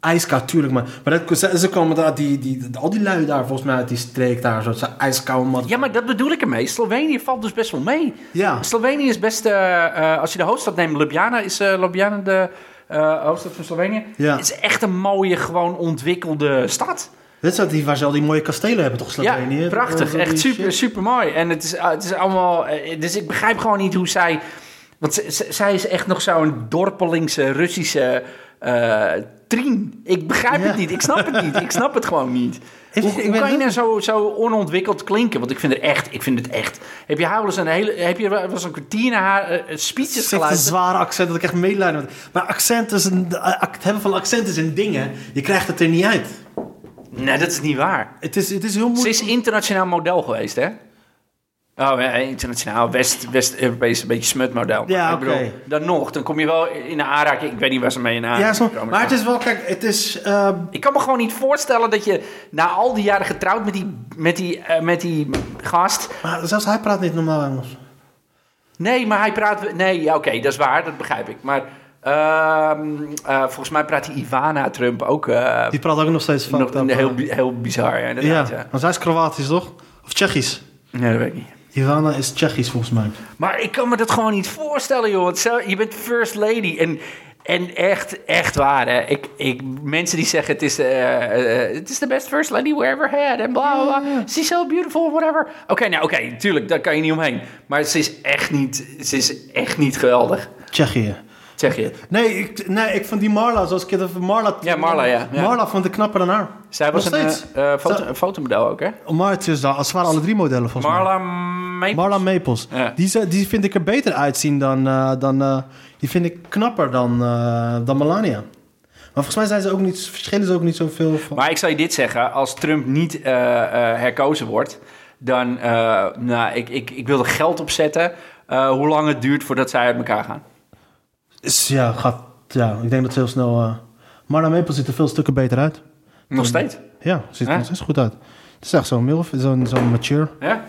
[SPEAKER 2] Ijskoud, tuurlijk. Maar, maar dat, ze, ze komen daar, die, die, al die lui daar volgens mij uit die streek daar. Zo, zo ijskoud, man.
[SPEAKER 3] Ja, maar dat bedoel ik ermee. Slovenië valt dus best wel mee.
[SPEAKER 2] Ja.
[SPEAKER 3] Slovenië is best, eh, eh, als je de hoofdstad neemt, Ljubljana is eh, Ljubljana de eh, hoofdstad van Slovenië.
[SPEAKER 2] Ja.
[SPEAKER 3] Het is echt een mooie, gewoon ontwikkelde stad.
[SPEAKER 2] Dit is dat die, waar ze al die mooie kastelen hebben, toch? Slovenië?
[SPEAKER 3] ja,
[SPEAKER 2] eh, Dat-
[SPEAKER 3] prachtig.
[SPEAKER 2] dat-
[SPEAKER 3] Echt
[SPEAKER 2] die
[SPEAKER 3] super,
[SPEAKER 2] shit.
[SPEAKER 3] super mooi. En het is, eh, het is allemaal, eh, dus ik begrijp gewoon niet hoe zij, want z- z- zij is echt nog zo'n dorpelingse Russische eh trien. Ik begrijp
[SPEAKER 2] Ja.
[SPEAKER 3] het niet. Ik snap het niet. Ik snap het gewoon niet.
[SPEAKER 2] (laughs) Is-
[SPEAKER 3] hoe
[SPEAKER 2] ik
[SPEAKER 3] hoe
[SPEAKER 2] ben
[SPEAKER 3] kan je
[SPEAKER 2] net-
[SPEAKER 3] nou zo, zo onontwikkeld klinken? Want ik vind het echt, ik vind het echt. Heb je haar wel eens een hele, heb je wel eens een kwartier naar haar eh,
[SPEAKER 2] Het
[SPEAKER 3] speeches
[SPEAKER 2] is echt een
[SPEAKER 3] geluisterd?
[SPEAKER 2] zware accent dat ik echt medelijden met. Maar accent is een, het hebben van accent is een ding, hè. Je krijgt het er niet uit.
[SPEAKER 3] Nee, dat is niet waar.
[SPEAKER 2] Het is, het is heel moeilijk.
[SPEAKER 3] Ze is internationaal model geweest, hè? Oh, ja, internationaal, West- West-Europees, een beetje smutmodel.
[SPEAKER 2] Ja,
[SPEAKER 3] Ik
[SPEAKER 2] oké.
[SPEAKER 3] bedoel, Dan nog, dan kom je wel in de aanraking. Ik weet niet waar ze mee in
[SPEAKER 2] Ja,
[SPEAKER 3] aanraking
[SPEAKER 2] zo-
[SPEAKER 3] komen.
[SPEAKER 2] maar het is wel, kijk, het is... ehm,
[SPEAKER 3] Ik kan me gewoon niet voorstellen dat je na al die jaren getrouwd met die, met die, eh, met die gast...
[SPEAKER 2] maar zelfs hij praat niet normaal Engels.
[SPEAKER 3] Nee, maar hij praat... Nee, ja, oké, dat is waar, dat begrijp ik. Maar ehm, eh, volgens mij praat die Ivana Trump ook... eh,
[SPEAKER 2] Die praat ook nog steeds van.
[SPEAKER 3] nog, heel, bi- heel bizar, ja,
[SPEAKER 2] Ja,
[SPEAKER 3] inderdaad. Ja.
[SPEAKER 2] maar zij is Kroatisch, toch? Of Tsjechisch?
[SPEAKER 3] Nee, dat weet ik niet.
[SPEAKER 2] Ivana is Tsjechisch, volgens mij.
[SPEAKER 3] Maar ik kan me dat gewoon niet voorstellen, joh. Want zo- je bent first lady. En, en echt, echt waar, hè. Ik, ik, mensen die zeggen, het is, eh, eh, het is the best first lady we ever had. En bla, bla, bla. She's so beautiful, whatever. Oké, nou, oké, tuurlijk, daar kan je niet omheen. Maar ze is echt niet, ze is echt niet geweldig,
[SPEAKER 2] Tsjechië.
[SPEAKER 3] zeg je.
[SPEAKER 2] Nee ik, nee, ik vond die Marla, zoals ik het over Marla...
[SPEAKER 3] Ja, Marla, ja, ja.
[SPEAKER 2] Marla vond ik knapper dan haar.
[SPEAKER 3] Zij was
[SPEAKER 2] Nog
[SPEAKER 3] een
[SPEAKER 2] steeds.
[SPEAKER 3] eh, eh, foto- een fotomodel ook, hè?
[SPEAKER 2] Maar het, is, daar- het waren alle drie modellen, volgens mij.
[SPEAKER 3] Marla Maples.
[SPEAKER 2] Marla Maples.
[SPEAKER 3] Ja.
[SPEAKER 2] Die, ze- die vind ik er beter uitzien dan... eh, dan eh, die vind ik knapper dan, eh, dan Melania. Maar volgens mij zijn ze ook niet, verschillen ze ook niet zoveel van...
[SPEAKER 3] Maar ik zal je dit zeggen, als Trump niet eh, eh, herkozen wordt, dan, eh, nou, ik, ik, ik wil er geld op zetten eh, hoe lang het duurt voordat zij uit elkaar gaan.
[SPEAKER 2] Is- ja, gaat, ja, ik denk dat ze heel snel... eh, Marla Maples ziet er veel stukken beter uit.
[SPEAKER 3] Nog steeds.
[SPEAKER 2] Ja, ziet er
[SPEAKER 3] Hè?
[SPEAKER 2] nog steeds goed uit. Het is echt zo'n milf, zo'n zo'n mature.
[SPEAKER 3] Ja?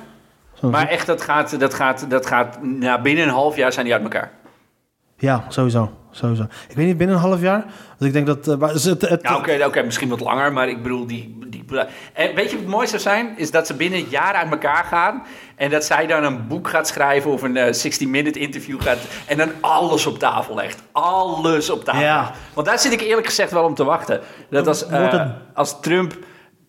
[SPEAKER 2] Zo'n-
[SPEAKER 3] Maar echt, dat gaat, dat gaat, dat gaat nou, binnen een half jaar zijn die uit elkaar.
[SPEAKER 2] Ja, sowieso. sowieso. Ik weet niet, binnen een half jaar? Want ik denk dat... eh, maar ze- het, het,
[SPEAKER 3] Nou, oké, oké, misschien wat langer, maar ik bedoel, die, die... En weet je wat het mooi zou zijn? Is dat ze binnen een jaar uit elkaar gaan... en dat zij dan een boek gaat schrijven of een 60-minute interview gaat... en dan alles op tafel legt. Alles op tafel.
[SPEAKER 2] Ja.
[SPEAKER 3] Want daar zit ik eerlijk gezegd wel om te wachten. Dat als, eh,
[SPEAKER 2] Wordt het-
[SPEAKER 3] als Trump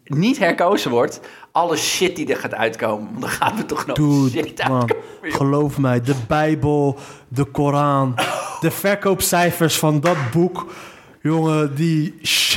[SPEAKER 3] niet herkozen wordt... alle shit die er gaat uitkomen... want dan gaat er toch nog
[SPEAKER 2] Dude,
[SPEAKER 3] shit
[SPEAKER 2] man,
[SPEAKER 3] uitkomen. joh.
[SPEAKER 2] geloof mij, de Bijbel, de Koran, de verkoopcijfers van dat boek. Jongen, die shit.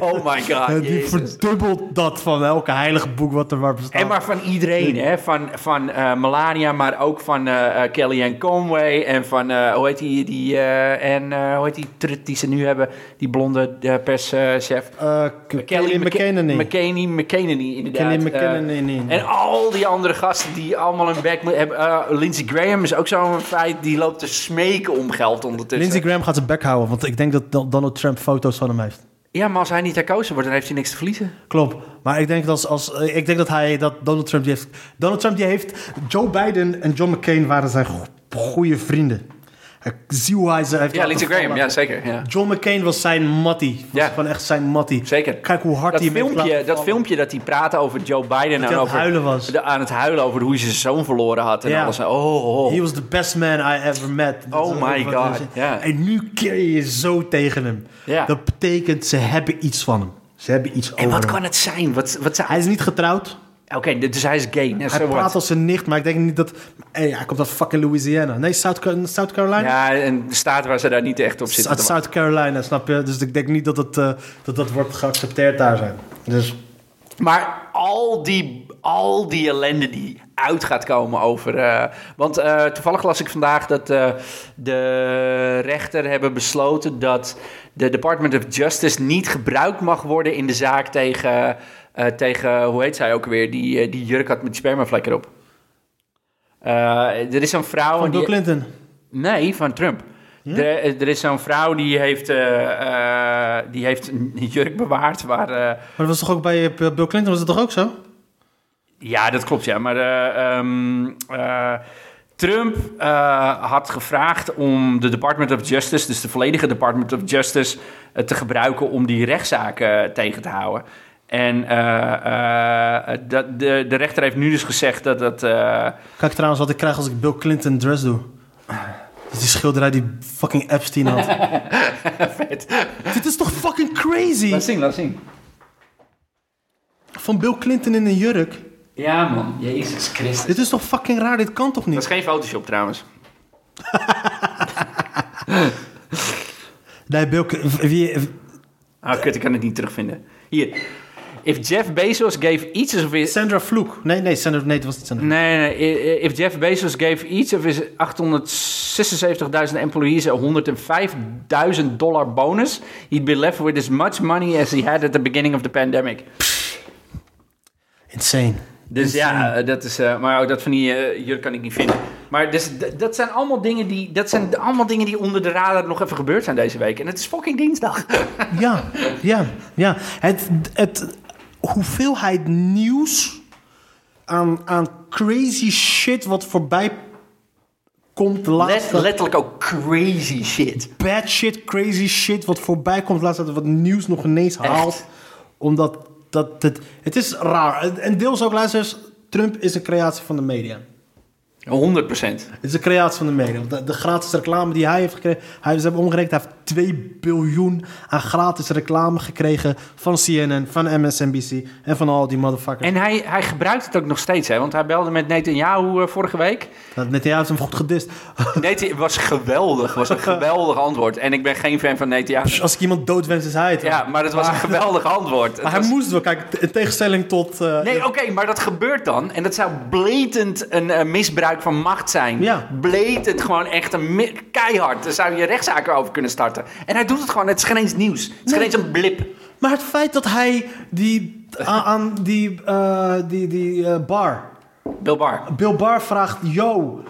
[SPEAKER 3] Oh my god,
[SPEAKER 2] (laughs) die
[SPEAKER 3] Jezus.
[SPEAKER 2] verdubbelt dat van elke heilige boek wat er maar bestaat.
[SPEAKER 3] En maar van iedereen, hè? Van, van eh, Melania, maar ook van eh eh, Kellyanne Conway en van, eh, hoe heet die, die eh, en eh, hoe heet die trut die ze nu hebben, die blonde perschef.
[SPEAKER 2] Eh, K- Kelly McKenany.
[SPEAKER 3] McKinney, McKinney, inderdaad.
[SPEAKER 2] Kelly
[SPEAKER 3] Eh,
[SPEAKER 2] McKenany.
[SPEAKER 3] en al die andere gasten die allemaal een back mo- hebben. Eh, Lindsey Graham is ook zo'n feit, die loopt te smeken om geld ondertussen.
[SPEAKER 2] Lindsey Graham gaat zijn bek houden, want ik denk dat Don- Donald Trump foto's van hem heeft.
[SPEAKER 3] Ja, maar als hij niet herkozen wordt, dan heeft hij niks te verliezen.
[SPEAKER 2] Klopt. Maar ik denk dat, als, als, eh, ik denk dat hij dat Donald Trump die heeft. Donald Trump die heeft. Joe Biden en John McCain waren zijn go- goede vrienden. Ik zie hoe hij ze heeft.
[SPEAKER 3] Ja,
[SPEAKER 2] laten
[SPEAKER 3] Lindsey Graham,
[SPEAKER 2] vallen.
[SPEAKER 3] ja, zeker. Ja.
[SPEAKER 2] John McCain was zijn mattie. Was
[SPEAKER 3] Ja.
[SPEAKER 2] Gewoon echt zijn mattie.
[SPEAKER 3] Zeker.
[SPEAKER 2] Kijk hoe hard
[SPEAKER 3] Dat
[SPEAKER 2] hij hem heeft
[SPEAKER 3] filmpje,
[SPEAKER 2] laten
[SPEAKER 3] dat
[SPEAKER 2] vallen.
[SPEAKER 3] filmpje dat hij praatte over Joe Biden
[SPEAKER 2] hij
[SPEAKER 3] en
[SPEAKER 2] aan het
[SPEAKER 3] over,
[SPEAKER 2] huilen was.
[SPEAKER 3] de- aan het huilen over hoe hij zijn zoon verloren had en
[SPEAKER 2] Ja.
[SPEAKER 3] alles. Oh, oh.
[SPEAKER 2] He was the best man I ever met. Dat
[SPEAKER 3] Oh
[SPEAKER 2] is
[SPEAKER 3] my
[SPEAKER 2] ook wat
[SPEAKER 3] God,
[SPEAKER 2] hij zegt.
[SPEAKER 3] ja.
[SPEAKER 2] En nu keer je je zo tegen hem.
[SPEAKER 3] Ja.
[SPEAKER 2] Dat betekent ze hebben iets van hem. Ze hebben iets
[SPEAKER 3] En
[SPEAKER 2] over
[SPEAKER 3] wat
[SPEAKER 2] hem.
[SPEAKER 3] kan het zijn? Wat, wat zijn...
[SPEAKER 2] Hij is niet getrouwd.
[SPEAKER 3] Oké, dus hij is gay. Ja,
[SPEAKER 2] Hij
[SPEAKER 3] so what?
[SPEAKER 2] praat als een nicht, maar ik denk niet dat... Hey, hij komt uit fucking Louisiana. Nee, South, Car- South Carolina?
[SPEAKER 3] ja, en de staat waar ze daar niet echt op
[SPEAKER 2] Uit
[SPEAKER 3] zitten. te wachten.
[SPEAKER 2] South Carolina, snap je? Dus ik denk niet dat het, eh, dat, dat wordt geaccepteerd daar zijn. Dus
[SPEAKER 3] Maar al die, al die ellende die uit gaat komen over. eh, want eh, toevallig las ik vandaag dat eh, de rechter hebben besloten dat de Department of Justice niet gebruikt mag worden in de zaak tegen. eh, tegen hoe heet zij ook weer? Die, eh, die jurk had met die spermavlek erop. Eh, er is zo'n vrouw.
[SPEAKER 2] van
[SPEAKER 3] en die-
[SPEAKER 2] Bill Clinton.
[SPEAKER 3] Nee, van Trump. Er, er is zo'n vrouw die heeft, eh, eh, die heeft een jurk bewaard waar. eh,
[SPEAKER 2] Maar dat was toch ook bij eh, Bill Clinton, was dat toch ook zo?
[SPEAKER 3] Ja, dat klopt, ja. Maar eh, ehm, eh, Trump eh, had gevraagd om de Department of Justice, dus de volledige Department of Justice, eh, te gebruiken om die rechtszaken tegen te houden. En eh, eh, dat, de, de rechter heeft nu dus gezegd dat dat. eh,
[SPEAKER 2] Kijk trouwens wat ik krijg als ik Bill Clinton dress doe. Dat is die schilderij die fucking Epstein had. Dit is toch fucking crazy?
[SPEAKER 3] zien, laat zien.
[SPEAKER 2] Van Bill Clinton in een jurk.
[SPEAKER 3] Ja, man. Jezus Christus.
[SPEAKER 2] Dit is toch fucking raar? Dit kan toch
[SPEAKER 3] Dat
[SPEAKER 2] niet?
[SPEAKER 3] is geen Photoshop trouwens.
[SPEAKER 2] Nee, Bill Cl- wie,
[SPEAKER 3] Ah, kut, ik kan het niet terugvinden. Hier. If Jeff Bezos gave each of his
[SPEAKER 2] Sandra Vloek. Nee, nee, Sandra, nee, het was niet Sandra.
[SPEAKER 3] Nee, nee. i- i- If Jeff Bezos gave each of his 876.000 employees a 105.000 dollar bonus, he'd be left with as much money as he had at the beginning of the pandemic.
[SPEAKER 2] Insane.
[SPEAKER 3] Dus ja, eh, dat is. eh, maar ook dat van die eh, jurk kan ik niet vinden. Maar dus, d- dat zijn allemaal dingen die. Dat zijn allemaal dingen die onder de radar nog even gebeurd zijn deze week. En het is fucking dinsdag.
[SPEAKER 2] Ja, ja, ja. Het, het hoeveelheid nieuws aan, aan crazy shit wat voorbij komt de
[SPEAKER 3] Let-
[SPEAKER 2] laatste...
[SPEAKER 3] letterlijk ook crazy shit.
[SPEAKER 2] bad shit, crazy shit wat voorbij komt. Laatst dat er wat nieuws nog ineens haalt. Omdat dat het. Het is raar. En- En deels ook luisteraars. Trump is een creatie van de media.
[SPEAKER 3] 100%.
[SPEAKER 2] Het is een creatie van de media. Want De, de gratis reclame die hij heeft gekregen. Hij, ze hebben omgerekend. Hij heeft 2 biljoen aan gratis reclame gekregen. Van CNN, van MSNBC en van al die motherfuckers.
[SPEAKER 3] En hij, hij gebruikt het ook nog steeds, hè? Want hij belde met Netanyahu eh, vorige week.
[SPEAKER 2] En... Netanyahu heeft hem goed gedist. (laughs)
[SPEAKER 3] Nee, het was geweldig. was een geweldig antwoord. En ik ben geen fan van Netanyahu.
[SPEAKER 2] Als ik iemand dood wens, is hij het.
[SPEAKER 3] Ja, maar het was een geweldig antwoord. Het
[SPEAKER 2] maar hij
[SPEAKER 3] was-
[SPEAKER 2] moest wel. Kijk, t- in tegenstelling tot. eh,
[SPEAKER 3] Nee, oké, maar dat gebeurt dan. En dat zou blatend een eh, misbruik van macht zijn.
[SPEAKER 2] Ja.
[SPEAKER 3] Blatend gewoon echt een mi- keihard. Daar zou je rechtszaken over kunnen starten. En hij doet het gewoon. Het is geen eens nieuws. Het is geen eens een blip.
[SPEAKER 2] Maar het feit dat hij die, aan, aan die, eh, die, die eh, bar,
[SPEAKER 3] Bill Barr.
[SPEAKER 2] Bill Barr vraagt: Yo,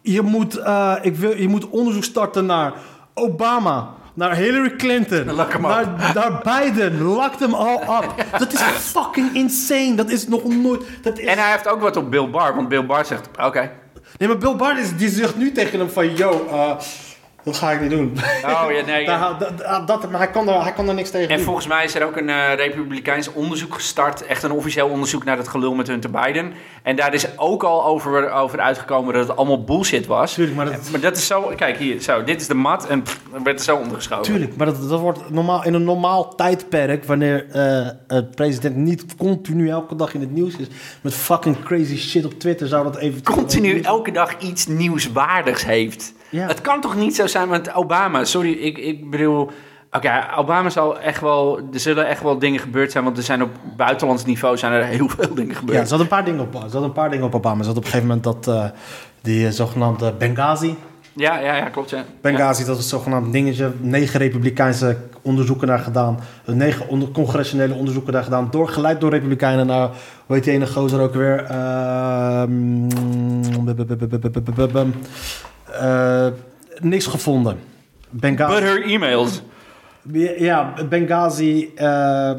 [SPEAKER 2] je moet, eh, ik wil, je moet onderzoek starten naar Obama. Naar Hillary Clinton.
[SPEAKER 3] (laughs) Lak hem
[SPEAKER 2] naar,
[SPEAKER 3] op.
[SPEAKER 2] naar Biden. Lakt hem al
[SPEAKER 3] (laughs)
[SPEAKER 2] op. Dat is fucking insane. Dat is nog nooit. Dat is...
[SPEAKER 3] En eh, hij heeft ook wat op Bill Barr. Want Bill Barr zegt, oké.
[SPEAKER 2] (laughs) Nee, maar Bill Barr is, die zegt nu tegen hem: van, Yo, eh, dat ga ik niet doen.
[SPEAKER 3] Oh, ja, nee, ja.
[SPEAKER 2] Daar hou- dat- dat, dat- maar hij kan, daar, hij kan daar niks tegen
[SPEAKER 3] En
[SPEAKER 2] doen.
[SPEAKER 3] volgens mij is er ook een eh, republikeins onderzoek gestart. Echt een officieel onderzoek naar het gelul met Hunter Biden. En daar is ook al over, over uitgekomen dat het allemaal bullshit was.
[SPEAKER 2] Tuurlijk, maar dat-
[SPEAKER 3] maar dat is zo... Kijk, hier, zo. Dit is de mat en pff, dan werd er zo ondergeschoven.
[SPEAKER 2] Tuurlijk, maar dat, dat wordt normaal, in een normaal tijdperk, wanneer eh het president niet continu elke dag in het nieuws is, met fucking crazy shit op Twitter, zou dat even...
[SPEAKER 3] Continu elke dag iets nieuwswaardigs heeft.
[SPEAKER 2] Ja.
[SPEAKER 3] Het kan toch niet zo zijn, want Obama... Sorry, ik, ik bedoel... Oké, Obama zal echt wel. Er zullen echt wel dingen gebeurd zijn. Want er zijn op buitenlands niveau zijn er heel veel dingen gebeurd.
[SPEAKER 2] Ja, er zat een paar dingen op, er zat een paar dingen op Obama. Er zat op een gegeven moment dat eh, die eh, zogenaamde Benghazi.
[SPEAKER 3] Ja, ja, ja, klopt. Ja.
[SPEAKER 2] Benghazi, dat was het zogenaamd dingetje. Negen republikeinse onderzoeken daar gedaan. Eh, Negen onder, congressionele onderzoeken daar gedaan. Door, geleid door republikeinen naar, hoe heet die ene gozer ook weer? Ehm, bum, bum, bum, bum, bum, bum, bum. Eh, niks gevonden.
[SPEAKER 3] Ja. But
[SPEAKER 2] Benghazi,
[SPEAKER 3] her emails.
[SPEAKER 2] ja, Benghazi eh,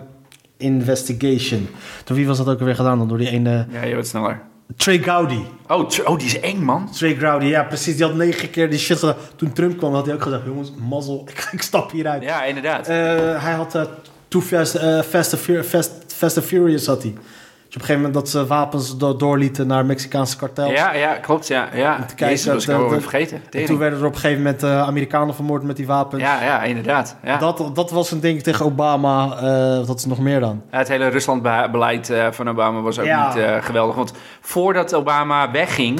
[SPEAKER 2] Investigation. Door wie was dat ook weer gedaan? Dan door die ene...
[SPEAKER 3] Ja, je wordt sneller.
[SPEAKER 2] Trey Gowdy.
[SPEAKER 3] Oh, tr- oh, die is eng, man.
[SPEAKER 2] Trey Gowdy, ja precies. Die had negen keer die shit gedaan. Toen Trump kwam had hij ook gezegd... Jongens, mazzel, (laughs) ik, ik stap hieruit.
[SPEAKER 3] Ja, inderdaad.
[SPEAKER 2] Eh, hij had eh Too Fast, eh, Fast, and Fur- Fast, Fast and Furious had hij. Dus op een gegeven moment dat ze wapens do- doorlieten naar Mexicaanse kartels.
[SPEAKER 3] ja, ja, klopt. Ja, ja.
[SPEAKER 2] te kijken
[SPEAKER 3] Jezus, dat was ik
[SPEAKER 2] dat-
[SPEAKER 3] alweer
[SPEAKER 2] dat-
[SPEAKER 3] vergeten.
[SPEAKER 2] En
[SPEAKER 3] Tering.
[SPEAKER 2] toen werden er op een gegeven moment eh, Amerikanen vermoord met die wapens.
[SPEAKER 3] Ja, ja, inderdaad. Ja.
[SPEAKER 2] Dat, dat was een ding tegen Obama. eh dat is nog meer dan.
[SPEAKER 3] Ja, Het hele Rusland-beleid eh, van Obama was ook
[SPEAKER 2] Ja.
[SPEAKER 3] niet eh, geweldig. Want voordat Obama wegging,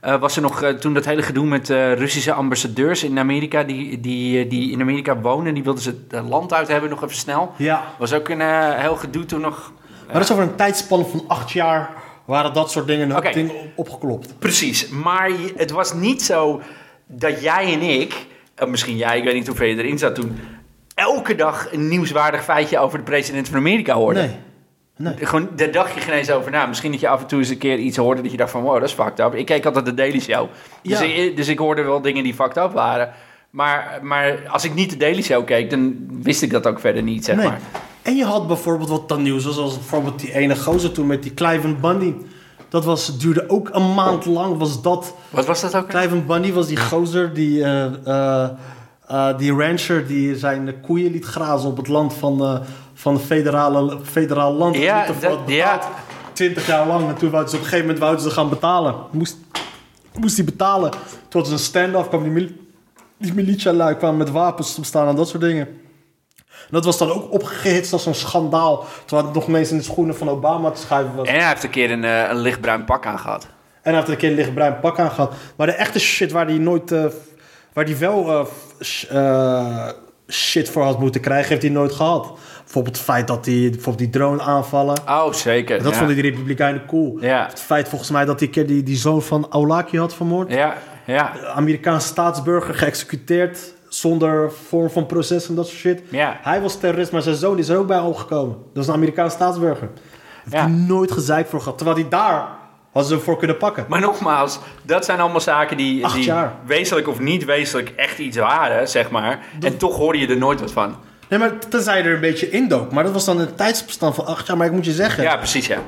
[SPEAKER 3] eh, was er nog eh, toen dat hele gedoe met eh, Russische ambassadeurs in Amerika. Die, die, eh, die in Amerika wonen, die wilden ze het eh, land uit hebben nog even snel.
[SPEAKER 2] Ja.
[SPEAKER 3] Was ook een eh, heel gedoe toen nog.
[SPEAKER 2] Maar dat is over een tijdspanne van acht jaar waren dat soort dingen, een hoop
[SPEAKER 3] Oké.
[SPEAKER 2] dingen op- opgeklopt.
[SPEAKER 3] Precies, maar je- het was niet zo dat jij en ik, eh, misschien jij, ik weet niet hoeveel je erin zat toen, elke dag een nieuwswaardig feitje over de president van Amerika hoorden.
[SPEAKER 2] Nee. nee.
[SPEAKER 3] Gewoon, daar dacht je geen eens over na. Misschien dat je af en toe eens een keer iets hoorde dat je dacht van... wow, dat is fucked up. Ik keek altijd de Daily Show. Dus,
[SPEAKER 2] Ja.
[SPEAKER 3] ik, dus ik hoorde wel dingen die fucked up waren. Maar, maar als ik niet de Daily Show keek, dan wist ik dat ook verder niet, zeg
[SPEAKER 2] nee.
[SPEAKER 3] maar.
[SPEAKER 2] En je had bijvoorbeeld wat dan nieuws was, zoals bijvoorbeeld die ene gozer toen met die Cliven Bundy. Dat was, duurde ook een maand lang, was dat...
[SPEAKER 3] Wat was dat ook?
[SPEAKER 2] Cliven Bundy was die gozer, die, eh, eh, eh, die rancher die zijn koeien liet grazen op het land van, eh van het federale, federaal land.
[SPEAKER 3] Ja,
[SPEAKER 2] Niet ervoor
[SPEAKER 3] dat-
[SPEAKER 2] had betaald.
[SPEAKER 3] ja.
[SPEAKER 2] 20 jaar lang. En toen wouden ze op een gegeven moment wouden ze gaan betalen. Moest, moest hij betalen. Toen was een stand-off, kwam die, mil- die militia-lui kwamen met wapens opstaan en dat soort dingen. En dat was dan ook opgehitst als een schandaal. Terwijl het nog mensen in de schoenen van Obama te schuiven was.
[SPEAKER 3] En hij heeft een keer een, eh, een lichtbruin pak aan gehad.
[SPEAKER 2] En hij heeft een keer een lichtbruin pak aan gehad. Maar de echte shit waar hij nooit. eh, waar hij wel eh, sh- eh, shit voor had moeten krijgen, heeft hij nooit gehad. Bijvoorbeeld het feit dat hij. Bijvoorbeeld die drone aanvallen.
[SPEAKER 3] Oh, zeker.
[SPEAKER 2] Dat
[SPEAKER 3] ja.
[SPEAKER 2] vonden die Republikeinen cool.
[SPEAKER 3] Ja.
[SPEAKER 2] Het feit volgens mij dat hij een keer die, die zoon van Aulaki had vermoord.
[SPEAKER 3] Ja, ja,
[SPEAKER 2] Amerikaans staatsburger geëxecuteerd. Zonder vorm van proces en dat soort shit.
[SPEAKER 3] Ja.
[SPEAKER 2] Hij was terrorist, maar zijn zoon is er ook bij omgekomen. Dat was een Amerikaans staatsburger. Heeft
[SPEAKER 3] Ja.
[SPEAKER 2] hij nooit gezeik voor gehad. Terwijl hij daar hadden ze hem voor kunnen pakken.
[SPEAKER 3] Maar nogmaals, dat zijn allemaal zaken die,
[SPEAKER 2] Acht
[SPEAKER 3] die
[SPEAKER 2] jaar.
[SPEAKER 3] wezenlijk of niet wezenlijk echt iets waren, zeg maar. En toch hoorde je er nooit wat van.
[SPEAKER 2] Nee, maar tenzij je er een beetje indook. Maar dat was dan een tijdsbestand van acht jaar. Maar ik moet je zeggen,
[SPEAKER 3] Ja, precies, ja.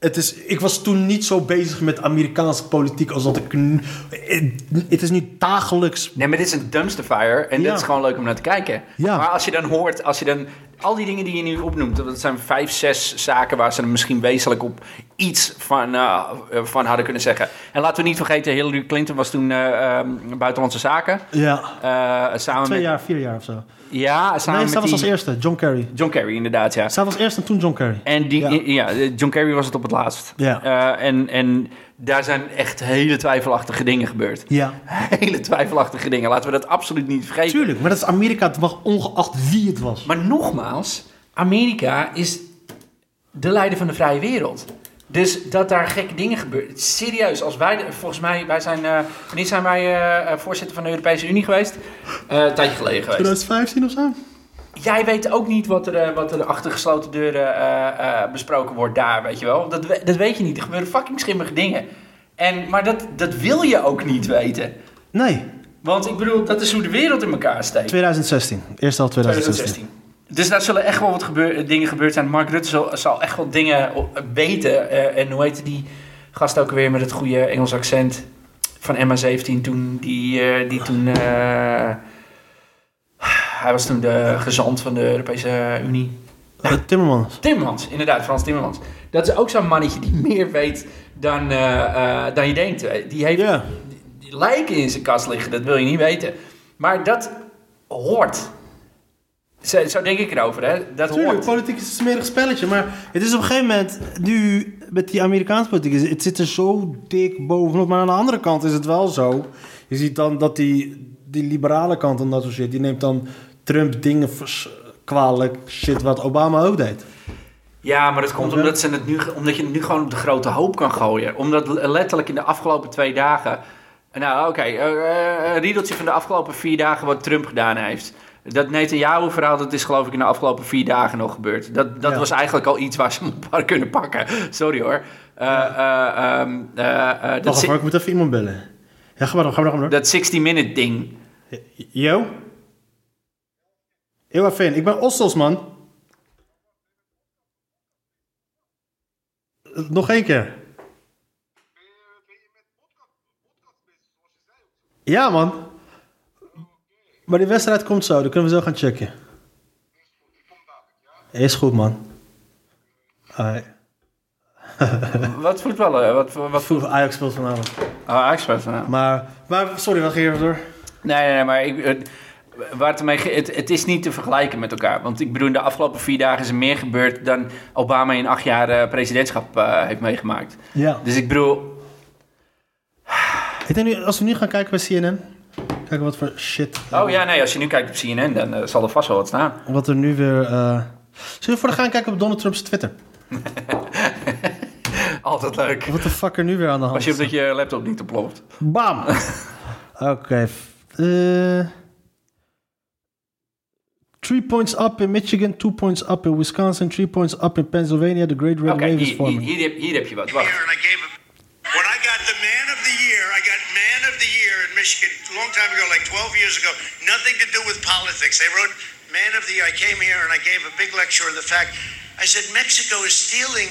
[SPEAKER 2] het is, ik was toen niet zo bezig met Amerikaanse politiek als dat ik nu... Het- Het is nu dagelijks...
[SPEAKER 3] Nee, maar dit is een dumpster fire en
[SPEAKER 2] Ja.
[SPEAKER 3] dit is gewoon leuk om naar te kijken.
[SPEAKER 2] Ja.
[SPEAKER 3] Maar als je dan hoort, als je dan al die dingen die je nu opnoemt, dat zijn vijf, zes zaken waar ze er misschien wezenlijk op iets van, eh, van hadden kunnen zeggen. En laten we niet vergeten, Hillary Clinton was toen eh, ehm, buitenlandse zaken.
[SPEAKER 2] Ja,
[SPEAKER 3] Eh, samen
[SPEAKER 2] twee
[SPEAKER 3] met,
[SPEAKER 2] jaar, vier jaar of zo.
[SPEAKER 3] Ja, samen
[SPEAKER 2] nee, zij
[SPEAKER 3] met
[SPEAKER 2] was als
[SPEAKER 3] die-
[SPEAKER 2] eerste, John Kerry.
[SPEAKER 3] John Kerry, inderdaad, ja.
[SPEAKER 2] Zij was eerst en toen John Kerry.
[SPEAKER 3] En die,
[SPEAKER 2] Ja.
[SPEAKER 3] ja. eh, John Kerry was het op het laatst.
[SPEAKER 2] Ja.
[SPEAKER 3] Eh, en, en daar zijn echt hele twijfelachtige dingen gebeurd.
[SPEAKER 2] Ja,
[SPEAKER 3] Hele twijfelachtige dingen. Laten we dat absoluut niet vergeten.
[SPEAKER 2] tuurlijk. Maar dat is Amerika, het mag ongeacht wie het was.
[SPEAKER 3] Maar nogmaals, Amerika is de leider van de vrije wereld. Dus dat daar gekke dingen gebeuren. Serieus, als wij, de- volgens mij, wij zijn, eh, wanneer zijn wij eh, eh, voorzitter van de Europese Unie geweest? Eh, een tijdje geleden geweest.
[SPEAKER 2] 2015 of zo?
[SPEAKER 3] Jij weet ook niet wat er, eh, wat er achter gesloten deuren eh, eh, besproken wordt daar, weet je wel. Dat, we- dat weet je niet. Er gebeuren fucking schimmige dingen. En, maar dat, dat wil je ook niet weten.
[SPEAKER 2] Nee,
[SPEAKER 3] Want ik bedoel, dat is hoe de wereld in elkaar steekt.
[SPEAKER 2] 2016. Eerste half 2016.
[SPEAKER 3] 2016. Dus daar zullen echt wel wat gebeur- dingen gebeurd zijn. Mark Rutte zal, zal echt wel dingen o- weten. Eh, en hoe heette die gast ook weer met het goede Engels accent van MA17 toen die, eh, die toen... eh, hij was toen de gezant van de Europese Unie.
[SPEAKER 2] Eh, Timmermans.
[SPEAKER 3] Timmermans, inderdaad, Frans Timmermans. Dat is ook zo'n mannetje die (laughs) meer weet dan, eh, eh, dan je denkt. Die heeft
[SPEAKER 2] Ja.
[SPEAKER 3] die- die lijken in zijn kast liggen, dat wil je niet weten. Maar dat hoort. Zo, zo denk ik erover, hè? Dat
[SPEAKER 2] Tuurlijk,
[SPEAKER 3] hoort.
[SPEAKER 2] politiek is een smerig spelletje. Maar het is op een gegeven moment, nu met die Amerikaanse politiek, is- het zit er zo dik bovenop. Maar aan de andere kant is het wel zo. Je ziet dan dat die, die liberale kant en dat soort shit, die neemt dan Trump dingen vers- kwalijk shit wat Obama ook deed.
[SPEAKER 3] Ja, maar dat komt
[SPEAKER 2] Oké.
[SPEAKER 3] omdat, ze het nu, omdat je het nu gewoon op de grote hoop kan gooien. Omdat le- letterlijk in de afgelopen twee dagen... Nou, oké, eh, eh, een riedeltje van de afgelopen vier dagen wat Trump gedaan heeft. Dat Netanyahu-verhaal, dat is geloof ik in de afgelopen vier dagen nog gebeurd. Dat, dat
[SPEAKER 2] Ja.
[SPEAKER 3] was eigenlijk al iets waar ze hem op hadden kunnen pakken. Sorry hoor. Eh, eh, ehm, eh, eh, dat,
[SPEAKER 2] Wacht
[SPEAKER 3] si-
[SPEAKER 2] even, ik moet even iemand bellen. Ja, ga maar door, ga maar door, ga maar door.
[SPEAKER 3] dat 60-minute ding.
[SPEAKER 2] Yo? Heel even, ik ben Ossels, man. Nog één keer. Ja, man. Maar die wedstrijd komt zo, dan kunnen we zo gaan checken. Is goed, man. Ai.
[SPEAKER 3] Wat voetballen? Wat, wat voet...
[SPEAKER 2] Vroeg Ajax speelt vanavond.
[SPEAKER 3] Oh, Ajax-wedstrijd, nou.
[SPEAKER 2] Maar, maar sorry, wat ging er door?
[SPEAKER 3] Nee, nee, nee, maar ik, het, waar het, ermee ge- het, het is niet te vergelijken met elkaar. Want ik bedoel, in de afgelopen vier dagen is er meer gebeurd dan Obama in acht jaar eh, presidentschap eh, heeft meegemaakt.
[SPEAKER 2] Ja.
[SPEAKER 3] Dus ik bedoel,
[SPEAKER 2] Ik denk nu, als we nu gaan kijken bij CNN, kijken wat voor shit, eh,
[SPEAKER 3] oh ja, nee, als je nu kijkt op CNN, dan eh, zal er vast wel wat staan.
[SPEAKER 2] wat er nu weer... eh Zullen we voor gaan kijken op Donald Trump's Twitter?
[SPEAKER 3] Altijd leuk.
[SPEAKER 2] Wat de fuck er nu weer aan de hand
[SPEAKER 3] Als je op
[SPEAKER 2] is.
[SPEAKER 3] dat je laptop niet oploft. (laughs)
[SPEAKER 2] Bam! Oké. f- eh, three points up in Michigan, two points up in Wisconsin, three points up in Pennsylvania. The Great Red
[SPEAKER 3] Oké,
[SPEAKER 2] Wave is
[SPEAKER 3] hier, hier,
[SPEAKER 2] forming.
[SPEAKER 3] hier, heb- hier heb je wat. Wacht.
[SPEAKER 4] year, and I gave him. When I got the man of the year, I got man of the year in Michigan a long time ago, like 12 years ago. Nothing to do with politics. They wrote man of the year. I came here and I gave a big lecture on the fact. I said Mexico is stealing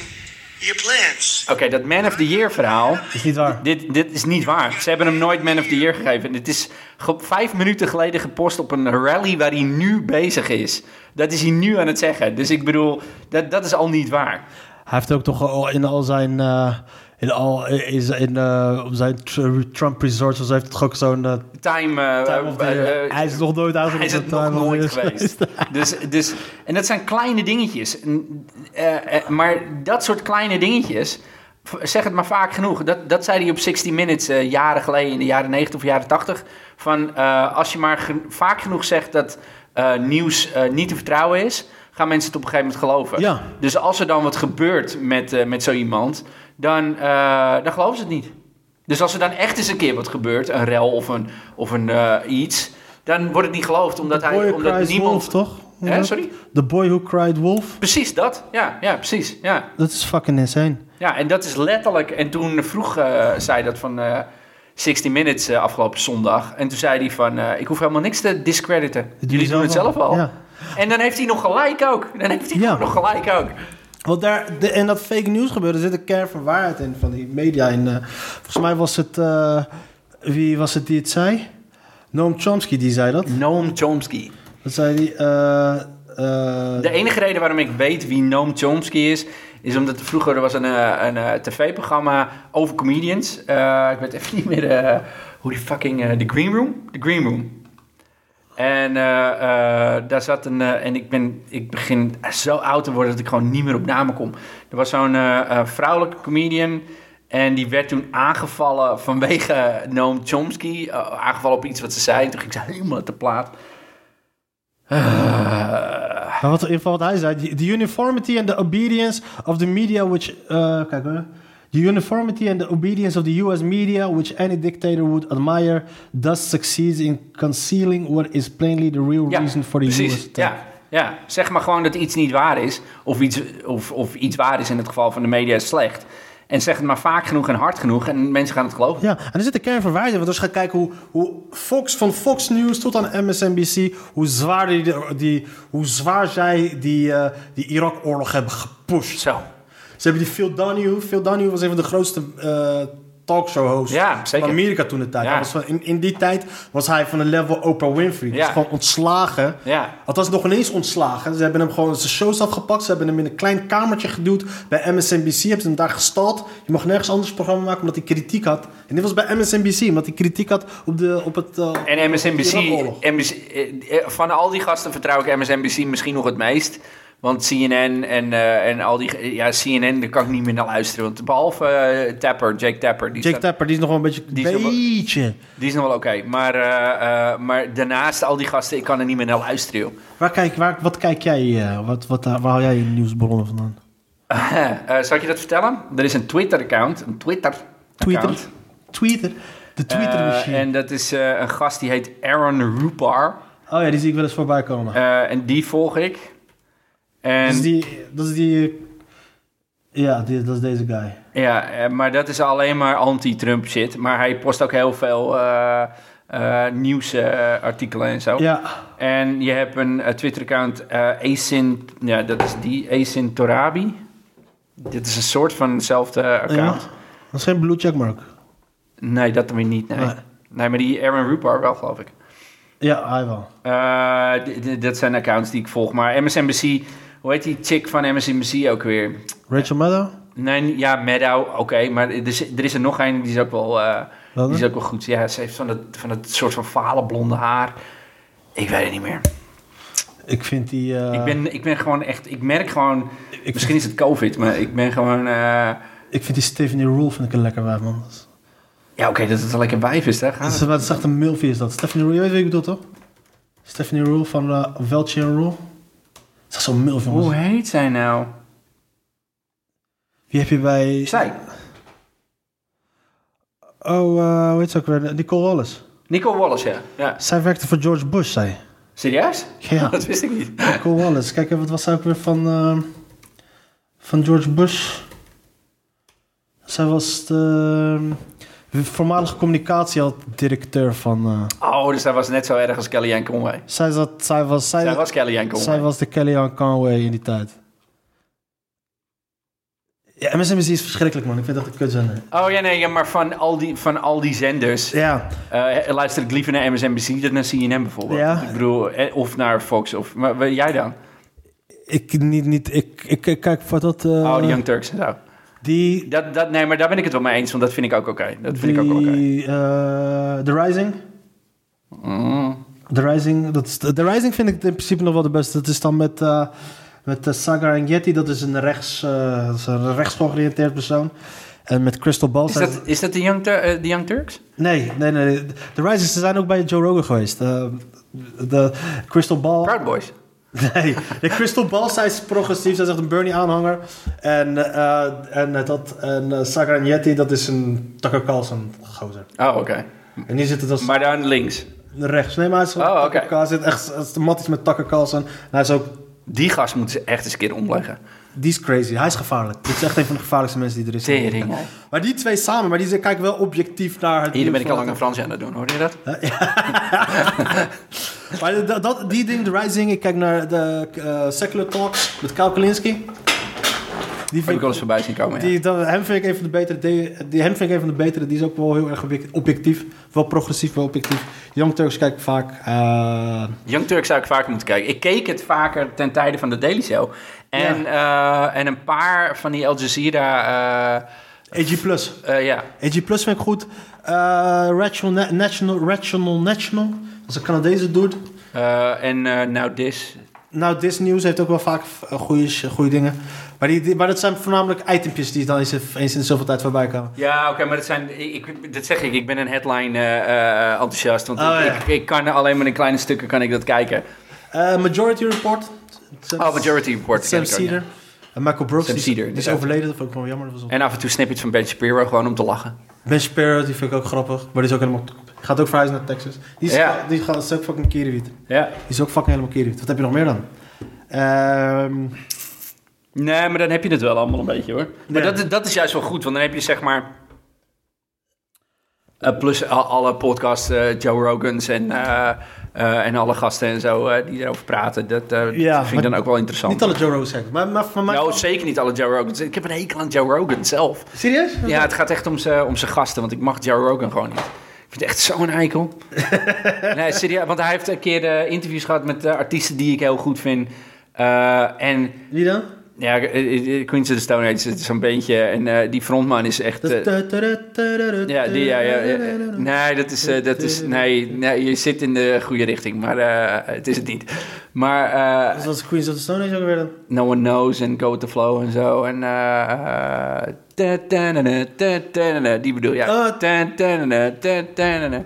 [SPEAKER 4] your plants.
[SPEAKER 3] Oké, dat Man of the Year verhaal.
[SPEAKER 2] Is niet waar.
[SPEAKER 3] Dit, dit is niet waar. Ze hebben hem nooit Man of the Year gegeven. Dit is ge- vijf minuten geleden gepost op een rally waar hij nu bezig is. Dat is hij nu aan het zeggen. Dus ik bedoel, dat, dat is al niet waar.
[SPEAKER 2] Hij heeft ook toch al in al zijn. eh, in al, is in, eh, op zijn tr- Trump resorts was, heeft het toch ook zo'n. eh,
[SPEAKER 3] Time, eh,
[SPEAKER 2] time of the year.
[SPEAKER 3] eh, eh,
[SPEAKER 2] hij is nog nooit uit
[SPEAKER 3] hij is het nog
[SPEAKER 2] (laughs)
[SPEAKER 3] nooit geweest. dus, dus, en dat zijn kleine dingetjes. En, eh, eh, maar dat soort kleine dingetjes, v- zeg het maar vaak genoeg. Dat, dat zei hij op 60 Minutes eh, jaren geleden, in de jaren 90 of jaren 80. Van eh, als je maar gen- vaak genoeg zegt dat eh, nieuws eh, niet te vertrouwen is, gaan mensen het op een gegeven moment geloven.
[SPEAKER 2] Ja.
[SPEAKER 3] Dus als er dan wat gebeurt met, eh, met zo iemand, dan, eh, dan geloven ze het niet. Dus als er dan echt eens een keer wat gebeurt, een rel of een, of een eh, iets, dan wordt het niet geloofd omdat,
[SPEAKER 2] The boy
[SPEAKER 3] hij,
[SPEAKER 2] who
[SPEAKER 3] omdat
[SPEAKER 2] cried wolf,
[SPEAKER 3] niemand.
[SPEAKER 2] toch?
[SPEAKER 3] Hè, sorry?
[SPEAKER 2] The boy who cried wolf.
[SPEAKER 3] Precies dat, ja, ja precies. Ja.
[SPEAKER 2] Dat is fucking insane.
[SPEAKER 3] ja, en dat is letterlijk. En toen vroeg eh, zij dat van eh 60 Minutes eh, afgelopen zondag. En toen zei hij van, eh, ik hoef helemaal niks te discrediten. Jullie doen het zelf al.
[SPEAKER 2] Ja.
[SPEAKER 3] En dan heeft hij nog gelijk ook. Dan heeft hij
[SPEAKER 2] Ja.
[SPEAKER 3] gewoon nog gelijk ook.
[SPEAKER 2] Want daar, de, en dat fake nieuws gebeuren, er zit een kern van waarheid in van die media. En, eh, volgens mij was het, eh, wie was het die het zei? Noam Chomsky die zei dat.
[SPEAKER 3] Noam Chomsky.
[SPEAKER 2] Dat zei die, eh, eh,
[SPEAKER 3] De enige reden waarom ik weet wie Noam Chomsky is, is omdat er vroeger er was een, eh, een, eh, tv-programma over comedians. Eh, ik weet even niet meer eh, hoe die fucking. eh, The Green Room? The Green Room. En eh, eh, daar zat een. eh, en ik, ben, ik begin zo oud te worden dat ik gewoon niet meer op namen kom. Er was zo'n eh, eh, vrouwelijke comedian. En die werd toen aangevallen vanwege Noam Chomsky. eh, aangevallen op iets wat ze zei. Toen ging ze helemaal te plaat. Eh,
[SPEAKER 2] maar wat, in ieder geval wat hij zei, the, the uniformity and the obedience of the media which... eh, kijk hoor. The uniformity and the obedience of the US media, which any dictator would admire, thus succeeds in concealing what is plainly the real reason for the
[SPEAKER 3] precies.
[SPEAKER 2] US attack.
[SPEAKER 3] ja, ja, zeg maar gewoon dat iets niet waar is. Of iets, of, of iets waar is in het geval van de media is slecht. En zeg het maar vaak genoeg en hard genoeg en mensen gaan het geloven.
[SPEAKER 2] Ja, en er zit een kern van waarheid in. Want als je gaat kijken hoe, hoe Fox, van Fox News tot aan MSNBC, hoe zwaar, die, die, hoe zwaar zij die, eh, die Irak-oorlog hebben gepusht.
[SPEAKER 3] Zo.
[SPEAKER 2] Ze hebben die Phil Donahue. Phil Donahue was een van de grootste eh, talkshow-hosts
[SPEAKER 3] Ja,
[SPEAKER 2] van
[SPEAKER 3] zeker.
[SPEAKER 2] Amerika toen de tijd.
[SPEAKER 3] Ja.
[SPEAKER 2] Hij was van- in, in die tijd was hij van de level Oprah Winfrey. Dus
[SPEAKER 3] Ja.
[SPEAKER 2] gewoon ontslagen.
[SPEAKER 3] Ja.
[SPEAKER 2] Althans, nog ineens ontslagen. Ze hebben hem gewoon zijn shows afgepakt. Ze hebben hem in een klein kamertje geduwd. Bij MSNBC hebben ze hem daar gestald. Je mag nergens anders een programma maken omdat hij kritiek had. En dit was bij MSNBC, omdat hij kritiek had op, de, op het... eh,
[SPEAKER 3] En MSNBC,
[SPEAKER 2] Irak-oorlog.
[SPEAKER 3] MSNBC eh, eh, van al die gasten vertrouw ik MSNBC misschien nog het meest. Want CNN en, eh, en al die... Ja, CNN, daar kan ik niet meer naar luisteren. Want behalve eh, Tapper, Jake Tapper. Die,
[SPEAKER 2] Jake
[SPEAKER 3] staat-
[SPEAKER 2] Tapper, die is nog wel een beetje...
[SPEAKER 3] Die is nog wel-
[SPEAKER 2] beetje.
[SPEAKER 3] die is nog wel oké. Maar, eh, eh, maar daarnaast al die gasten, ik kan er niet meer naar luisteren, joh.
[SPEAKER 2] Waar kijk, waar, wat kijk jij, eh, wat, wat, eh, waar haal jij je nieuwsbronnen vandaan?
[SPEAKER 3] Eh, zal ik je dat vertellen? Er is een Twitter-account. Een Twitter-account.
[SPEAKER 2] Twitter? Twitter? De Twitter machine.
[SPEAKER 3] Eh, en dat is eh, een gast die heet Aaron Rupar.
[SPEAKER 2] Oh ja, die zie ik wel eens voorbij komen.
[SPEAKER 3] Eh, en die volg ik. En,
[SPEAKER 2] dat, is Dus die, dat is die... eh, Ja, die, dat is deze guy.
[SPEAKER 3] Ja, eh, maar dat is alleen maar anti-Trump shit. Maar hij post ook heel veel eh nieuwsartikelen en zo.
[SPEAKER 2] Ja,
[SPEAKER 3] En je hebt een eh, Twitter-account, eh Asin, ja, dat is die, Asin Torabi. Dit is een soort van hetzelfde
[SPEAKER 2] ja.
[SPEAKER 3] account.
[SPEAKER 2] Dat is geen blue checkmark.
[SPEAKER 3] Nee, dat weer niet, nee.
[SPEAKER 2] Nee.
[SPEAKER 3] nee. maar die Aaron Rupar wel, geloof ik.
[SPEAKER 2] Ja, hij wel.
[SPEAKER 3] Eh, d- d- dat zijn accounts die ik volg. Maar MSNBC, hoe heet die chick van MSNBC ook weer?
[SPEAKER 2] Rachel Maddow?
[SPEAKER 3] Nee, ja, Meadow, oké. maar er is, er is er nog een, die is ook wel, eh,
[SPEAKER 2] Welke?
[SPEAKER 3] die is ook wel goed. Ja, ze heeft van dat, van dat soort van fale blonde haar. Ik weet het niet meer.
[SPEAKER 2] Ik vind die... eh,
[SPEAKER 3] ik, ben, ik ben gewoon echt, ik merk gewoon...
[SPEAKER 2] ik
[SPEAKER 3] misschien is het covid, maar ik ben gewoon... eh,
[SPEAKER 2] Ik vind die Stephanie Rule vind ik een lekker wijf, man. Dat is-
[SPEAKER 3] ja, oké, dat het wel lekker wijf Ah, is, daar
[SPEAKER 2] Dat
[SPEAKER 3] gaat
[SPEAKER 2] is,
[SPEAKER 3] het.
[SPEAKER 2] dat is echt een milfie is dat. Stephanie Rule, je weet wie ik bedoel, toch? Stephanie Rule van eh Welchie Rule. Dat is echt zo'n milfie,
[SPEAKER 3] Hoe
[SPEAKER 2] man.
[SPEAKER 3] heet zij nou?
[SPEAKER 2] Wie heb je bij...
[SPEAKER 3] Zij,
[SPEAKER 2] Oh, eh hoe heet ze ook weer? Nicole Wallace.
[SPEAKER 3] Nicole Wallace, ja. ja.
[SPEAKER 2] Zij werkte voor George Bush, zij.
[SPEAKER 3] Serieus?
[SPEAKER 2] Ja.
[SPEAKER 3] (laughs) Dat wist ik niet.
[SPEAKER 2] Nicole Wallace. Kijk, en wat was zij ook weer van... ehm, van George Bush? Zij was de... ehm, voormalig communicatiedirecteur van... eh,
[SPEAKER 3] Oh, dus zij was net zo erg als Kellyanne Conway.
[SPEAKER 2] zij, zat, zij, was, zij,
[SPEAKER 3] Zij was Kellyanne Conway.
[SPEAKER 2] Eh, Zij was de Kellyanne Conway in die tijd. Ja, MSNBC is verschrikkelijk, man. Ik vind dat een kutzender.
[SPEAKER 3] Oh ja, nee, ja, maar van al die, van al die zenders
[SPEAKER 2] Ja,
[SPEAKER 3] eh, luister ik liever naar MSNBC dan naar CNN bijvoorbeeld.
[SPEAKER 2] Ja.
[SPEAKER 3] Ik bedoel, eh, of naar Fox. Of, maar wat- jij dan?
[SPEAKER 2] ik, niet, niet, ik, ik, ik kijk voor dat... eh,
[SPEAKER 3] oh, de Young Turks en zo.
[SPEAKER 2] Die...
[SPEAKER 3] Dat, dat, nee, maar daar ben ik het wel mee eens, want dat vind ik ook oké. Dat vind ik ook wel oké.
[SPEAKER 2] die eh, The Rising.
[SPEAKER 3] Mm.
[SPEAKER 2] The Rising, dat is, The Rising vind ik in principe nog wel de beste. Dat is dan met, eh, met eh, Sagar en Yeti. Dat is een rechts, eh, dat is een rechts georiënteerd persoon. En met Crystal Ball.
[SPEAKER 3] Is
[SPEAKER 2] zijn-
[SPEAKER 3] dat, is dat de, Young Tur- eh, de Young Turks?
[SPEAKER 2] Nee, nee, nee. The Risers ze zijn ook bij Joe Rogan geweest. Eh, de Crystal Ball.
[SPEAKER 3] Proud Boys.
[SPEAKER 2] (laughs) Nee, de Crystal Ball, zij is progressief. Zij is echt een Bernie-aanhanger. En, eh en, eh, dat, en eh, Sagar en Yeti, dat is een Tucker Carlson-gozer.
[SPEAKER 3] Oh, oké.
[SPEAKER 2] En die zit het als
[SPEAKER 3] Maar dan links.
[SPEAKER 2] rechts. Nee, maar hij is gewoon
[SPEAKER 3] Oh,
[SPEAKER 2] Tucker
[SPEAKER 3] oké.
[SPEAKER 2] Carlson. Hij zit echt hij is matties met Tucker Carlson. En hij is ook...
[SPEAKER 3] Die gast moeten ze echt eens een keer omleggen.
[SPEAKER 2] Die is crazy. Hij is gevaarlijk. Dit is echt een van de gevaarlijkste mensen die er is.
[SPEAKER 3] Tering.
[SPEAKER 2] Maar die twee samen, maar die ze- kijken wel objectief naar het...
[SPEAKER 3] Hier ben ik al lang
[SPEAKER 2] nieuws
[SPEAKER 3] een Fransje aan het doen, hoor je
[SPEAKER 2] Eh,
[SPEAKER 3] dat?
[SPEAKER 2] (laughs) Maar dat, dat- die ding, The Rising, ik kijk naar de eh, Secular Talks met Kyle Kalinski. Die
[SPEAKER 3] Heb
[SPEAKER 2] vind
[SPEAKER 3] ik wel eens voorbij zien komen, ja.
[SPEAKER 2] die, dat, hem vind ik een van de betere. Die, die- hem vind ik een van de betere. Die is ook wel heel erg object- objectief. Wel progressief, wel objectief. Young Turks kijk ik vaak. eh,
[SPEAKER 3] Young Turks zou ik vaker moeten kijken. Ik keek het vaker ten tijde van de Daily Show. En, eh, en een paar van die Al Jazeera... eh,
[SPEAKER 2] AG Plus.
[SPEAKER 3] eh, ja,
[SPEAKER 2] AG Plus vind ik goed. Eh, Rational Na- National. Rational National. Dat is een Canadese dude.
[SPEAKER 3] Eh, en eh nou This.
[SPEAKER 2] Nou, This News heeft ook wel vaak eh, goede, goede dingen. Maar, die, die- maar dat zijn voornamelijk itempjes die dan eens, eens in de zoveel tijd voorbij komen.
[SPEAKER 3] Ja, oké, maar dat zijn... Ik, ik- dat zeg ik, ik ben een headline eh, eh, enthousiast. Want
[SPEAKER 2] Oh,
[SPEAKER 3] ik,
[SPEAKER 2] ja.
[SPEAKER 3] ik, ik kan alleen maar in kleine stukken kan ik dat kijken.
[SPEAKER 2] Eh, Majority Report.
[SPEAKER 3] Oh, Majority Report.
[SPEAKER 2] Sam
[SPEAKER 3] ken ik ook, ja.
[SPEAKER 2] Cedar. En Michael Brooks.
[SPEAKER 3] Sam
[SPEAKER 2] die is-
[SPEAKER 3] Cedar,
[SPEAKER 2] Die
[SPEAKER 3] die
[SPEAKER 2] is
[SPEAKER 3] is ook-
[SPEAKER 2] overleden. Dat vond ik gewoon jammer. Dat was op.
[SPEAKER 3] En af en toe snippets van Ben Shapiro gewoon om te lachen.
[SPEAKER 2] Ben Shapiro, die vind ik ook grappig. Maar die is ook helemaal... Gaat ook verhuizen naar Texas. Die is,
[SPEAKER 3] Ja.
[SPEAKER 2] die gaat, is ook fucking kierenwiet. Die
[SPEAKER 3] Ja.
[SPEAKER 2] is ook fucking helemaal kierenwiet. Wat heb je nog meer dan? Ehm,
[SPEAKER 3] Nee, maar dan heb je het wel allemaal een beetje hoor. Maar
[SPEAKER 2] Ja.
[SPEAKER 3] dat, dat is juist wel goed, want dan heb je zeg maar. eh, plus al- alle podcasts, eh, Joe Rogan's en, eh, eh, en alle gasten en zo eh, die erover praten. Dat eh,
[SPEAKER 2] Ja,
[SPEAKER 3] vind ik dan
[SPEAKER 2] maar
[SPEAKER 3] ook wel interessant.
[SPEAKER 2] niet alle Joe Rogan zeggen. Maar, maar, maar, maar-
[SPEAKER 3] nou, zeker niet alle Joe Rogan's. Ik heb een hekel aan Joe Rogan zelf.
[SPEAKER 2] Serieus?
[SPEAKER 3] Ja, het gaat echt om zijn om zijn gasten, want ik mag Joe Rogan gewoon niet. Ik vind het echt zo'n
[SPEAKER 2] (laughs)
[SPEAKER 3] eikel. nee, serieus, want hij heeft een keer eh, interviews gehad met eh, artiesten die ik heel goed vind. Eh, en
[SPEAKER 2] Wie dan?
[SPEAKER 3] ja, eh, eh, eh, Queens of the Stone Age is zo'n beetje. En eh, die frontman is echt.
[SPEAKER 2] Dat-
[SPEAKER 3] eh, ja, die, ja, ja, ja. Nee, dat is, eh, dat is. Nee, nee, je zit in de goede richting, maar eh, het is het niet. Maar eh,
[SPEAKER 2] Dus dat is Queens of the Stone Age ook weer dan?
[SPEAKER 3] No One Knows en Go With The Flow en zo. En eh, eh, ta- ta- na- na- ta- ta- na- na. die bedoel je.
[SPEAKER 2] Eh.
[SPEAKER 3] Ta- ta- na- na- ta- ta- na- na.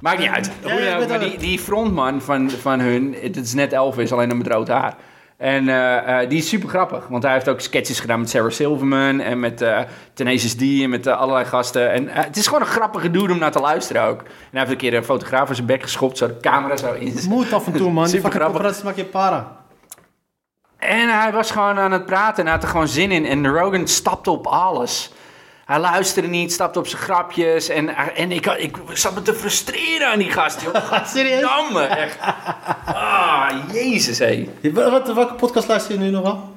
[SPEAKER 3] Maakt niet uit.
[SPEAKER 2] Ja,
[SPEAKER 3] Hoe
[SPEAKER 2] ik
[SPEAKER 3] dan ook,
[SPEAKER 2] weet
[SPEAKER 3] maar
[SPEAKER 2] het.
[SPEAKER 3] die, die frontman van, van hun, het is net Elvis, alleen dan met rood haar. En eh, eh, die is super grappig, want hij heeft ook sketches gedaan met Sarah Silverman en met eh Tenacious D en met eh, allerlei gasten. En eh, het is gewoon een grappige dude om naar te luisteren ook. En hij heeft een keer een fotograaf aan zijn bek geschopt, zo de camera zo in.
[SPEAKER 2] Moet af en toe, man. Die
[SPEAKER 3] Super
[SPEAKER 2] fucking
[SPEAKER 3] grappig.
[SPEAKER 2] operaties maak je para.
[SPEAKER 3] En hij was gewoon aan het praten en had er gewoon zin in. En Rogan stapte op alles. Hij luisterde niet, stapte op zijn grapjes. En, en ik, ik zat me te frustreren aan die gast.
[SPEAKER 2] (laughs)
[SPEAKER 3] Joh.
[SPEAKER 2] Serieus?
[SPEAKER 3] Damme, echt. Ah, jezus, hé.
[SPEAKER 2] Je- wat- wat- welke podcast luister je nu nog wel?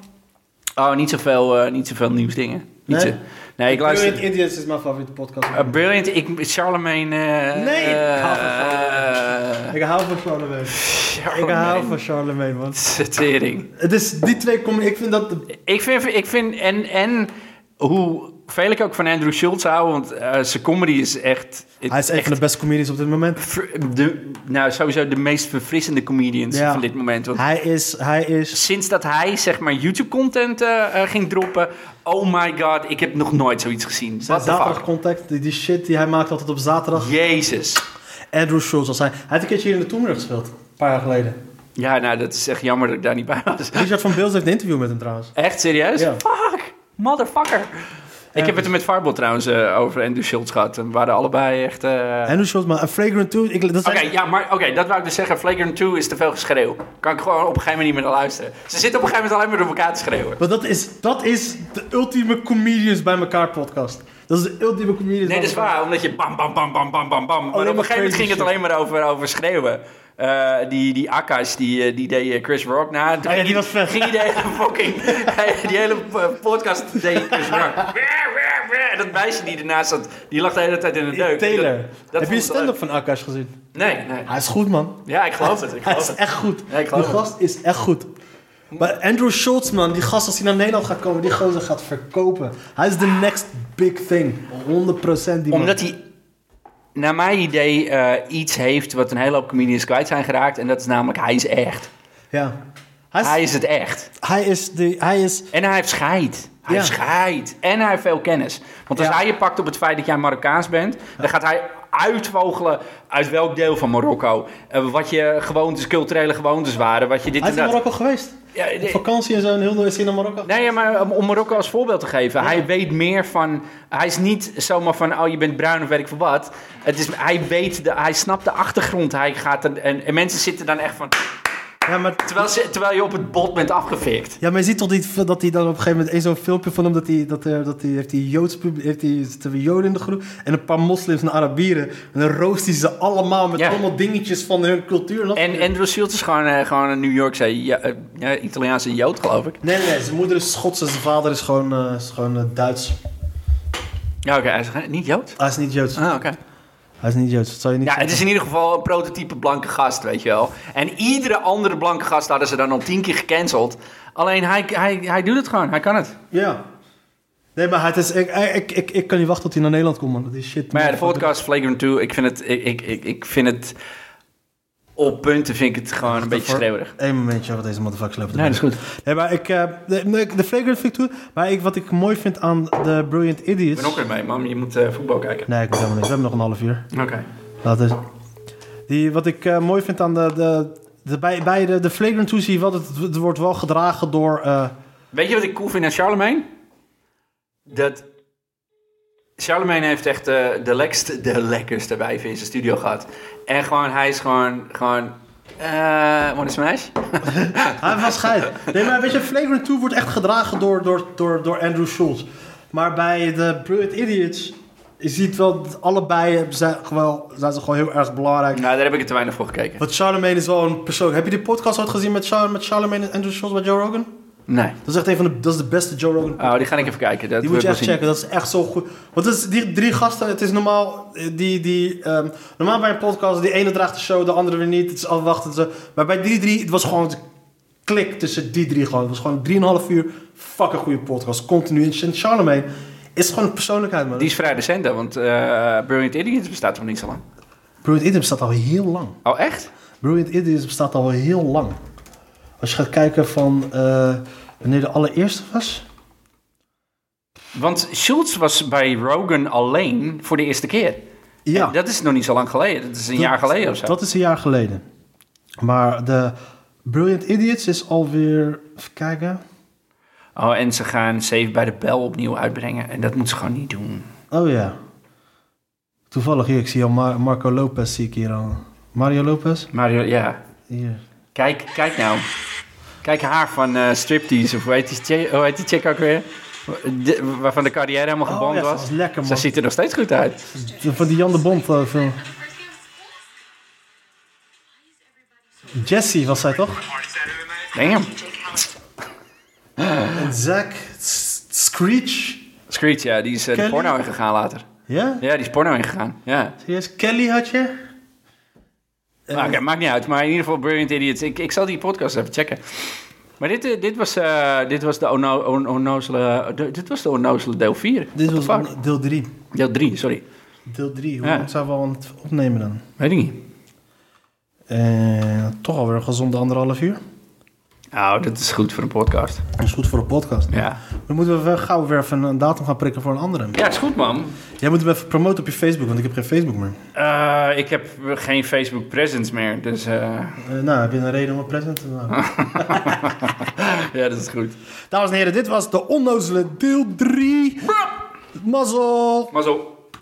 [SPEAKER 3] Oh, niet zoveel, eh, niet zoveel nieuwsdingen. Niet
[SPEAKER 2] Nee?
[SPEAKER 3] zo- nee, ik luister...
[SPEAKER 2] Brilliant Idiots is mijn favoriete podcast.
[SPEAKER 3] Eh, Brilliant, ik, Charlemagne... eh,
[SPEAKER 2] Nee, ik
[SPEAKER 3] eh,
[SPEAKER 2] hou van ik hou van Charlemagne.
[SPEAKER 3] Oh,
[SPEAKER 2] Ik hou
[SPEAKER 3] Charlemagne.
[SPEAKER 2] van Charlemagne, man.
[SPEAKER 3] Tering.
[SPEAKER 2] Het is die twee kom. Ik vind dat.
[SPEAKER 3] Ik vind, ik vind en, en hoe veel ik ook van Andrew Schultz hou, want eh, zijn comedy is echt...
[SPEAKER 2] Hij is een van de beste comedians op dit moment.
[SPEAKER 3] ver- de, nou, sowieso de meest verfrissende comedians
[SPEAKER 2] Ja.
[SPEAKER 3] van dit moment. Want
[SPEAKER 2] Hij is, hij is.
[SPEAKER 3] sinds dat hij, zeg maar, YouTube-content eh, eh, ging droppen... Oh my god, ik heb nog nooit zoiets gezien. What the
[SPEAKER 2] Zaterdag
[SPEAKER 3] fuck?
[SPEAKER 2] contact, die, die shit die hij maakt altijd op zaterdag.
[SPEAKER 3] Jezus.
[SPEAKER 2] Andrew Schultz was hij. Hij had een keertje hier in de Toemler gespeeld, een paar jaar geleden.
[SPEAKER 3] Ja, nou, dat is echt jammer dat ik daar niet bij was.
[SPEAKER 2] Richard van Beels heeft een interview met hem trouwens.
[SPEAKER 3] Echt, serieus?
[SPEAKER 2] Ja. dus-
[SPEAKER 3] Fuck, motherfucker. Ik heb het er met Farbol trouwens eh, over Andrew Schultz gehad. En we waren allebei echt... eh,
[SPEAKER 2] Andrew Schultz, maar A Fragrant 2. Ik, dat
[SPEAKER 3] Oké,
[SPEAKER 2] zijn-
[SPEAKER 3] ja, maar oké, dat wou ik dus zeggen. Flagrant 2 is te veel geschreeuw. Kan ik gewoon op een gegeven moment niet meer naar luisteren. Ze zitten op een gegeven moment alleen maar door elkaar te schreeuwen.
[SPEAKER 2] Maar dat is, dat is de ultieme comedians bij elkaar podcast. Dat is de ultieme comedians.
[SPEAKER 3] Nee,
[SPEAKER 2] bij
[SPEAKER 3] dat is
[SPEAKER 2] elkaar.
[SPEAKER 3] waar, omdat je bam, bam, bam, bam, bam, bam, bam. Maar op
[SPEAKER 2] maar
[SPEAKER 3] een gegeven moment
[SPEAKER 2] Oh, crazy
[SPEAKER 3] ging het
[SPEAKER 2] shit.
[SPEAKER 3] alleen maar over, over schreeuwen. Eh, die, die Akash, die, eh, die deed eh, Chris Rock na. En
[SPEAKER 2] Oh
[SPEAKER 3] toen
[SPEAKER 2] ja,
[SPEAKER 3] ging
[SPEAKER 2] die was vet.
[SPEAKER 3] Ging die
[SPEAKER 2] (laughs)
[SPEAKER 3] de hele fucking... (laughs) die hele eh, podcast deed Chris Rock. (laughs) En dat meisje die ernaast zat, die lag de hele tijd in de deuk.
[SPEAKER 2] Taylor.
[SPEAKER 3] Dat- dat
[SPEAKER 2] Heb
[SPEAKER 3] vond
[SPEAKER 2] je
[SPEAKER 3] ik
[SPEAKER 2] een stand-up van Akash gezien?
[SPEAKER 3] leuk. Nee, nee.
[SPEAKER 2] Hij is goed, man.
[SPEAKER 3] Ja, ik geloof het,
[SPEAKER 2] Hij
[SPEAKER 3] ik geloof
[SPEAKER 2] is
[SPEAKER 3] het.
[SPEAKER 2] echt goed.
[SPEAKER 3] Ja, ik
[SPEAKER 2] die
[SPEAKER 3] geloof het.
[SPEAKER 2] gast is echt goed. Maar Andrew Schultz, man, die gast als hij naar Nederland gaat komen, die gozer gaat verkopen. Hij is de next big thing. 100% die man.
[SPEAKER 3] Omdat hij, naar mijn idee, eh, iets heeft wat een hele hoop comedians kwijt zijn geraakt. En dat is namelijk, hij is echt.
[SPEAKER 2] Ja. Hij is,
[SPEAKER 3] Hij
[SPEAKER 2] hij,
[SPEAKER 3] is het echt.
[SPEAKER 2] is de, hij is,
[SPEAKER 3] En hij heeft scheid. Hij
[SPEAKER 2] Ja.
[SPEAKER 3] heeft scheid. En hij heeft veel kennis. Want als
[SPEAKER 2] Ja.
[SPEAKER 3] hij je pakt op het feit dat jij Marokkaans bent, dan gaat hij uitvogelen uit welk deel van Marokko. eh, wat je gewoontes, culturele gewoontes waren. Wat je dit
[SPEAKER 2] hij
[SPEAKER 3] en
[SPEAKER 2] is in
[SPEAKER 3] dat.
[SPEAKER 2] Marokko geweest.
[SPEAKER 3] Ja,
[SPEAKER 2] Op
[SPEAKER 3] de-
[SPEAKER 2] vakantie en zo, in heel Nederland is hij naar Marokko.
[SPEAKER 3] Nee, ja, maar eh, om, om Marokko als voorbeeld te geven. Hij weet meer van... Hij is niet zomaar van, oh, je bent bruin of weet ik veel wat. Het is, hij weet, de, hij snapt de achtergrond. Hij gaat er, en, en mensen zitten dan echt van...
[SPEAKER 2] Ja, maar
[SPEAKER 3] Terwijl, ze- terwijl je op het bot bent afgefikt.
[SPEAKER 2] Ja, maar je ziet toch niet dat hij dan op een gegeven moment één zo'n filmpje van hem dat hij dat, eh, dat hij heeft die joods pub- heeft die zitten we joden in de groep en een paar moslims en Arabieren en dan roost hij ze allemaal met
[SPEAKER 3] Ja.
[SPEAKER 2] allemaal dingetjes van hun cultuur. dat soort
[SPEAKER 3] En
[SPEAKER 2] dingen.
[SPEAKER 3] Andrew Schultz is gewoon, eh, gewoon een New Yorkse ja, eh, ja, Italiaanse jood, geloof ik.
[SPEAKER 2] Nee, nee, nee, zijn moeder is Schots en zijn vader is gewoon, eh, is gewoon eh, Duits.
[SPEAKER 3] Ja, oké. hij is ge- niet jood?
[SPEAKER 2] Hij is niet joods.
[SPEAKER 3] Ah, oké.
[SPEAKER 2] Hij is niet joods. Dat zou je niet.
[SPEAKER 3] Ja, het
[SPEAKER 2] zeggen.
[SPEAKER 3] is in ieder geval een prototype blanke gast, weet je wel. En iedere andere blanke gast hadden ze dan al tien keer gecanceld. Alleen hij, hij, hij doet het gewoon. Hij kan het.
[SPEAKER 2] ja. Nee, maar het is, ik, ik, ik, ik kan niet wachten tot hij naar Nederland komt, man. Dat is shit.
[SPEAKER 3] Maar ja, de podcast Flagrant 2, ik vind het, ik, ik, ik, ik vind het, op punten vind ik het gewoon een beetje schreeuwerig.
[SPEAKER 2] Eén momentje, wat deze motherfuckers lopen. te
[SPEAKER 3] Nee, dat is
[SPEAKER 2] doen.
[SPEAKER 3] goed.
[SPEAKER 2] Nee, maar ik, eh, de, nee, ik- de Flagrant vind ik toe, maar ik, wat ik mooi vind aan de Brilliant Idiots...
[SPEAKER 3] Ik ben ook weer mee, man. Je moet eh, voetbal kijken.
[SPEAKER 2] Nee, ik moet helemaal niet. We hebben nog een half uur.
[SPEAKER 3] Oké.
[SPEAKER 2] Laat eens. Die, wat ik eh, mooi vind aan de... de, de bij, bij de, de Flagrant Two zie je wel dat het, het wordt wel gedragen door... eh,
[SPEAKER 3] Weet je wat ik cool vind aan Charlemagne? Dat Charlemagne heeft echt eh, de, lekkerste, de lekkerste wijven in zijn studio gehad. En gewoon, hij is gewoon, gewoon, eh what a smash?
[SPEAKER 2] hij was scheid. Nee, maar weet je, Flagrant 2 wordt echt gedragen door, door, door, door Andrew Schultz. Maar bij de Brilliant Idiots... Je ziet wel dat allebei zijn, gewoon, zijn ze gewoon heel erg belangrijk.
[SPEAKER 3] nou, daar heb ik er te weinig voor gekeken.
[SPEAKER 2] Want Charlemagne is wel een persoon. Heb je die podcast ooit gezien met, Char met Charlemagne en Andrew Schultz bij Joe Rogan?
[SPEAKER 3] Nee.
[SPEAKER 2] Dat is echt een van de, dat is de beste Joe Rogan
[SPEAKER 3] Oh, die ga ik even kijken. Dat
[SPEAKER 2] Die moet je
[SPEAKER 3] wil ik
[SPEAKER 2] echt
[SPEAKER 3] wel
[SPEAKER 2] checken,
[SPEAKER 3] zien.
[SPEAKER 2] dat is echt zo goed. Want het is die drie gasten, het is normaal, eh, die, die, ehm, normaal bij een podcast, die ene draagt de show, de andere weer niet. Het is afwachten. Ze. Maar bij die drie, het was gewoon het klik tussen die drie gewoon. Het was gewoon drieënhalf uur, fucking goede podcast, continu. En Charlemagne is gewoon een persoonlijkheid, man.
[SPEAKER 3] Die
[SPEAKER 2] Die...
[SPEAKER 3] is vrij recent, hè, want eh Brilliant Idiots bestaat nog niet zo lang.
[SPEAKER 2] Brilliant Idiots bestaat al heel lang.
[SPEAKER 3] Oh, echt?
[SPEAKER 2] Brilliant Idiots bestaat al heel lang. Als je gaat kijken van eh, wanneer de allereerste was.
[SPEAKER 3] Want Schultz was bij Rogan alleen voor de eerste keer.
[SPEAKER 2] Ja,
[SPEAKER 3] En dat is nog niet zo lang geleden. Dat is een jaar geleden of zo.
[SPEAKER 2] Dat is een jaar geleden. Maar de Brilliant Idiots is alweer. Even kijken.
[SPEAKER 3] Oh, en ze gaan Save by the Bell opnieuw uitbrengen. En dat moeten ze gewoon niet doen.
[SPEAKER 2] Oh ja. Toevallig hier, ik zie al Mar- Marco Lopez zie ik hier al. Mario Lopez?
[SPEAKER 3] Mario, eh, ja.
[SPEAKER 2] Hier.
[SPEAKER 3] Kijk, kijk nou. Kijk haar van eh Striptease. Of hoe heet die, che- hoe heet die chick ook weer? De- waarvan de carrière helemaal
[SPEAKER 2] Oh,
[SPEAKER 3] geband
[SPEAKER 2] ja, ze
[SPEAKER 3] was.
[SPEAKER 2] was lekker,
[SPEAKER 3] Ze
[SPEAKER 2] man.
[SPEAKER 3] ziet er nog steeds goed uit.
[SPEAKER 2] Van die Jan de Bond eh, film. Jesse was zij toch?
[SPEAKER 3] Damn.
[SPEAKER 2] En Zack S- Screech.
[SPEAKER 3] Screech, ja. Die is eh, de
[SPEAKER 2] Kelly?
[SPEAKER 3] porno ingegaan later.
[SPEAKER 2] Ja?
[SPEAKER 3] Ja, die is porno ingegaan. Ja.
[SPEAKER 2] Serieus? Kelly had je?
[SPEAKER 3] Maar, Eh,
[SPEAKER 2] Ehm.
[SPEAKER 3] oké, maakt niet uit, maar in ieder geval Brilliant Idiots. Ik, ik zal die podcast even checken. Maar dit, eh, dit, was, eh, dit was de onno- on- onnozele... de- Dit was de onnozele deel 4.
[SPEAKER 2] Dit
[SPEAKER 3] What
[SPEAKER 2] was
[SPEAKER 3] the fuck?
[SPEAKER 2] deel 3.
[SPEAKER 3] Deel 3, sorry.
[SPEAKER 2] Deel 3, hoe
[SPEAKER 3] Ja.
[SPEAKER 2] lang zijn we al aan het opnemen dan?
[SPEAKER 3] Weet ik niet.
[SPEAKER 2] Eh, toch alweer een gezonde anderhalf uur.
[SPEAKER 3] Nou, dat is goed voor een podcast.
[SPEAKER 2] Dat is goed voor een podcast.
[SPEAKER 3] Ja.
[SPEAKER 2] Dan moeten we wel gauw weer even een datum gaan prikken voor een andere.
[SPEAKER 3] Ja, is goed, man.
[SPEAKER 2] Jij moet hem even promoten op je Facebook, want ik heb geen Facebook meer.
[SPEAKER 3] Eh, ik heb geen Facebook presence meer, dus... eh, (laughs)
[SPEAKER 2] Eh, nou, heb je een reden om een present te maken?
[SPEAKER 3] ja, dat is goed.
[SPEAKER 2] Dames en heren, dit was de onnozele deel 3. Mazzel!
[SPEAKER 3] Maar zo...